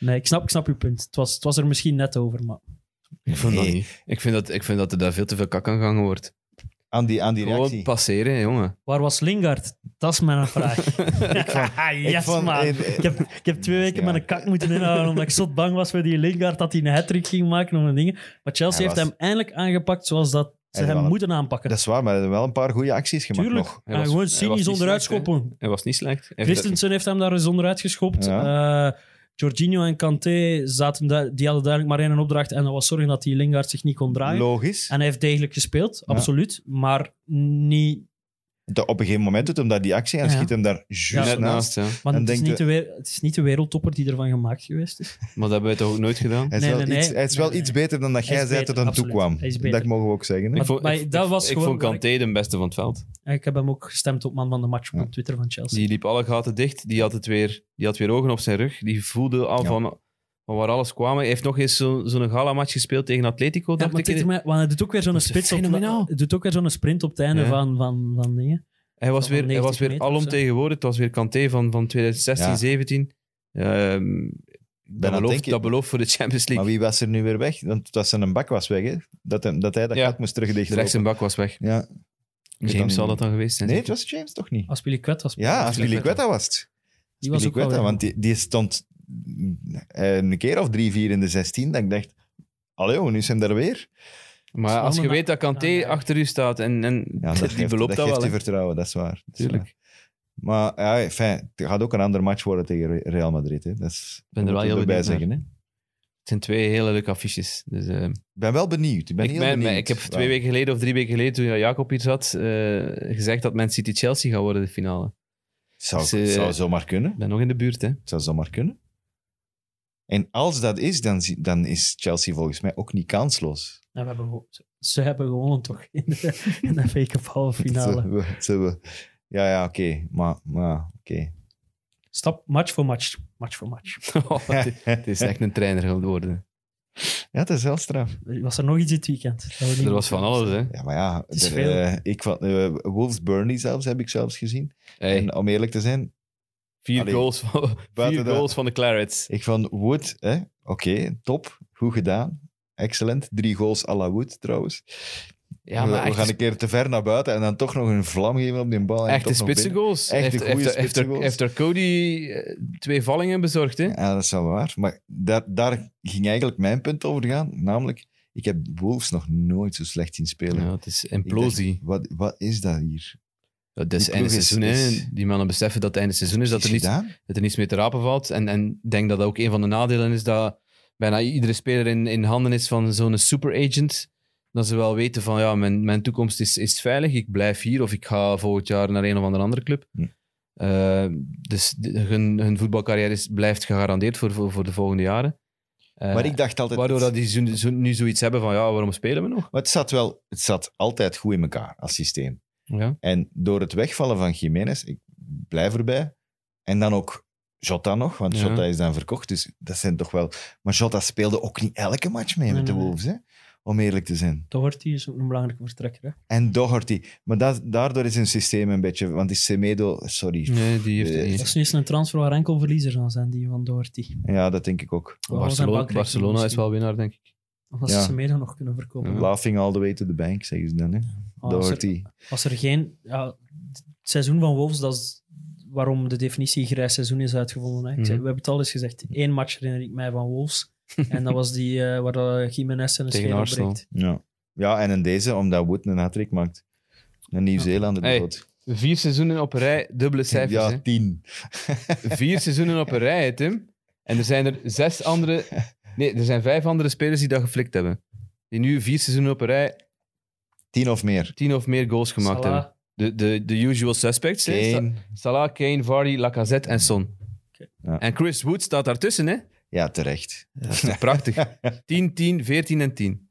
[SPEAKER 4] Nee, ik snap, ik snap je punt. Het was, het was er misschien net over, maar...
[SPEAKER 3] Ik vind dat
[SPEAKER 2] Nee.
[SPEAKER 3] niet. Ik vind dat, ik vind dat er daar veel te veel kak aan gehangen wordt.
[SPEAKER 2] Aan die, aan die
[SPEAKER 3] Gewoon
[SPEAKER 2] reactie.
[SPEAKER 3] passeren, jongen.
[SPEAKER 4] Waar was Lingard? Dat is mijn vraag. Haha, yes,
[SPEAKER 2] ik vond-
[SPEAKER 4] man.
[SPEAKER 2] eh,
[SPEAKER 4] Ik,
[SPEAKER 2] eh,
[SPEAKER 4] heb, ik heb twee weken
[SPEAKER 2] Ja.
[SPEAKER 4] met een kak moeten inhouden, omdat ik zo bang was voor die Lingard, dat hij een hat-trick ging maken of een ding. Maar Chelsea
[SPEAKER 2] Hij
[SPEAKER 4] heeft
[SPEAKER 2] was-
[SPEAKER 4] hem eindelijk aangepakt zoals dat ze
[SPEAKER 2] Hij
[SPEAKER 4] hem
[SPEAKER 2] was-
[SPEAKER 4] moeten aanpakken.
[SPEAKER 2] Dat is waar, maar er zijn wel een paar goede acties gemaakt
[SPEAKER 4] Tuurlijk.
[SPEAKER 2] nog.
[SPEAKER 3] Hij
[SPEAKER 4] en
[SPEAKER 3] was-
[SPEAKER 4] gewoon
[SPEAKER 3] hij was
[SPEAKER 4] cynisch
[SPEAKER 3] niet
[SPEAKER 4] onderuit
[SPEAKER 3] slecht, hè.
[SPEAKER 4] schoppen.
[SPEAKER 3] Hij was niet slecht. Hij-
[SPEAKER 4] Christensen heeft hem daar eens onderuit geschopt. Eh, Jorginho en Kanté zaten daar, die hadden duidelijk maar één opdracht. En dat was zorgen dat die Lingard zich niet kon draaien.
[SPEAKER 2] Logisch.
[SPEAKER 4] En hij heeft degelijk gespeeld,
[SPEAKER 2] Ja.
[SPEAKER 4] absoluut. Maar niet
[SPEAKER 2] de- op een gegeven moment doet hem daar die actie en
[SPEAKER 4] Ja.
[SPEAKER 2] schiet hem daar juist
[SPEAKER 4] Ja.
[SPEAKER 2] naast.
[SPEAKER 3] Naast, ja.
[SPEAKER 4] Want
[SPEAKER 2] En
[SPEAKER 4] het is,
[SPEAKER 2] denk
[SPEAKER 4] niet de... wer- het is niet de wereldtopper die ervan gemaakt geweest is.
[SPEAKER 3] Maar dat hebben wij toch ook nooit gedaan?
[SPEAKER 2] Hij is
[SPEAKER 4] Nee,
[SPEAKER 2] wel
[SPEAKER 4] nee, nee.
[SPEAKER 2] iets, hij is wel
[SPEAKER 4] Nee,
[SPEAKER 2] iets
[SPEAKER 4] nee.
[SPEAKER 2] beter dan dat
[SPEAKER 4] Hij
[SPEAKER 2] jij
[SPEAKER 4] is
[SPEAKER 2] zei
[SPEAKER 4] beter,
[SPEAKER 2] dat aan toe
[SPEAKER 4] absoluut.
[SPEAKER 2] kwam.
[SPEAKER 4] Hij is beter.
[SPEAKER 2] Dat mogen we ook zeggen. hè.
[SPEAKER 3] Ik
[SPEAKER 4] Maar-
[SPEAKER 3] vond,
[SPEAKER 4] maar
[SPEAKER 3] ik,
[SPEAKER 4] dat
[SPEAKER 3] ik-
[SPEAKER 4] was
[SPEAKER 3] ik
[SPEAKER 4] gewoon
[SPEAKER 3] vond
[SPEAKER 4] werk.
[SPEAKER 3] Kanté de beste van het veld.
[SPEAKER 4] En ik heb hem ook gestemd op man van de match op
[SPEAKER 2] Ja.
[SPEAKER 4] Twitter van Chelsea.
[SPEAKER 3] Die liep alle gaten dicht. Die had, het weer, die had weer ogen op zijn rug. Die voelde al
[SPEAKER 2] Ja.
[SPEAKER 3] van, van waar alles kwam. Hij heeft nog eens zo- zo'n gala-match gespeeld tegen Atletico.
[SPEAKER 4] Ja,
[SPEAKER 3] dacht
[SPEAKER 4] maar
[SPEAKER 3] ik.
[SPEAKER 4] het is maar- want hij doet ook weer zo'n
[SPEAKER 3] Dat is
[SPEAKER 4] spits op,
[SPEAKER 3] fenomenaal.
[SPEAKER 4] het doet ook weer zo'n sprint op het einde
[SPEAKER 3] Ja.
[SPEAKER 4] van, van, van dingen.
[SPEAKER 3] Hij was
[SPEAKER 4] Van
[SPEAKER 3] weer, hij
[SPEAKER 4] 90
[SPEAKER 3] was weer
[SPEAKER 4] meter of zo.
[SPEAKER 3] alomtegenwoordig. Het was weer Kanté van, van 2016,
[SPEAKER 2] Ja.
[SPEAKER 3] 17. Ehm, dat,
[SPEAKER 2] aan het
[SPEAKER 3] belooft,
[SPEAKER 2] denken.
[SPEAKER 3] dat belooft voor de Champions
[SPEAKER 2] Maar
[SPEAKER 3] League.
[SPEAKER 2] wie was er nu weer weg? Want dat zijn een bak was weg, hè? Dat, hem, dat hij dat
[SPEAKER 3] Ja.
[SPEAKER 2] gat moest
[SPEAKER 3] De rechts en
[SPEAKER 2] terugdichten.
[SPEAKER 3] bak was weg.
[SPEAKER 2] Ja. weet dat
[SPEAKER 3] James zal
[SPEAKER 2] niet
[SPEAKER 3] dat dan geweest zijn.
[SPEAKER 2] Nee, het
[SPEAKER 3] zeker?
[SPEAKER 2] was James toch niet?
[SPEAKER 4] Aspilicueta was
[SPEAKER 2] Ja,
[SPEAKER 3] Aspilicueta.
[SPEAKER 2] Aspilicueta was het.
[SPEAKER 4] Die was ook wel
[SPEAKER 2] Aspilicueta,
[SPEAKER 4] weer-
[SPEAKER 2] want die, die stond eh, een keer of drie, vier in de 16 dat ik dacht, allee, oh, nu zijn we daar weer.
[SPEAKER 3] Maar als je
[SPEAKER 4] Zwolle-
[SPEAKER 3] weet dat Kanté
[SPEAKER 4] Ah, ja.
[SPEAKER 3] achter u staat en, en
[SPEAKER 2] Ja, dat
[SPEAKER 3] die
[SPEAKER 2] geeft,
[SPEAKER 3] beloopt
[SPEAKER 2] dat
[SPEAKER 3] dat,
[SPEAKER 2] geeft je
[SPEAKER 3] wel. hè.
[SPEAKER 2] vertrouwen, dat is waar. Dat is
[SPEAKER 3] Tuurlijk.
[SPEAKER 2] waar. Maar ja, fijn, het gaat ook een ander match worden tegen Re- Real Madrid. Hè. Dat is,
[SPEAKER 3] ben er
[SPEAKER 2] dat
[SPEAKER 3] wel
[SPEAKER 2] moeten
[SPEAKER 3] heel
[SPEAKER 2] we erbij
[SPEAKER 3] benieuwd naar.
[SPEAKER 2] zeggen, hè.
[SPEAKER 3] Het zijn twee hele leuke affiches. Dus, eh,
[SPEAKER 2] Ik ben wel benieuwd. Ik ben
[SPEAKER 3] ik,
[SPEAKER 2] heel
[SPEAKER 3] ben-
[SPEAKER 2] benieuwd.
[SPEAKER 3] ik heb
[SPEAKER 2] Ja.
[SPEAKER 3] twee weken geleden of drie weken geleden, toen Jacob hier zat, eh, gezegd dat Man City Chelsea gaat worden de finale.
[SPEAKER 2] Zou,
[SPEAKER 3] Dus, eh,
[SPEAKER 2] zou zomaar kunnen.
[SPEAKER 3] Ik ben nog in de buurt, hè.
[SPEAKER 2] Het zou zomaar kunnen. En als dat is, dan, zie- dan is Chelsea volgens mij ook niet kansloos.
[SPEAKER 4] Ja, we hebben gewo- ze- ze hebben gewonnen toch in de, in de FA Cup halve
[SPEAKER 2] Ze
[SPEAKER 4] finale.
[SPEAKER 2] hebben- ze hebben- ja, ja, oké. Maar, maar oké.
[SPEAKER 4] Stap, match voor match. Match voor match.
[SPEAKER 3] Oh, Het is echt een trainer geworden.
[SPEAKER 2] Ja, dat is wel straf.
[SPEAKER 4] Was er nog iets dit weekend? Dat we niet
[SPEAKER 3] Er was van alles, hè.
[SPEAKER 2] Ja, maar ja,
[SPEAKER 4] is
[SPEAKER 2] er,
[SPEAKER 4] veel.
[SPEAKER 2] eh, ik, vond- eh, Wolves Burnley zelfs heb ik zelfs gezien.
[SPEAKER 3] Hey,
[SPEAKER 2] En om eerlijk te zijn,
[SPEAKER 3] vier
[SPEAKER 2] Allee,
[SPEAKER 3] goals van, vier
[SPEAKER 2] buiten dat-
[SPEAKER 3] goals van de Clarets.
[SPEAKER 2] ik vond Wood, hè, oké, top, goed gedaan. Excellent. Drie goals à la Wood trouwens.
[SPEAKER 3] Ja,
[SPEAKER 2] we,
[SPEAKER 3] maar
[SPEAKER 2] we
[SPEAKER 3] echt,
[SPEAKER 2] gaan een keer te ver naar buiten en dan toch nog een vlam geven op die bal. en
[SPEAKER 3] echte
[SPEAKER 2] toch nog binnen.
[SPEAKER 3] spitsengoals.
[SPEAKER 2] Echte
[SPEAKER 3] Heeft-
[SPEAKER 2] goeie
[SPEAKER 3] heeft- heeft er-
[SPEAKER 2] spitsengoals.
[SPEAKER 3] Heeft er Cody eh, twee vallingen bezorgd, hè?
[SPEAKER 2] Ja, dat is wel waar. Maar daar, daar ging eigenlijk mijn punt over gaan. Namelijk, ik heb Wolves nog nooit zo slecht zien spelen.
[SPEAKER 3] Ja, het is
[SPEAKER 2] Ik dacht,
[SPEAKER 3] implosie.
[SPEAKER 2] wat, wat is dat hier?
[SPEAKER 3] Dat is
[SPEAKER 2] Die
[SPEAKER 3] einde
[SPEAKER 2] ploeg is-
[SPEAKER 3] seizoen, hè.
[SPEAKER 2] is-
[SPEAKER 3] Die mannen beseffen dat het einde seizoen is, dat er,
[SPEAKER 2] is
[SPEAKER 3] niets,
[SPEAKER 2] gedaan?
[SPEAKER 3] dat er niets meer te rapen valt. En en ik denk dat dat ook een van de nadelen is dat bijna iedere speler in, in handen is van zo'n superagent. Dat ze wel weten van, ja, mijn, mijn toekomst is, is veilig. Ik blijf hier of ik ga volgend jaar naar een of andere andere club.
[SPEAKER 2] Hm.
[SPEAKER 3] Eh, dus de- hun, hun voetbalcarrière is, blijft gegarandeerd voor, voor, voor de volgende jaren. Eh,
[SPEAKER 2] Maar ik dacht altijd...
[SPEAKER 3] waardoor dat die zo- zo- nu zoiets hebben van, ja, waarom spelen we nog?
[SPEAKER 2] Maar het zat wel... Het zat altijd goed in elkaar als systeem.
[SPEAKER 3] Ja.
[SPEAKER 2] En door het wegvallen van Jiménez, ik blijf erbij. En dan ook Jota nog, want
[SPEAKER 3] Ja.
[SPEAKER 2] Jota is dan verkocht. Dus dat zijn toch wel... Maar Jota speelde ook niet elke match mee
[SPEAKER 4] Nee,
[SPEAKER 2] met de
[SPEAKER 4] nee, nee.
[SPEAKER 2] Wolves, hè? om eerlijk te zijn.
[SPEAKER 4] Doherty is ook een belangrijke vertrekker. Hè?
[SPEAKER 2] En Doherty. Maar dat, daardoor is hun systeem een beetje... Want die Semedo... Sorry.
[SPEAKER 3] Nee, die heeft het
[SPEAKER 2] Eh,
[SPEAKER 3] niet.
[SPEAKER 4] Dat is nu eens een transfer waar enkel verliezer aan zijn, die van Doherty.
[SPEAKER 2] Ja, dat denk ik ook.
[SPEAKER 4] Wel,
[SPEAKER 3] Barcelona,
[SPEAKER 4] zijn bank-
[SPEAKER 3] Barcelona is wel winnaar, denk ik.
[SPEAKER 4] Als
[SPEAKER 2] Ja.
[SPEAKER 4] ze Semedo nog kunnen verkopen.
[SPEAKER 3] Ja.
[SPEAKER 2] Laughing all the way to the bank, zeggen ze dan. Hè?
[SPEAKER 3] Ah,
[SPEAKER 4] Maar als, er,
[SPEAKER 2] Doherty.
[SPEAKER 4] als er geen... Ja, het seizoen van Wolves, dat is waarom de definitie grijs seizoen is uitgevonden. Hè? Ik zei,
[SPEAKER 3] Mhm.
[SPEAKER 4] we hebben het al eens gezegd. Eén match herinner ik mij van Wolves. en dat was die eh, waar eh, Jiménez en een
[SPEAKER 3] Tegen
[SPEAKER 4] schedel
[SPEAKER 3] Arsenal.
[SPEAKER 4] breekt.
[SPEAKER 2] Ja. ja, en in deze, omdat Wood een hat maakt. Een Nieuw-Zeelander
[SPEAKER 3] Hey,
[SPEAKER 2] dood.
[SPEAKER 3] Vier seizoenen op een rij, dubbele cijfers.
[SPEAKER 2] ja,
[SPEAKER 3] hè.
[SPEAKER 2] tien.
[SPEAKER 3] Vier seizoenen op een rij, hè, Tim. En er zijn er zes andere... Nee, er zijn vijf andere spelers die dat geflikt hebben. Die nu vier seizoenen op een rij
[SPEAKER 2] Tien of meer.
[SPEAKER 3] tien of meer goals gemaakt
[SPEAKER 4] Salah,
[SPEAKER 3] hebben. De, de, de usual suspects. hè. Sa-
[SPEAKER 2] Kane.
[SPEAKER 3] Salah, Kane, Vardy, Lacazette en Son.
[SPEAKER 2] Ja.
[SPEAKER 3] En Chris Wood staat daartussen, hè.
[SPEAKER 2] Ja, terecht.
[SPEAKER 3] Dat is toch prachtig. 10, 10, 14 en 10.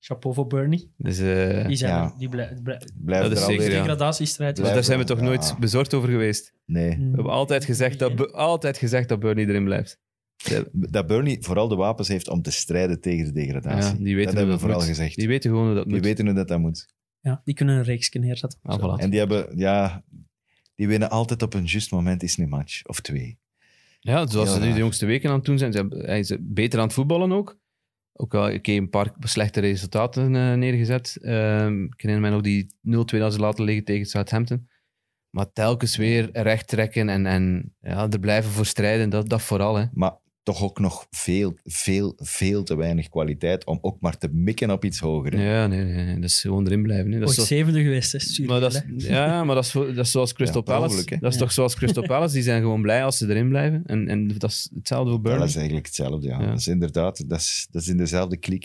[SPEAKER 4] Chapeau voor Bernie.
[SPEAKER 3] Dus, eh,
[SPEAKER 4] Die, zijn
[SPEAKER 2] ja.
[SPEAKER 4] er, die blij, blij-
[SPEAKER 2] Blijf
[SPEAKER 3] Dat
[SPEAKER 2] er
[SPEAKER 3] is
[SPEAKER 2] altijd
[SPEAKER 3] zeker,
[SPEAKER 4] de
[SPEAKER 3] ja.
[SPEAKER 2] in.
[SPEAKER 4] degradatiestrijd.
[SPEAKER 3] maar daar zijn we toch
[SPEAKER 2] Ja.
[SPEAKER 3] nooit bezorgd over geweest.
[SPEAKER 2] Nee.
[SPEAKER 3] We hebben altijd gezegd dat, Bu- altijd gezegd dat Bernie erin blijft.
[SPEAKER 2] Dat Bernie vooral de wapens heeft om te strijden tegen de degradatie.
[SPEAKER 3] Ja, die weten
[SPEAKER 2] dat
[SPEAKER 3] hoe
[SPEAKER 2] hebben we
[SPEAKER 3] dat
[SPEAKER 2] vooral
[SPEAKER 3] moet.
[SPEAKER 2] gezegd.
[SPEAKER 3] Die
[SPEAKER 2] Die,
[SPEAKER 3] weten gewoon hoe dat moet.
[SPEAKER 2] weten hoe dat, dat moet.
[SPEAKER 4] Ja, die kunnen een reeksje neerzetten.
[SPEAKER 3] Ah, voilà.
[SPEAKER 2] En die hebben, ja... Die winnen altijd op een juist moment is een match. Of twee.
[SPEAKER 3] Ja, zoals
[SPEAKER 2] Heel
[SPEAKER 3] ze nu
[SPEAKER 2] raar.
[SPEAKER 3] de jongste weken aan het doen zijn. Ze hebben, hij is beter aan het voetballen ook. Ook al ik heb een paar slechte resultaten eh, neergezet. Ehm, ik herinner mij nog die 0-2 dat ze laten liggen tegen Southampton. Maar telkens weer recht trekken en, en ja, er blijven voor strijden. Dat, dat vooral, hè.
[SPEAKER 2] Maar toch ook nog veel, veel, veel te weinig kwaliteit om ook maar te mikken op iets hoger. hè.
[SPEAKER 3] Ja, nee, nee, nee. Dat is gewoon erin blijven. Hè. Dat
[SPEAKER 4] Ooit
[SPEAKER 3] is Dus zo-
[SPEAKER 4] zevende geweest, hè. Zurich,
[SPEAKER 3] maar dat
[SPEAKER 4] hè.
[SPEAKER 3] is, ja, maar dat is, voor- dat is zoals Crystal
[SPEAKER 2] Ja, per
[SPEAKER 3] Palace.
[SPEAKER 2] ongeluk, hè.
[SPEAKER 3] dat is
[SPEAKER 4] Ja.
[SPEAKER 3] toch zoals Crystal Palace. Die zijn gewoon blij als ze erin blijven. En, en dat is hetzelfde voor Burnley.
[SPEAKER 2] Dat is eigenlijk hetzelfde, ja.
[SPEAKER 3] Ja.
[SPEAKER 2] Dat is inderdaad, dat is, dat is in dezelfde klik.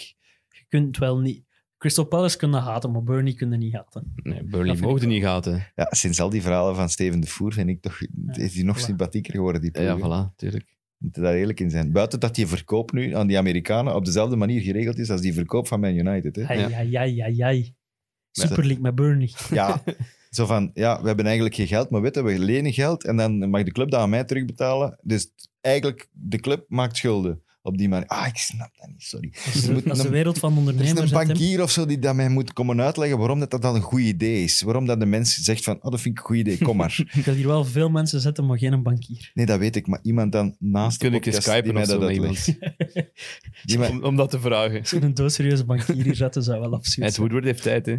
[SPEAKER 4] Je kunt wel niet... Crystal Palace kunnen haten, maar Burnley kunnen niet haten.
[SPEAKER 3] Nee,
[SPEAKER 4] Dat
[SPEAKER 3] Burnley
[SPEAKER 4] vind ik
[SPEAKER 3] mogen niet gaten.
[SPEAKER 2] Ja, sinds al die verhalen van Steven de Voer vind ik toch, is hij nog
[SPEAKER 4] voilà.
[SPEAKER 2] sympathieker geworden, die
[SPEAKER 3] Ja,
[SPEAKER 2] ploeg. hè.
[SPEAKER 3] voilà, tuurlijk.
[SPEAKER 2] moeten daar eerlijk in zijn. Buiten dat die verkoop nu aan die Amerikanen op dezelfde manier geregeld is als die verkoop van Man United. Hè?
[SPEAKER 4] Ai, ai, ai, ai, ai. Super League met Burnley.
[SPEAKER 2] Ja, zo van, ja, we hebben eigenlijk geen geld, maar weet je, we lenen geld en dan mag de club dat aan mij terugbetalen. Dus eigenlijk, de club maakt schulden op die manier. Ah, ik snap dat niet, sorry.
[SPEAKER 4] Dat is,
[SPEAKER 2] Er moet
[SPEAKER 4] dat is de
[SPEAKER 2] een-
[SPEAKER 4] wereld van
[SPEAKER 2] Er is
[SPEAKER 4] ondernemers.
[SPEAKER 2] een
[SPEAKER 4] hè, Tim.
[SPEAKER 2] bankier of zo die dat mij moet komen uitleggen waarom dat, dat dan een goed idee is. Waarom dat de mens zegt van, oh, dat vind ik een goed idee, kom maar.
[SPEAKER 4] Ik wil hier wel veel mensen zetten, maar geen een bankier.
[SPEAKER 2] Nee, dat weet ik, maar iemand dan naast
[SPEAKER 3] Kun
[SPEAKER 2] de
[SPEAKER 3] ik eens
[SPEAKER 2] podcast
[SPEAKER 3] skypen
[SPEAKER 2] die
[SPEAKER 3] of
[SPEAKER 2] mij
[SPEAKER 3] zo
[SPEAKER 2] dat
[SPEAKER 3] met
[SPEAKER 2] uitlegt.
[SPEAKER 3] iemand?
[SPEAKER 2] Die mij-
[SPEAKER 3] Om, om dat te vragen.
[SPEAKER 4] Als je een doodserieuze bankier hier zetten, zou wel absurd
[SPEAKER 3] Ed
[SPEAKER 4] zijn.
[SPEAKER 3] Woodward heeft tijd, hè.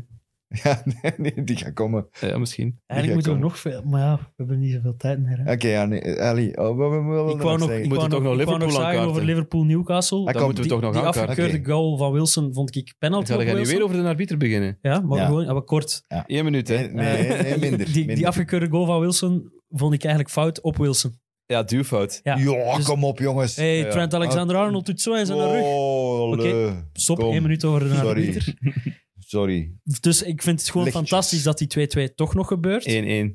[SPEAKER 2] Ja, nee, nee, die gaat komen.
[SPEAKER 3] Ja, misschien.
[SPEAKER 4] Eigenlijk moeten we nog veel... Maar ja, we hebben niet zoveel tijd meer. Hè.
[SPEAKER 2] Oké, ja, nee, Ali. Oh, we, we, we willen
[SPEAKER 4] Ik wou nog,
[SPEAKER 2] zeggen.
[SPEAKER 4] ik wou
[SPEAKER 3] Moeten toch nog
[SPEAKER 4] ik wou
[SPEAKER 3] Liverpool
[SPEAKER 4] nog zeggen
[SPEAKER 3] aankaarten?
[SPEAKER 4] over Liverpool-Newcastle.
[SPEAKER 2] Ah,
[SPEAKER 3] Dan
[SPEAKER 2] kom,
[SPEAKER 3] moeten we
[SPEAKER 4] die,
[SPEAKER 3] toch nog
[SPEAKER 4] die
[SPEAKER 3] aankaarten.
[SPEAKER 4] afgekeurde
[SPEAKER 2] Oké.
[SPEAKER 4] goal van Wilson vond ik penalty
[SPEAKER 3] Zal
[SPEAKER 4] op
[SPEAKER 3] jij nu
[SPEAKER 4] Wilson.
[SPEAKER 3] weer over de arbiter beginnen?
[SPEAKER 4] Ja, maar
[SPEAKER 2] Ja.
[SPEAKER 4] gewoon ja, maar kort.
[SPEAKER 3] Eén minuut, hè. Eh,
[SPEAKER 2] Nee, nee, nee, nee, minder.
[SPEAKER 4] Eh, die,
[SPEAKER 2] minder.
[SPEAKER 4] die afgekeurde goal van Wilson vond ik eigenlijk fout op Wilson.
[SPEAKER 3] Ja, duwfout.
[SPEAKER 4] Ja.
[SPEAKER 2] Ja,
[SPEAKER 4] Dus-
[SPEAKER 2] kom op, jongens.
[SPEAKER 4] Hey,
[SPEAKER 3] Ja.
[SPEAKER 4] Trent Alexander-Arnold doet zo in zijn rug.
[SPEAKER 2] Oh,
[SPEAKER 4] Oké,
[SPEAKER 2] le.
[SPEAKER 4] Stop,
[SPEAKER 2] kom.
[SPEAKER 4] één minuut over de arbiter.
[SPEAKER 2] Sorry. Sorry.
[SPEAKER 4] Dus ik vind het gewoon
[SPEAKER 2] Lichtjes.
[SPEAKER 4] fantastisch dat die 2-2 toch nog gebeurt.
[SPEAKER 3] 1-1.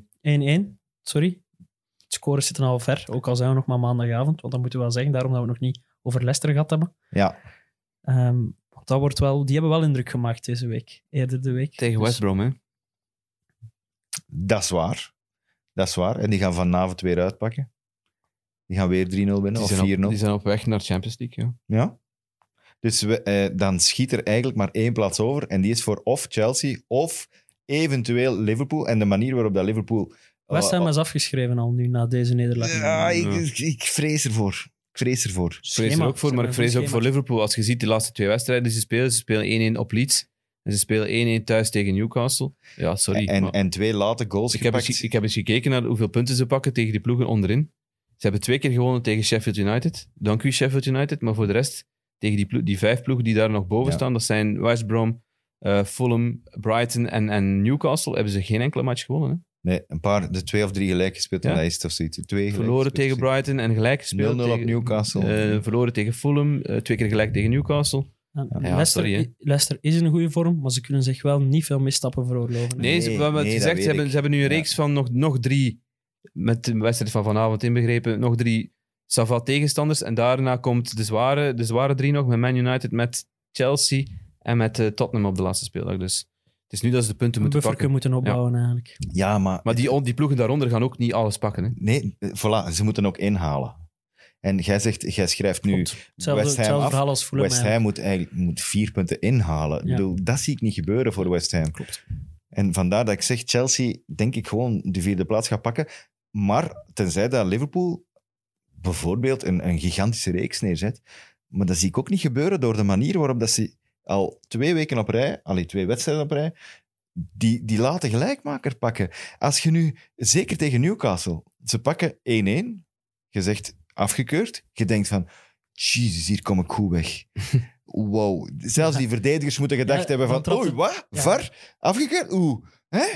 [SPEAKER 4] 1-1, sorry. De scores zitten al ver, ook al zijn we nog maar maandagavond. Want dat moeten we wel zeggen, daarom dat we het nog niet over Leicester gehad hebben.
[SPEAKER 2] Ja.
[SPEAKER 4] Ehm, want dat wordt wel, die hebben wel indruk gemaakt deze week, eerder de week. Dus
[SPEAKER 3] Tegen West Brom, hè.
[SPEAKER 2] Dat is waar. Dat is waar. En die gaan vanavond weer uitpakken. Die gaan weer 3-0 winnen
[SPEAKER 3] Die
[SPEAKER 2] of
[SPEAKER 3] zijn, op,
[SPEAKER 2] 4-0.
[SPEAKER 3] die zijn op weg naar Champions League, ja.
[SPEAKER 2] Ja. Dus we, eh, dan schiet er eigenlijk maar één plaats over. En die is voor of Chelsea of eventueel Liverpool. En de manier waarop dat Liverpool... eh,
[SPEAKER 4] West Ham is afgeschreven al nu, na deze nederlaag.
[SPEAKER 2] Ja, ik, ik, ik vrees ervoor. Ik vrees ervoor.
[SPEAKER 3] Ik vrees er ook voor, maar ik vrees ook voor Liverpool. Als je ziet die laatste twee wedstrijden die ze spelen, ze spelen 1-1 op Leeds en ze spelen 1-1 thuis tegen Newcastle. Ja, sorry.
[SPEAKER 2] en,
[SPEAKER 3] maar
[SPEAKER 2] en twee late goals
[SPEAKER 3] Dus ik, heb
[SPEAKER 2] gepakt.
[SPEAKER 3] eens, ik heb eens gekeken naar hoeveel punten ze pakken tegen die ploegen onderin. Ze hebben twee keer gewonnen tegen Sheffield United. Dank u, Sheffield United. Maar voor de rest, tegen die, ploeg- die vijf ploegen die daar nog boven
[SPEAKER 2] Ja.
[SPEAKER 3] staan, dat zijn West Brom, eh, Fulham, Brighton en, en Newcastle, hebben ze geen enkele match gewonnen. Hè?
[SPEAKER 2] Nee, een paar, de twee of drie gelijk gespeeld
[SPEAKER 3] Ja.
[SPEAKER 2] en dat is het of zoiets. Twee gelijk
[SPEAKER 3] Verloren
[SPEAKER 2] gespeeld
[SPEAKER 3] tegen
[SPEAKER 2] of zoiets.
[SPEAKER 3] Brighton en gelijk gespeeld
[SPEAKER 2] 0-0 op
[SPEAKER 3] tegen-
[SPEAKER 2] Newcastle.
[SPEAKER 3] eh, verloren tegen Fulham, eh, twee keer gelijk tegen Newcastle. Ja,
[SPEAKER 4] Leicester,
[SPEAKER 3] sorry, hè.
[SPEAKER 4] Leicester is in goede vorm, maar ze kunnen zich wel niet veel misstappen veroorloven.
[SPEAKER 3] Nee, ze,
[SPEAKER 2] Nee,
[SPEAKER 3] we hebben het
[SPEAKER 2] nee, dat
[SPEAKER 3] gezegd,
[SPEAKER 2] weet
[SPEAKER 3] ze hebben,
[SPEAKER 2] ik.
[SPEAKER 3] ze hebben nu een
[SPEAKER 2] Ja.
[SPEAKER 3] reeks van nog, nog drie, met de wedstrijd van vanavond inbegrepen, nog drie Savat tegenstanders. En daarna komt de zware, de zware drie nog met Man United, met Chelsea en met eh, Tottenham op de laatste speeldag. Dus het is nu dat ze de punten
[SPEAKER 4] Een
[SPEAKER 3] moeten
[SPEAKER 4] bufferke
[SPEAKER 3] pakken.
[SPEAKER 4] moeten opbouwen eigenlijk.
[SPEAKER 2] Ja, maar...
[SPEAKER 3] Maar die, on- die ploegen daaronder gaan ook niet alles pakken. Hè.
[SPEAKER 2] Nee, eh, voilà, ze moeten ook inhalen. En jij zegt, jij schrijft nu...
[SPEAKER 4] Klopt. Hetzelfde,
[SPEAKER 2] West Ham
[SPEAKER 4] hetzelfde
[SPEAKER 2] af,
[SPEAKER 4] verhaal als Fulham
[SPEAKER 2] West Ham moet eigenlijk moet vier punten inhalen. Ik
[SPEAKER 4] Ja.
[SPEAKER 2] bedoel, dat zie ik niet gebeuren voor West Ham.
[SPEAKER 4] Klopt.
[SPEAKER 2] En vandaar dat ik zeg, Chelsea denk ik gewoon de vierde plaats gaat pakken. Maar tenzij dat Liverpool bijvoorbeeld een, een gigantische reeks neerzet. Maar dat zie ik ook niet gebeuren door de manier waarop dat ze al twee weken op rij, allee, twee wedstrijden op rij, die, die late gelijkmaker pakken. Als je nu, zeker tegen Newcastle, ze pakken 1-1, je zegt afgekeurd, je denkt van, jezus, hier kom ik goed weg. Wow, zelfs die verdedigers moeten gedacht
[SPEAKER 4] Ja,
[SPEAKER 2] hebben
[SPEAKER 4] want
[SPEAKER 2] van,
[SPEAKER 4] dat-
[SPEAKER 2] oei, wat?
[SPEAKER 4] ja.
[SPEAKER 2] Var? Afgekeurd? Oeh, hè?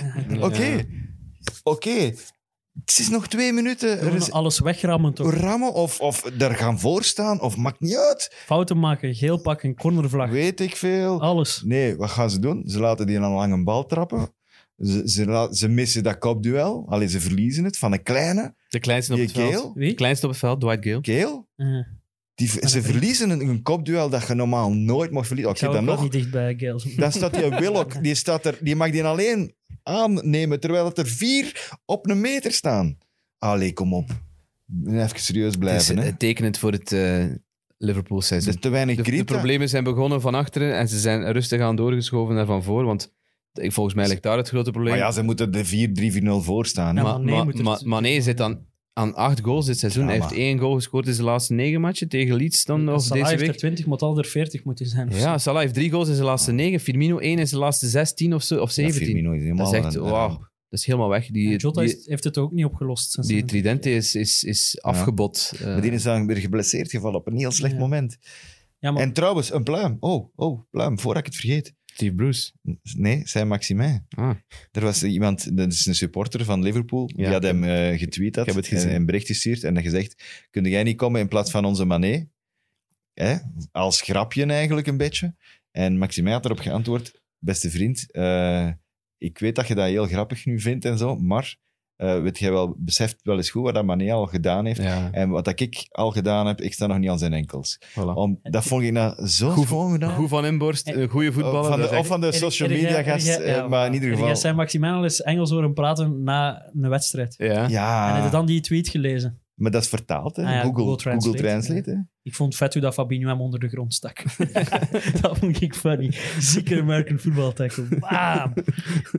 [SPEAKER 2] Oké.
[SPEAKER 3] Ja.
[SPEAKER 2] Oké. Het is nog twee minuten. Er
[SPEAKER 4] Gewoon
[SPEAKER 2] is
[SPEAKER 4] Alles wegrammen toch.
[SPEAKER 2] rammen of, of daar gaan voorstaan of maakt niet uit.
[SPEAKER 4] Fouten maken, geel pakken, cornervlag.
[SPEAKER 2] Weet ik veel.
[SPEAKER 4] Alles.
[SPEAKER 2] Nee, wat gaan ze doen? Ze laten die een lange bal trappen. Ze, ze, la- ze missen dat kopduel. Alleen ze verliezen het van een kleine.
[SPEAKER 3] De kleinste op
[SPEAKER 2] Die
[SPEAKER 3] het veld.
[SPEAKER 2] Gale?
[SPEAKER 4] Wie?
[SPEAKER 3] De kleinste op het veld, Dwight Gale.
[SPEAKER 2] Keel.
[SPEAKER 4] Eh,
[SPEAKER 2] Die, v- ze verliezen een, een kopduel dat je normaal nooit mag verliezen.
[SPEAKER 4] ik
[SPEAKER 2] Oké,
[SPEAKER 4] zou ook
[SPEAKER 2] dan
[SPEAKER 4] wel
[SPEAKER 2] nog.
[SPEAKER 4] niet dicht bij Gales.
[SPEAKER 2] Dan staat die Willock, die, staat er, die mag die alleen aannemen, terwijl het er vier op een meter staan. Allee, kom op. Even serieus
[SPEAKER 3] Het is
[SPEAKER 2] blijven. hè.
[SPEAKER 3] eh, tekenend voor het Liverpool-seizoen.
[SPEAKER 2] Er is te weinig
[SPEAKER 3] De, de
[SPEAKER 2] kritiek.
[SPEAKER 3] problemen zijn begonnen van achteren en ze zijn rustig aan doorgeschoven naar van voor. Want ik- volgens mij ligt daar het grote probleem.
[SPEAKER 2] Maar ja, ze moeten de 4-3-4-0 voor staan. hè.
[SPEAKER 4] Ja,
[SPEAKER 3] Ma-
[SPEAKER 4] Mané
[SPEAKER 3] ma-
[SPEAKER 4] moet er-
[SPEAKER 3] ma- Mané zit aan, aan acht goals dit seizoen.
[SPEAKER 2] Ja,
[SPEAKER 3] Hij
[SPEAKER 2] maar-
[SPEAKER 3] heeft één goal gescoord in zijn laatste negen matchen. Tegen Leeds dan nog
[SPEAKER 4] Salah
[SPEAKER 3] deze
[SPEAKER 4] heeft er
[SPEAKER 3] week.
[SPEAKER 4] 20, moet al er 40 moeten zijn.
[SPEAKER 3] Ja, Salah heeft drie goals in zijn laatste negen. Firmino één in zijn laatste zestien of, zo, of
[SPEAKER 2] Ja,
[SPEAKER 3] zeventien.
[SPEAKER 2] Firmino is helemaal
[SPEAKER 3] dat is echt,
[SPEAKER 2] een-
[SPEAKER 3] wauw. Dat is helemaal weg. Die,
[SPEAKER 4] Jota
[SPEAKER 3] die,
[SPEAKER 4] is- heeft het ook niet opgelost. sinds
[SPEAKER 3] die
[SPEAKER 4] zijn-
[SPEAKER 3] Tridente is, is, is afgebot. Eh,
[SPEAKER 2] Maar die is dan weer geblesseerd gevallen op een heel slecht
[SPEAKER 4] Ja.
[SPEAKER 2] moment.
[SPEAKER 4] Ja, maar
[SPEAKER 2] En trouwens, een pluim. Oh, oh, pluim, voordat ik het vergeet.
[SPEAKER 3] Steve Bruce.
[SPEAKER 2] Nee, zijn Maximin.
[SPEAKER 3] Ah.
[SPEAKER 2] Er was iemand, dat is een supporter van Liverpool, die
[SPEAKER 3] Ja,
[SPEAKER 2] had
[SPEAKER 3] ik
[SPEAKER 2] hem eh, getweet had
[SPEAKER 3] ik heb het gezien.
[SPEAKER 2] en een bericht gestuurd en had gezegd, kun jij niet komen in plaats van onze Mané? Hè? Als grapje eigenlijk een beetje. En Maxime had erop geantwoord, beste vriend, eh, ik weet dat je dat heel grappig nu vindt en zo, maar eh, weet jij wel, beseft wel eens goed wat dat Mané al gedaan heeft.
[SPEAKER 3] Ja,
[SPEAKER 2] En wat dat ik al gedaan heb, ik sta nog niet aan zijn enkels.
[SPEAKER 3] voilà.
[SPEAKER 2] Om, dat vond ik nou zo
[SPEAKER 3] Goed-
[SPEAKER 2] schoon gedaan.
[SPEAKER 3] Goed van inborst, een goede voetballer.
[SPEAKER 2] van
[SPEAKER 3] dat
[SPEAKER 2] de,
[SPEAKER 3] zeg
[SPEAKER 2] of
[SPEAKER 3] ik.
[SPEAKER 2] van de social media gast, eh, maar in ieder
[SPEAKER 4] Jij
[SPEAKER 2] geval.
[SPEAKER 4] zijn maximaal eens Engels horen praten na een wedstrijd.
[SPEAKER 3] ja.
[SPEAKER 4] En heb je
[SPEAKER 2] Ja,
[SPEAKER 4] dan die tweet gelezen?
[SPEAKER 2] maar dat is vertaald, hè?
[SPEAKER 4] Ah ja,
[SPEAKER 2] Google,
[SPEAKER 4] Google
[SPEAKER 2] Google Translate.
[SPEAKER 4] Translate,
[SPEAKER 2] hè.
[SPEAKER 4] Ik vond vet hoe dat Fabinho hem onder de grond stak. dat vond ik funny. Zieke American football tackle. Bam!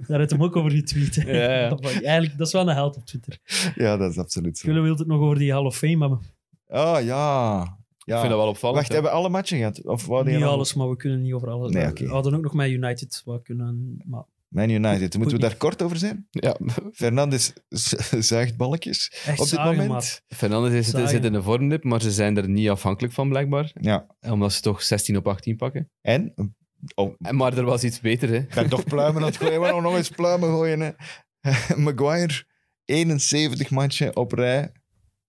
[SPEAKER 4] Daar had hem ook over getweet. hè.
[SPEAKER 3] Ja, ja.
[SPEAKER 4] Dat vond ik Eigenlijk, dat is wel een held op Twitter.
[SPEAKER 2] Ja, dat is absoluut zo.
[SPEAKER 4] Jullie wilden het nog over die Hall of Fame hebben.
[SPEAKER 2] Oh ja.
[SPEAKER 3] Ik
[SPEAKER 2] ja.
[SPEAKER 3] vind dat wel opvallend.
[SPEAKER 2] Wacht,
[SPEAKER 3] ja.
[SPEAKER 2] hebben we alle matchen gehad? Oh, Of wat
[SPEAKER 4] Niet alles, maar we kunnen niet over alles.
[SPEAKER 2] Nee,
[SPEAKER 4] We-
[SPEAKER 2] oké.
[SPEAKER 4] We hadden ook nog met United wat kunnen. Maar
[SPEAKER 2] Man United, moeten we daar kort over zijn?
[SPEAKER 3] Ja,
[SPEAKER 2] Fernandes z- zuigt balletjes
[SPEAKER 4] echt
[SPEAKER 2] op dit
[SPEAKER 4] saai,
[SPEAKER 2] moment.
[SPEAKER 4] maar
[SPEAKER 3] Fernandes is,
[SPEAKER 4] Saai.
[SPEAKER 3] zit in een vormdip, maar ze zijn er niet afhankelijk van, blijkbaar.
[SPEAKER 2] Ja.
[SPEAKER 3] Omdat ze toch 16 op 18 pakken.
[SPEAKER 2] En? Oh,
[SPEAKER 3] En- Maar er was iets beter, hè.
[SPEAKER 2] ik ben toch pluimen aan het gooien. Waarom nog eens pluimen gooien? Hè? Maguire, 71 matchen op rij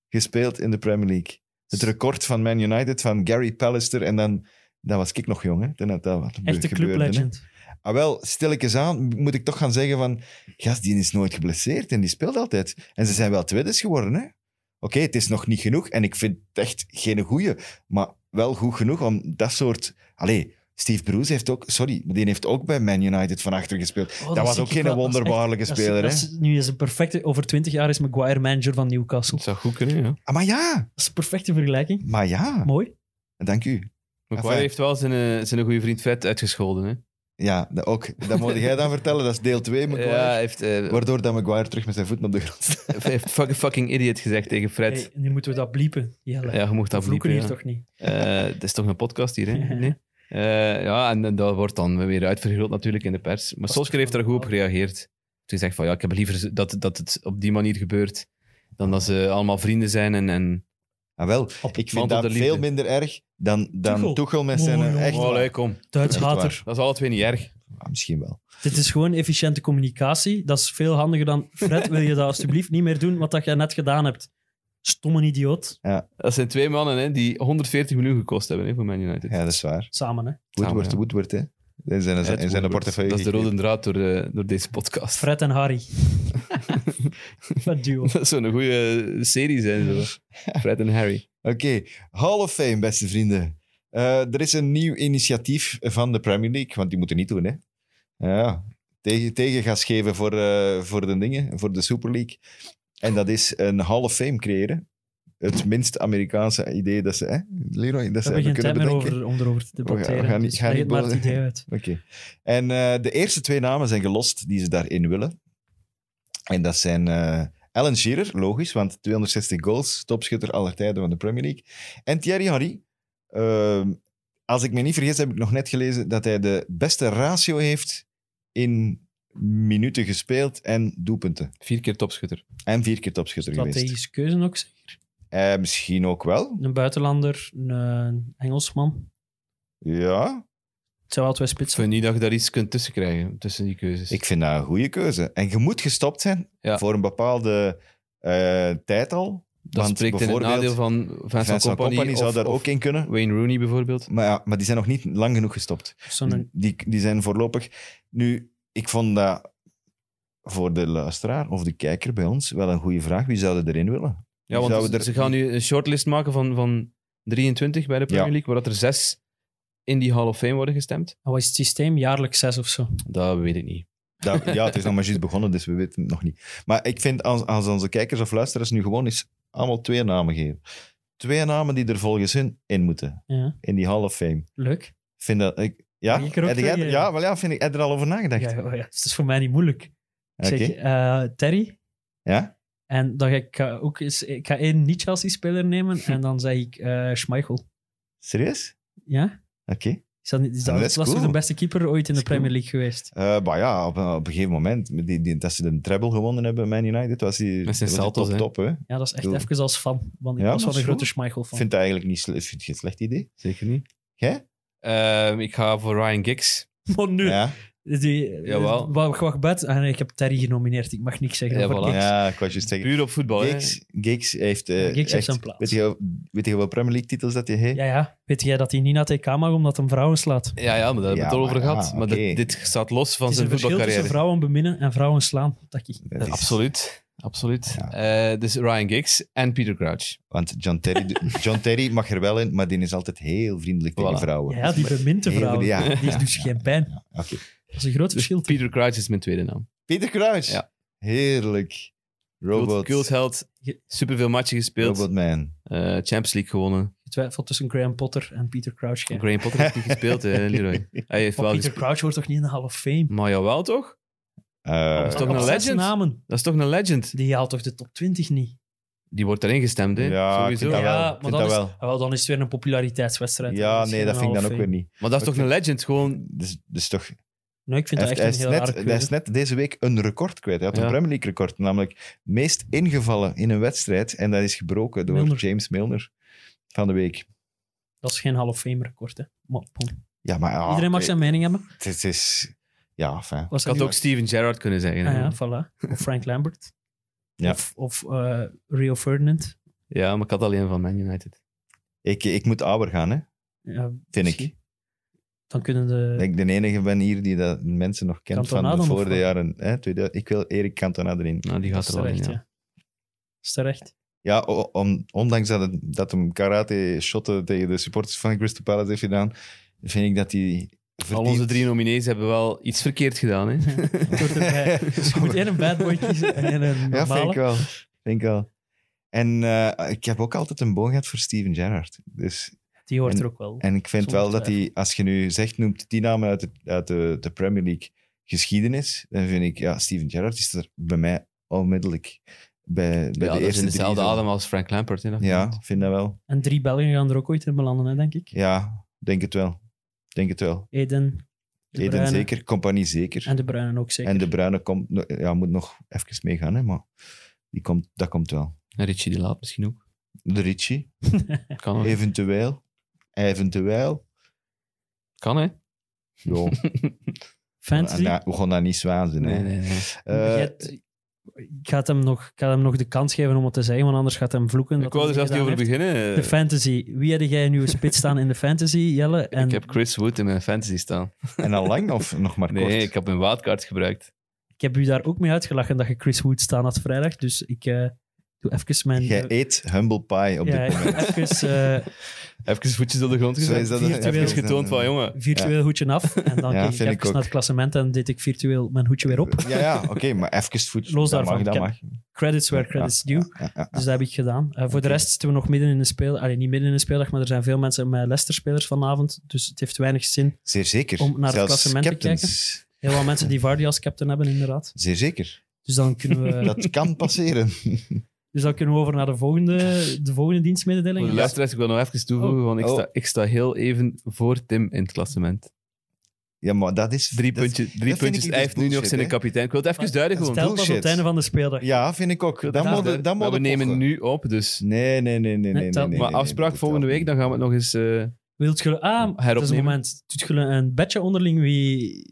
[SPEAKER 2] gespeeld in de Premier League. Het record van Man United van Gary Pallister. En dan, dat was ik nog jong, hè? Toen dat, dat wat
[SPEAKER 4] Echte
[SPEAKER 2] gebeurde, hè.
[SPEAKER 4] clublegend.
[SPEAKER 2] Ah, wel, stilletjes aan moet ik toch gaan zeggen van... Gast, die is nooit geblesseerd en die speelt altijd. En ze zijn wel tweedes geworden, hè? Oké, het is nog niet genoeg en ik vind het echt geen goeie. Maar wel goed genoeg om dat soort... Allee, Steve Bruce heeft ook... Sorry, die heeft ook bij Man United van achter gespeeld.
[SPEAKER 4] Oh,
[SPEAKER 2] dat,
[SPEAKER 4] zie
[SPEAKER 2] was
[SPEAKER 4] ik
[SPEAKER 2] ook geen
[SPEAKER 4] wel. Dat is echt-
[SPEAKER 2] wonderbaarlijke
[SPEAKER 4] dat is-
[SPEAKER 2] speler,
[SPEAKER 4] dat
[SPEAKER 2] hè?
[SPEAKER 4] is- Nu is een perfecte... Over 20 jaar is Maguire manager van Newcastle.
[SPEAKER 3] Dat zou goed kunnen, ja.
[SPEAKER 2] Ah, maar ja,
[SPEAKER 4] Dat is een perfecte vergelijking.
[SPEAKER 2] maar ja.
[SPEAKER 4] Mooi.
[SPEAKER 2] Dank u.
[SPEAKER 3] McQuarrie
[SPEAKER 2] Enfin.
[SPEAKER 3] heeft wel zijn, eh, zijn goede vriend Vet uitgescholden, hè.
[SPEAKER 2] Ja, dat ook. Dat moet jij dan vertellen. Dat is deel 2, Maguire.
[SPEAKER 3] Ja, hij heeft, eh,
[SPEAKER 2] Waardoor dat Maguire terug met zijn voeten op de grond staat.
[SPEAKER 3] hij heeft fuck- fucking idiot gezegd tegen Fred.
[SPEAKER 4] Hey, nu moeten we dat bliepen, Jelle.
[SPEAKER 3] Ja, je mocht dat
[SPEAKER 4] We vloeken
[SPEAKER 3] bliepen, ja.
[SPEAKER 4] hier toch niet.
[SPEAKER 3] Eh, Het is toch een podcast hier, hè? Nee? Eh, ja, en, en dat wordt dan weer uitvergroot natuurlijk in de pers. Maar
[SPEAKER 4] is
[SPEAKER 3] Solskjaer heeft daar goed op
[SPEAKER 4] normaal.
[SPEAKER 3] gereageerd. Toen gezegd van, ja, ik heb liever dat, dat het op die manier gebeurt dan dat ze allemaal vrienden zijn en... en
[SPEAKER 2] Ah, wel.
[SPEAKER 4] Op
[SPEAKER 2] Ik vind
[SPEAKER 3] mantel
[SPEAKER 2] dat
[SPEAKER 3] de liefde.
[SPEAKER 2] veel minder erg dan, dan
[SPEAKER 4] Tuchel.
[SPEAKER 2] Tuchel met zijn...
[SPEAKER 4] Oh,
[SPEAKER 2] eh,
[SPEAKER 4] jongen.
[SPEAKER 2] echt
[SPEAKER 3] oh,
[SPEAKER 2] waar.
[SPEAKER 3] leuk, kom.
[SPEAKER 4] Duits
[SPEAKER 2] Echt waar.
[SPEAKER 4] hater.
[SPEAKER 3] Dat is alle twee niet erg.
[SPEAKER 2] Ah, misschien wel.
[SPEAKER 4] Dit is gewoon efficiënte communicatie. Dat is veel handiger dan... Fred, wil je dat alsjeblieft niet meer doen wat dat jij net gedaan hebt? Stomme idioot.
[SPEAKER 3] Dat zijn twee mannen hè, die 140 miljoen gekost hebben hè, voor Man United.
[SPEAKER 2] Ja, dat is waar.
[SPEAKER 4] Samen, hè.
[SPEAKER 2] Woodward,
[SPEAKER 3] ja.
[SPEAKER 2] Woodward, hè. In zijn,
[SPEAKER 3] Ed
[SPEAKER 2] in zijn
[SPEAKER 3] Woodward.
[SPEAKER 2] portefeuille.
[SPEAKER 3] Dat is de
[SPEAKER 2] gekregen.
[SPEAKER 3] rode draad door, eh, door deze podcast.
[SPEAKER 4] Fred en Harry. Wat duo.
[SPEAKER 3] Dat zou een goede serie zijn. Zo. Fred en Harry.
[SPEAKER 2] Oké, Hall of Fame, beste vrienden. Eh, er is een nieuw initiatief van de Premier League, want die moeten niet doen, hè. Ja, tegen, tegengas geven voor, eh, voor de dingen, voor de Super League. En dat is een Hall of Fame creëren. Het minst Amerikaanse idee dat ze... Hè? Leroy, dat
[SPEAKER 4] We
[SPEAKER 2] ze
[SPEAKER 4] hebben
[SPEAKER 2] hebben
[SPEAKER 4] geen tijd
[SPEAKER 2] kunnen
[SPEAKER 4] meer
[SPEAKER 2] bedenken.
[SPEAKER 4] over, om erover te
[SPEAKER 2] gaan- we
[SPEAKER 4] debatteren.
[SPEAKER 2] gaan niet-
[SPEAKER 4] dus
[SPEAKER 2] gaan
[SPEAKER 4] leg
[SPEAKER 2] niet
[SPEAKER 4] het maar het
[SPEAKER 2] boven-
[SPEAKER 4] idee uit.
[SPEAKER 2] Oké. En eh, de eerste twee namen zijn gelost die ze daarin willen. En dat zijn eh, Alan Shearer, logisch, want 260 goals, topschutter aller tijden van de Premier League. En Thierry Henry. Ehm, als ik me niet vergis, heb ik nog net gelezen dat hij de beste ratio heeft in minuten gespeeld en doelpunten.
[SPEAKER 3] Vier keer topschutter.
[SPEAKER 2] En vier keer topschutter geweest.
[SPEAKER 4] Strategische keuze ook, zeker.
[SPEAKER 2] Eh, misschien ook wel.
[SPEAKER 4] Een buitenlander, een, een Engelsman.
[SPEAKER 2] Ja,
[SPEAKER 4] Het zijn wel twee
[SPEAKER 3] Ik
[SPEAKER 4] spitsen.
[SPEAKER 3] vind niet dat je daar iets kunt tussen krijgen, tussen die keuzes.
[SPEAKER 2] Dus ik vind dat een goede keuze. En je moet gestopt zijn
[SPEAKER 3] Ja.
[SPEAKER 2] voor een bepaalde eh, tijd al.
[SPEAKER 3] dat
[SPEAKER 2] want
[SPEAKER 3] spreekt in het
[SPEAKER 2] bijvoorbeeld-
[SPEAKER 3] nadeel van Vincent,
[SPEAKER 2] Vincent
[SPEAKER 3] Company,
[SPEAKER 2] Company, zou
[SPEAKER 3] of-
[SPEAKER 2] daar
[SPEAKER 3] of
[SPEAKER 2] ook in kunnen.
[SPEAKER 3] Wayne Rooney bijvoorbeeld.
[SPEAKER 2] Maar, ja, maar die zijn nog niet lang genoeg gestopt.
[SPEAKER 4] Zo'n
[SPEAKER 2] Die, die zijn voorlopig... Nu, ik vond dat voor de luisteraar of de kijker bij ons wel een goede vraag. Wie zouden erin willen?
[SPEAKER 3] Ja,
[SPEAKER 2] Wie
[SPEAKER 3] want
[SPEAKER 2] zouden
[SPEAKER 3] ze,
[SPEAKER 2] er-
[SPEAKER 3] ze gaan nu een shortlist maken van, van 23 bij de Premier
[SPEAKER 2] Ja.
[SPEAKER 3] League, waar dat er zes in die Hall of Fame worden gestemd.
[SPEAKER 4] wat is het systeem? Jaarlijks zes of zo.
[SPEAKER 3] Dat weet ik niet.
[SPEAKER 2] Dat- ja, het is nog maar juist begonnen, dus we weten het nog niet. Maar ik vind, als, als onze kijkers of luisteraars nu gewoon eens allemaal twee namen geven. Twee namen die er volgens hun in moeten.
[SPEAKER 4] Ja,
[SPEAKER 2] In die Hall of Fame.
[SPEAKER 4] leuk.
[SPEAKER 2] Vind dat... Ik, ja?
[SPEAKER 4] Mag ik er ook
[SPEAKER 2] Heb jij-
[SPEAKER 4] twee, eh?
[SPEAKER 2] ja, wel ja, vind ik. Heb je er al over nagedacht?
[SPEAKER 4] Ja, oh ja, het is voor mij niet moeilijk. Ik
[SPEAKER 2] Oké.
[SPEAKER 4] zeg eh, Terry.
[SPEAKER 2] Ja?
[SPEAKER 4] En dan ga ik eh, ook eens... Ik ga één niet-Chelsea-speler nemen en dan zeg ik eh Schmeichel.
[SPEAKER 2] Serieus?
[SPEAKER 4] Ja?
[SPEAKER 2] Oké.
[SPEAKER 4] Is dat, niet, is
[SPEAKER 2] Ah,
[SPEAKER 4] dat
[SPEAKER 2] dat is
[SPEAKER 4] was
[SPEAKER 2] cool.
[SPEAKER 4] de beste keeper ooit in de
[SPEAKER 2] Dat is cool.
[SPEAKER 4] Premier League geweest?
[SPEAKER 2] Eh, maar ja, op, op een gegeven moment, met die, die, dat ze de treble gewonnen hebben, Man United, was die
[SPEAKER 3] Met zijn
[SPEAKER 2] was die
[SPEAKER 3] salto's,
[SPEAKER 2] top,
[SPEAKER 3] hè?
[SPEAKER 2] top, hè.
[SPEAKER 4] Ja, dat is echt
[SPEAKER 2] Cool.
[SPEAKER 4] even als fan. Want ik
[SPEAKER 2] Ja,
[SPEAKER 4] was
[SPEAKER 2] maar
[SPEAKER 4] wel een
[SPEAKER 2] is
[SPEAKER 4] grote
[SPEAKER 2] goed. Ik
[SPEAKER 4] Schmeichel-fan.
[SPEAKER 2] vind dat eigenlijk niet, sle- ik vind het geen slecht idee.
[SPEAKER 3] Zeker niet.
[SPEAKER 2] Jij?
[SPEAKER 3] Ehm, ik ga voor Ryan Giggs.
[SPEAKER 4] Maar nu...
[SPEAKER 2] Ja,
[SPEAKER 4] Die,
[SPEAKER 3] Jawel.
[SPEAKER 4] eh, Wacht, wacht, bed. Ah, nee, ik heb Terry genomineerd. Ik mag niks zeggen
[SPEAKER 3] Ja,
[SPEAKER 4] over
[SPEAKER 3] voilà.
[SPEAKER 4] niks.
[SPEAKER 2] ja ik was juist zeggen.
[SPEAKER 3] Puur op voetbal, hè.
[SPEAKER 2] Giggs, Giggs heeft... eh,
[SPEAKER 4] Ja, Giggs heeft
[SPEAKER 2] echt-
[SPEAKER 4] zijn plaats.
[SPEAKER 2] Weet je, Weet je wel Premier League titels dat je heeft?
[SPEAKER 4] Ja, ja. Weet jij dat hij niet naar TK mag omdat hem vrouwen slaat?
[SPEAKER 3] Ja, ja, maar daar hebben we
[SPEAKER 2] Ja,
[SPEAKER 3] het al over
[SPEAKER 2] maar ja,
[SPEAKER 3] gehad. Maar
[SPEAKER 2] oké.
[SPEAKER 3] dit, dit staat los van
[SPEAKER 4] Het is
[SPEAKER 3] zijn
[SPEAKER 4] een verschil tussen
[SPEAKER 3] voetbalcarrière.
[SPEAKER 4] vrouwen beminnen en vrouwen slaan. Takkie.
[SPEAKER 2] Dat is-
[SPEAKER 3] Absoluut. Absoluut.
[SPEAKER 2] Ja.
[SPEAKER 3] Eh, dus Ryan Giggs en Peter Crouch.
[SPEAKER 2] Want John Terry, John Terry mag er wel in, maar die is altijd heel vriendelijk tegen
[SPEAKER 3] Voilà.
[SPEAKER 2] vrouwen.
[SPEAKER 4] Ja, die bemint de
[SPEAKER 2] Heel-
[SPEAKER 4] vrouwen.
[SPEAKER 2] ja.
[SPEAKER 4] Die is dus geen pijn.
[SPEAKER 2] Oké.
[SPEAKER 4] Dat is een groot
[SPEAKER 3] Dus
[SPEAKER 4] verschil.
[SPEAKER 3] Peter Crouch is mijn tweede naam.
[SPEAKER 2] Peter Crouch.
[SPEAKER 3] Ja.
[SPEAKER 2] Heerlijk.
[SPEAKER 3] Cult,
[SPEAKER 2] Robot.
[SPEAKER 3] cultheld. Superveel matchen gespeeld.
[SPEAKER 2] Robotman.
[SPEAKER 3] eh, Champions League gewonnen.
[SPEAKER 4] Getwijfeld tussen Graham Potter en Peter Crouch. ja.
[SPEAKER 3] Graham Potter heeft niet gespeeld, eh, Leroy. Hij heeft
[SPEAKER 4] Maar
[SPEAKER 3] wel
[SPEAKER 4] Peter
[SPEAKER 3] gespeeld.
[SPEAKER 4] Crouch wordt toch niet in de Hall of Fame?
[SPEAKER 3] Maar jawel toch?
[SPEAKER 2] Eh,
[SPEAKER 3] Dat is toch
[SPEAKER 4] Op
[SPEAKER 3] een
[SPEAKER 4] zes
[SPEAKER 3] legend?
[SPEAKER 4] namen.
[SPEAKER 3] Dat is toch een legend?
[SPEAKER 4] Die haalt toch de top 20 niet?
[SPEAKER 3] Die wordt erin gestemd, hè?
[SPEAKER 2] ja, ik
[SPEAKER 3] Sowieso.
[SPEAKER 2] vind dat wel.
[SPEAKER 4] Ja,
[SPEAKER 2] Ik
[SPEAKER 4] maar
[SPEAKER 2] vind
[SPEAKER 4] dan,
[SPEAKER 2] dat
[SPEAKER 4] is,
[SPEAKER 2] wel.
[SPEAKER 4] ah, wel, dan is het weer een populariteitswedstrijd.
[SPEAKER 2] Ja,
[SPEAKER 4] Dat is
[SPEAKER 2] nee,
[SPEAKER 4] geen
[SPEAKER 2] dat vind ik
[SPEAKER 4] Hall
[SPEAKER 2] dan
[SPEAKER 4] of
[SPEAKER 2] ook weer
[SPEAKER 4] Fame.
[SPEAKER 2] niet.
[SPEAKER 3] Maar dat is toch een legend? Gewoon
[SPEAKER 2] Dus, dus toch,
[SPEAKER 4] Nee, ik vind
[SPEAKER 2] hij,
[SPEAKER 4] dat
[SPEAKER 2] hij
[SPEAKER 4] echt
[SPEAKER 2] is
[SPEAKER 4] een heel
[SPEAKER 2] net,
[SPEAKER 4] raar
[SPEAKER 2] hij is net deze week een record kwijt. Hij had
[SPEAKER 3] Ja.
[SPEAKER 2] een Premier League record, namelijk meest ingevallen in een wedstrijd. En dat is gebroken door
[SPEAKER 4] Milner.
[SPEAKER 2] James Milner van de week.
[SPEAKER 4] Dat is geen Hall of Fame record. Hè. Maar, bon.
[SPEAKER 2] Ja, maar ah,
[SPEAKER 4] Iedereen mag
[SPEAKER 2] oké.
[SPEAKER 4] zijn mening hebben.
[SPEAKER 2] Het, is- het is... Ja, fijn.
[SPEAKER 4] Was
[SPEAKER 3] Ik had ook Steven Gerrard kunnen zeggen.
[SPEAKER 4] Ah
[SPEAKER 3] hè.
[SPEAKER 4] ja, voilà. Of Frank Lambert.
[SPEAKER 2] Ja.
[SPEAKER 4] Of, of eh, Rio Ferdinand.
[SPEAKER 3] Ja, maar ik had alleen van Man United.
[SPEAKER 2] Ik, ik moet ouder gaan, hè.
[SPEAKER 4] Ja,
[SPEAKER 2] vind ik.
[SPEAKER 4] misschien. Dan kunnen de...
[SPEAKER 2] Dat ik de enige ben hier die dat mensen nog kent
[SPEAKER 4] Cantona
[SPEAKER 2] van
[SPEAKER 4] dan,
[SPEAKER 2] de
[SPEAKER 4] of
[SPEAKER 2] voor de
[SPEAKER 4] wat?
[SPEAKER 2] jaren... Hè, 2000. ik wil Erik Cantona erin.
[SPEAKER 3] Nou, die
[SPEAKER 4] dat
[SPEAKER 3] gaat
[SPEAKER 4] is
[SPEAKER 3] er wel in,
[SPEAKER 4] terecht,
[SPEAKER 3] ja.
[SPEAKER 4] ja. Dat is terecht.
[SPEAKER 2] Ja, o- om, ondanks dat, het, dat hem karate-shotten tegen de supporters van Crystal Palace heeft gedaan, vind ik dat hij...
[SPEAKER 3] Al onze drie nominees hebben wel iets verkeerd gedaan, hè?
[SPEAKER 4] Het hoort erbij. Dus je moet één een bad boy kiezen en
[SPEAKER 2] Ja,
[SPEAKER 4] een
[SPEAKER 2] vind ik
[SPEAKER 4] normale.
[SPEAKER 2] wel. Vind ik wel. En eh, ik heb ook altijd een boon gehad voor Steven Gerrard. Dus,
[SPEAKER 4] Die hoort
[SPEAKER 2] En-
[SPEAKER 4] er ook wel.
[SPEAKER 2] en ik vind
[SPEAKER 4] Zonder
[SPEAKER 2] wel dat hij, als je nu zegt, noemt die namen uit de, uit de, de Premier League geschiedenis, dan vind ik, ja, Steven Gerrard is er bij mij onmiddellijk bij, bij
[SPEAKER 3] Ja,
[SPEAKER 2] de
[SPEAKER 3] dat is
[SPEAKER 2] eerste
[SPEAKER 3] in dezelfde
[SPEAKER 2] drie zo.
[SPEAKER 3] adem als Frank Lampert. Hè, dat
[SPEAKER 2] Ja,
[SPEAKER 3] klopt.
[SPEAKER 2] vind dat wel.
[SPEAKER 4] En drie Belgen gaan er ook ooit in belanden, hè, denk ik.
[SPEAKER 2] Ja, denk het wel. Denk het wel.
[SPEAKER 4] Eden, de
[SPEAKER 2] Eden
[SPEAKER 4] Bruyne
[SPEAKER 2] zeker, Compagnie zeker.
[SPEAKER 4] En de Bruinen ook zeker.
[SPEAKER 2] En de Bruine komt, no- ja, moet nog even meegaan, hè, maar die komt, dat komt wel.
[SPEAKER 3] En Richie die laat misschien ook.
[SPEAKER 2] De Ritchie,
[SPEAKER 3] Kan, ook.
[SPEAKER 2] eventueel. Eventueel.
[SPEAKER 3] kan hè?
[SPEAKER 2] Jo,
[SPEAKER 4] Fantasy?
[SPEAKER 2] na- we gaan dat niet zwaanzin.
[SPEAKER 3] Nee,
[SPEAKER 2] hè.
[SPEAKER 3] nee, nee.
[SPEAKER 2] Eh,
[SPEAKER 4] Jij- ik, ga het hem nog, ik ga hem nog de kans geven om het te zeggen, want anders gaat hij hem vloeken.
[SPEAKER 3] ik
[SPEAKER 4] dat
[SPEAKER 3] wou er
[SPEAKER 4] hij
[SPEAKER 3] zelfs niet
[SPEAKER 4] gedaan
[SPEAKER 3] over
[SPEAKER 4] heeft.
[SPEAKER 3] beginnen.
[SPEAKER 4] De fantasy. Wie had jij in uw spits staan in de fantasy, Jelle? En
[SPEAKER 3] Ik heb Chris Wood in mijn fantasy staan.
[SPEAKER 2] En al lang of nog maar
[SPEAKER 3] Nee,
[SPEAKER 2] kort?
[SPEAKER 3] ik heb een wildcard gebruikt.
[SPEAKER 4] ik heb u daar ook mee uitgelachen dat je Chris Wood staan had vrijdag. Dus ik eh, doe even mijn...
[SPEAKER 2] Jij eet humble pie op
[SPEAKER 4] ja,
[SPEAKER 2] dit moment.
[SPEAKER 4] even eh,
[SPEAKER 3] Even voetjes op de grond
[SPEAKER 2] Zo
[SPEAKER 3] gezet.
[SPEAKER 2] is dat-
[SPEAKER 3] Even
[SPEAKER 4] virtueel-
[SPEAKER 3] getoond van, jongen.
[SPEAKER 4] virtueel hoedje af. En dan
[SPEAKER 2] Ja,
[SPEAKER 4] keek ik
[SPEAKER 2] vind
[SPEAKER 4] even
[SPEAKER 2] ik ook.
[SPEAKER 4] naar het klassement en deed ik virtueel mijn hoedje weer op.
[SPEAKER 2] Ja, ja, oké, maar even voet.
[SPEAKER 4] Los
[SPEAKER 2] dat
[SPEAKER 4] daarvan,
[SPEAKER 2] Mag, dat
[SPEAKER 4] ken-
[SPEAKER 2] mag.
[SPEAKER 4] Credits where
[SPEAKER 2] Ja,
[SPEAKER 4] credits due.
[SPEAKER 2] Ja, ja.
[SPEAKER 4] Dus dat heb ik gedaan. Eh, voor de rest zitten we nog midden in de speel. Allee, niet midden in de speeldag, maar er zijn veel mensen met Leicester-spelers vanavond. Dus het heeft weinig zin.
[SPEAKER 2] Zeer zeker.
[SPEAKER 4] Om naar het
[SPEAKER 2] Zelfs
[SPEAKER 4] klassement te
[SPEAKER 2] captains.
[SPEAKER 4] Heel wat mensen die Vardy als captain hebben, inderdaad.
[SPEAKER 2] Zeer zeker.
[SPEAKER 4] Dus dan kunnen we,
[SPEAKER 2] Dat kan passeren.
[SPEAKER 4] dus dan kunnen we over naar de volgende, de volgende dienstmededeling.
[SPEAKER 3] Voor de luisteraars, ik wil nog even toevoegen, want ik
[SPEAKER 2] Oh.
[SPEAKER 3] sta, ik sta heel even voor Tim in het klassement.
[SPEAKER 2] Ja, maar dat is...
[SPEAKER 3] Drie,
[SPEAKER 2] dat-
[SPEAKER 3] puntje, drie
[SPEAKER 2] vind
[SPEAKER 3] puntjes.
[SPEAKER 2] ik dus
[SPEAKER 3] Hij heeft nu nog
[SPEAKER 2] bullshit,
[SPEAKER 3] zijn
[SPEAKER 2] hè?
[SPEAKER 3] kapitein. Ik wil het even
[SPEAKER 4] Maar-
[SPEAKER 3] duiden
[SPEAKER 2] dat is
[SPEAKER 3] gewoon.
[SPEAKER 4] Stel pas op
[SPEAKER 2] Bullshit.
[SPEAKER 4] het einde van de speeldag.
[SPEAKER 2] Ja, vind ik ook. Dan
[SPEAKER 4] Ja,
[SPEAKER 2] moet je- dan
[SPEAKER 3] Maar
[SPEAKER 2] moet
[SPEAKER 3] we
[SPEAKER 2] je
[SPEAKER 3] nemen
[SPEAKER 2] pochen.
[SPEAKER 3] nu op, dus...
[SPEAKER 2] Nee, nee, nee, nee. nee, nee,
[SPEAKER 4] telt-
[SPEAKER 2] nee,
[SPEAKER 3] maar
[SPEAKER 2] nee,
[SPEAKER 3] afspraak
[SPEAKER 2] nee,
[SPEAKER 3] volgende
[SPEAKER 2] telt
[SPEAKER 3] week, dan gaan we het nog eens... eh,
[SPEAKER 4] Wilt je... Ah, dat is een
[SPEAKER 3] Heropnemen.
[SPEAKER 4] moment. Doet je een bedje onderling wie...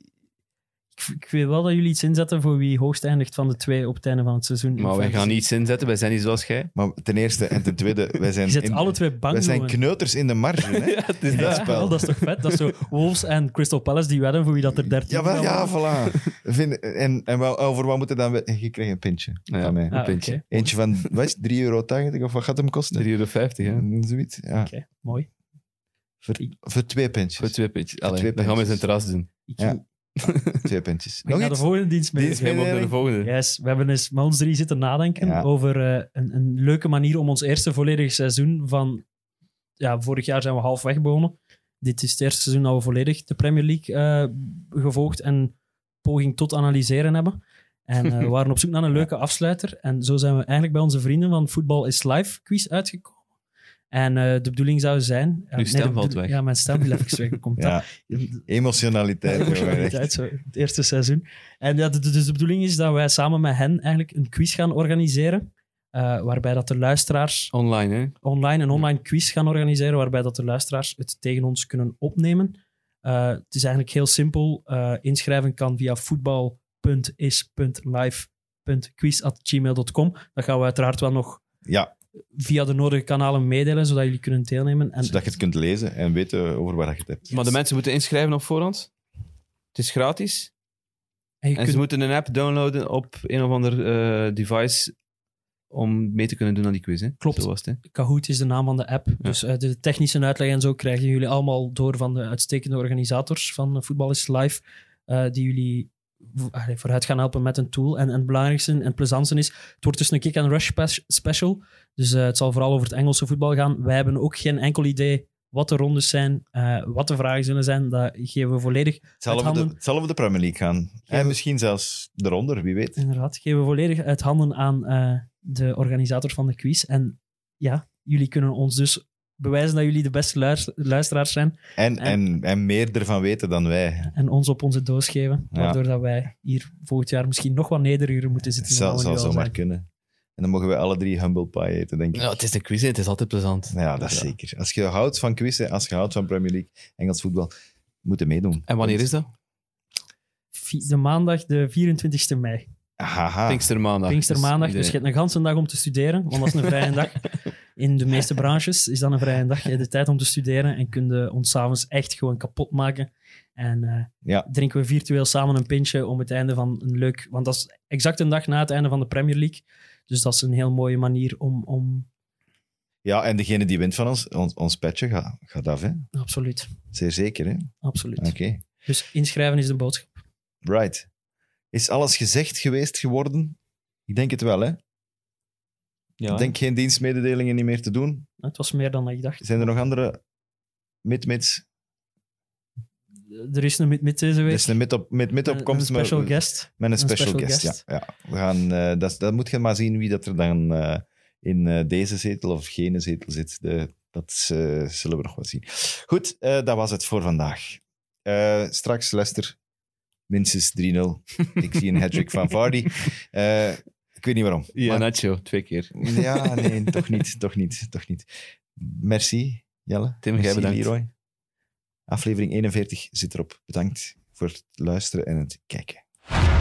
[SPEAKER 4] Ik, ik weet wel dat jullie iets inzetten voor wie hoogst eindigt van de twee op het einde van het seizoen. in
[SPEAKER 3] maar wij
[SPEAKER 4] fantasy.
[SPEAKER 3] gaan niets inzetten, wij zijn niet zoals jij.
[SPEAKER 2] Maar ten eerste en ten tweede, wij zijn,
[SPEAKER 4] Je zet
[SPEAKER 2] in-
[SPEAKER 4] alle twee bang,
[SPEAKER 2] wij zijn
[SPEAKER 4] jongen.
[SPEAKER 2] kneuters in de marge. Hè?
[SPEAKER 3] Ja, het is
[SPEAKER 2] dat
[SPEAKER 4] Ja,
[SPEAKER 2] spel.
[SPEAKER 4] wel, dat is toch vet? Dat is zo Wolves en Crystal Palace die wedden voor wie dat er 13
[SPEAKER 2] Ja, wel,
[SPEAKER 4] gaan
[SPEAKER 2] ja,
[SPEAKER 4] worden.
[SPEAKER 2] voilà. Vind- en en wel, over wat moeten dan... we- Je kreeg een pintje
[SPEAKER 3] Ja.
[SPEAKER 2] van mij.
[SPEAKER 3] een puntje.
[SPEAKER 4] Ah, oké.
[SPEAKER 2] Eentje van, wat is het, 3,80 euro of wat gaat hem kosten?
[SPEAKER 3] 3,50 hè.
[SPEAKER 2] Mm, Zoiets, ja.
[SPEAKER 4] Oké, mooi.
[SPEAKER 2] Voor, voor twee pintjes.
[SPEAKER 3] Voor twee puntjes. Allee,
[SPEAKER 2] twee
[SPEAKER 3] dan gaan we eens een
[SPEAKER 2] puntjes.
[SPEAKER 3] terras doen.
[SPEAKER 4] Ik,
[SPEAKER 2] Ja.
[SPEAKER 4] ik
[SPEAKER 2] Twee pintjes.
[SPEAKER 4] ga
[SPEAKER 2] Nog
[SPEAKER 4] naar de
[SPEAKER 2] iets?
[SPEAKER 4] volgende dienst mee.
[SPEAKER 2] Dienst-
[SPEAKER 3] Jij mag naar de
[SPEAKER 2] Mededeling?
[SPEAKER 3] volgende.
[SPEAKER 4] Yes, we hebben eens met ons drie zitten nadenken
[SPEAKER 2] Ja.
[SPEAKER 4] over eh, een, een leuke manier om ons eerste volledige seizoen van... Ja, vorig jaar zijn we halfweg begonnen. Dit is het eerste seizoen dat we volledig de Premier League eh, gevolgd en poging tot analyseren hebben. En eh, we waren op zoek naar een leuke afsluiter. En zo zijn we eigenlijk bij onze vrienden van Voetbal is Live quiz uitgekomen. En eh, de bedoeling zou zijn... eh,
[SPEAKER 3] stem
[SPEAKER 4] de
[SPEAKER 3] valt
[SPEAKER 4] bedoeling-
[SPEAKER 3] weg.
[SPEAKER 4] Ja, mijn stem viel even weg. Hoe Komt
[SPEAKER 2] Ja,
[SPEAKER 4] dat?
[SPEAKER 2] emotionaliteit. jongen,
[SPEAKER 4] Emotionaliteit, zo, het eerste seizoen. En ja, de- de- dus de bedoeling is dat wij samen met hen eigenlijk een quiz gaan organiseren. eh, waarbij dat de luisteraars
[SPEAKER 3] Online, hè.
[SPEAKER 4] online een online quiz gaan organiseren. Waarbij dat de luisteraars het tegen ons kunnen opnemen. Eh, het is eigenlijk heel simpel. Eh, inschrijven kan via voetbal.is.live.quiz.gmail.com. Dat gaan we uiteraard wel nog
[SPEAKER 2] Ja,
[SPEAKER 4] via de nodige kanalen meedelen, zodat jullie kunnen deelnemen. En
[SPEAKER 2] Zodat je het kunt lezen en weten over waar je het hebt.
[SPEAKER 3] Maar de mensen moeten inschrijven op voorhand. Het is gratis.
[SPEAKER 4] en je
[SPEAKER 3] En
[SPEAKER 4] kunt-
[SPEAKER 3] ze moeten een app downloaden op een of ander eh, device om mee te kunnen doen aan die quiz. Hè?
[SPEAKER 4] Klopt.
[SPEAKER 3] Zo was het, hè?
[SPEAKER 4] Kahoot is de naam van de app. Dus eh, de technische uitleg en zo krijgen jullie allemaal door van de uitstekende organisators van eh, Voetbal is Live, eh, die jullie vo- allee, vooruit gaan helpen met een tool. En, en het belangrijkste en plezantste is, het wordt dus een kick-and-rush spe- special. Dus eh, het zal vooral over het Engelse voetbal gaan. Wij hebben ook geen enkel idee wat de rondes zijn, eh, wat de vragen zullen zijn. Dat geven we volledig,
[SPEAKER 2] Hetzelfde,
[SPEAKER 4] handen-
[SPEAKER 2] hetzelfde de Premier League gaan. En misschien zelfs eronder, wie weet.
[SPEAKER 4] inderdaad, geven we volledig uit handen aan eh, de organisator van de quiz. En ja, jullie kunnen ons dus bewijzen dat jullie de beste luister- luisteraars zijn.
[SPEAKER 2] En, en, en meer ervan weten dan wij.
[SPEAKER 4] en ons op onze doos geven.
[SPEAKER 2] Ja.
[SPEAKER 4] Waardoor dat wij hier volgend jaar misschien nog wat nederiger moeten
[SPEAKER 2] Het
[SPEAKER 4] zitten. dan
[SPEAKER 2] zou,
[SPEAKER 4] we nu
[SPEAKER 2] zou
[SPEAKER 4] al
[SPEAKER 2] zomaar
[SPEAKER 4] zijn.
[SPEAKER 2] kunnen. En dan mogen wij alle drie humble pie eten, denk ik.
[SPEAKER 3] Nou, het is een quiz, hè. het is altijd plezant.
[SPEAKER 2] Nou ja, dat is zeker. Als je houdt van quizzen, als je houdt van Premier League, Engels voetbal, moet je meedoen.
[SPEAKER 3] En wanneer is dat?
[SPEAKER 4] Vi- De maandag, de 24e mei.
[SPEAKER 2] Haha.
[SPEAKER 3] Pinkstermaandag.
[SPEAKER 4] Pinkstermaandag.
[SPEAKER 3] Dus
[SPEAKER 4] Dus je
[SPEAKER 3] iedereen-
[SPEAKER 4] hebt een ganse dag om te studeren. Want dat is een vrije dag. In de meeste branches is dat een vrije dag. Je hebt de tijd om te studeren en kunnen ons s'avonds echt gewoon kapot maken. En eh,
[SPEAKER 2] Ja.
[SPEAKER 4] drinken we virtueel samen een pintje om het einde van een leuk... Want dat is exact een dag na het einde van de Premier League. Dus dat is een heel mooie manier om... om
[SPEAKER 2] Ja, en degene die wint van ons, ons, ons petje gaat, gaat af, hè?
[SPEAKER 4] absoluut,
[SPEAKER 2] Zeer zeker, hè? Oké.
[SPEAKER 4] absoluut. Dus inschrijven is de boodschap.
[SPEAKER 2] Right. Is alles gezegd geweest geworden? Ik denk het wel, hè?
[SPEAKER 3] Ja.
[SPEAKER 2] Ik denk geen dienstmededelingen niet meer te doen.
[SPEAKER 4] Het was meer dan dat ik dacht.
[SPEAKER 2] Zijn er nog andere mid-mits?
[SPEAKER 4] Er is een mid-mid deze
[SPEAKER 2] Er
[SPEAKER 4] week.
[SPEAKER 2] is een mid op, mid, mid
[SPEAKER 4] Een-
[SPEAKER 2] opkomst,
[SPEAKER 4] een special
[SPEAKER 2] maar,
[SPEAKER 4] guest.
[SPEAKER 2] met een
[SPEAKER 4] Een
[SPEAKER 2] special,
[SPEAKER 4] special
[SPEAKER 2] guest.
[SPEAKER 4] guest.
[SPEAKER 2] Ja, ja. We gaan, eh, dat, is- dat moet je maar zien wie dat er dan eh, in eh, deze zetel of gene zetel zit. De, dat is, eh, zullen we nog wel zien. Goed, eh, dat was het voor vandaag. Eh, straks Leicester, minstens 3-0. Ik zie een hat-trick van Vardy. Eh, ik weet niet waarom.
[SPEAKER 3] Ja,
[SPEAKER 2] maar-
[SPEAKER 3] Nacho, twee keer.
[SPEAKER 2] Ja, nee, toch niet, toch niet, toch niet. Merci, Jelle.
[SPEAKER 3] Tim,
[SPEAKER 2] Merci,
[SPEAKER 3] jij bedankt.
[SPEAKER 2] Leroy. Aflevering 41 zit erop. Bedankt voor het luisteren en het kijken.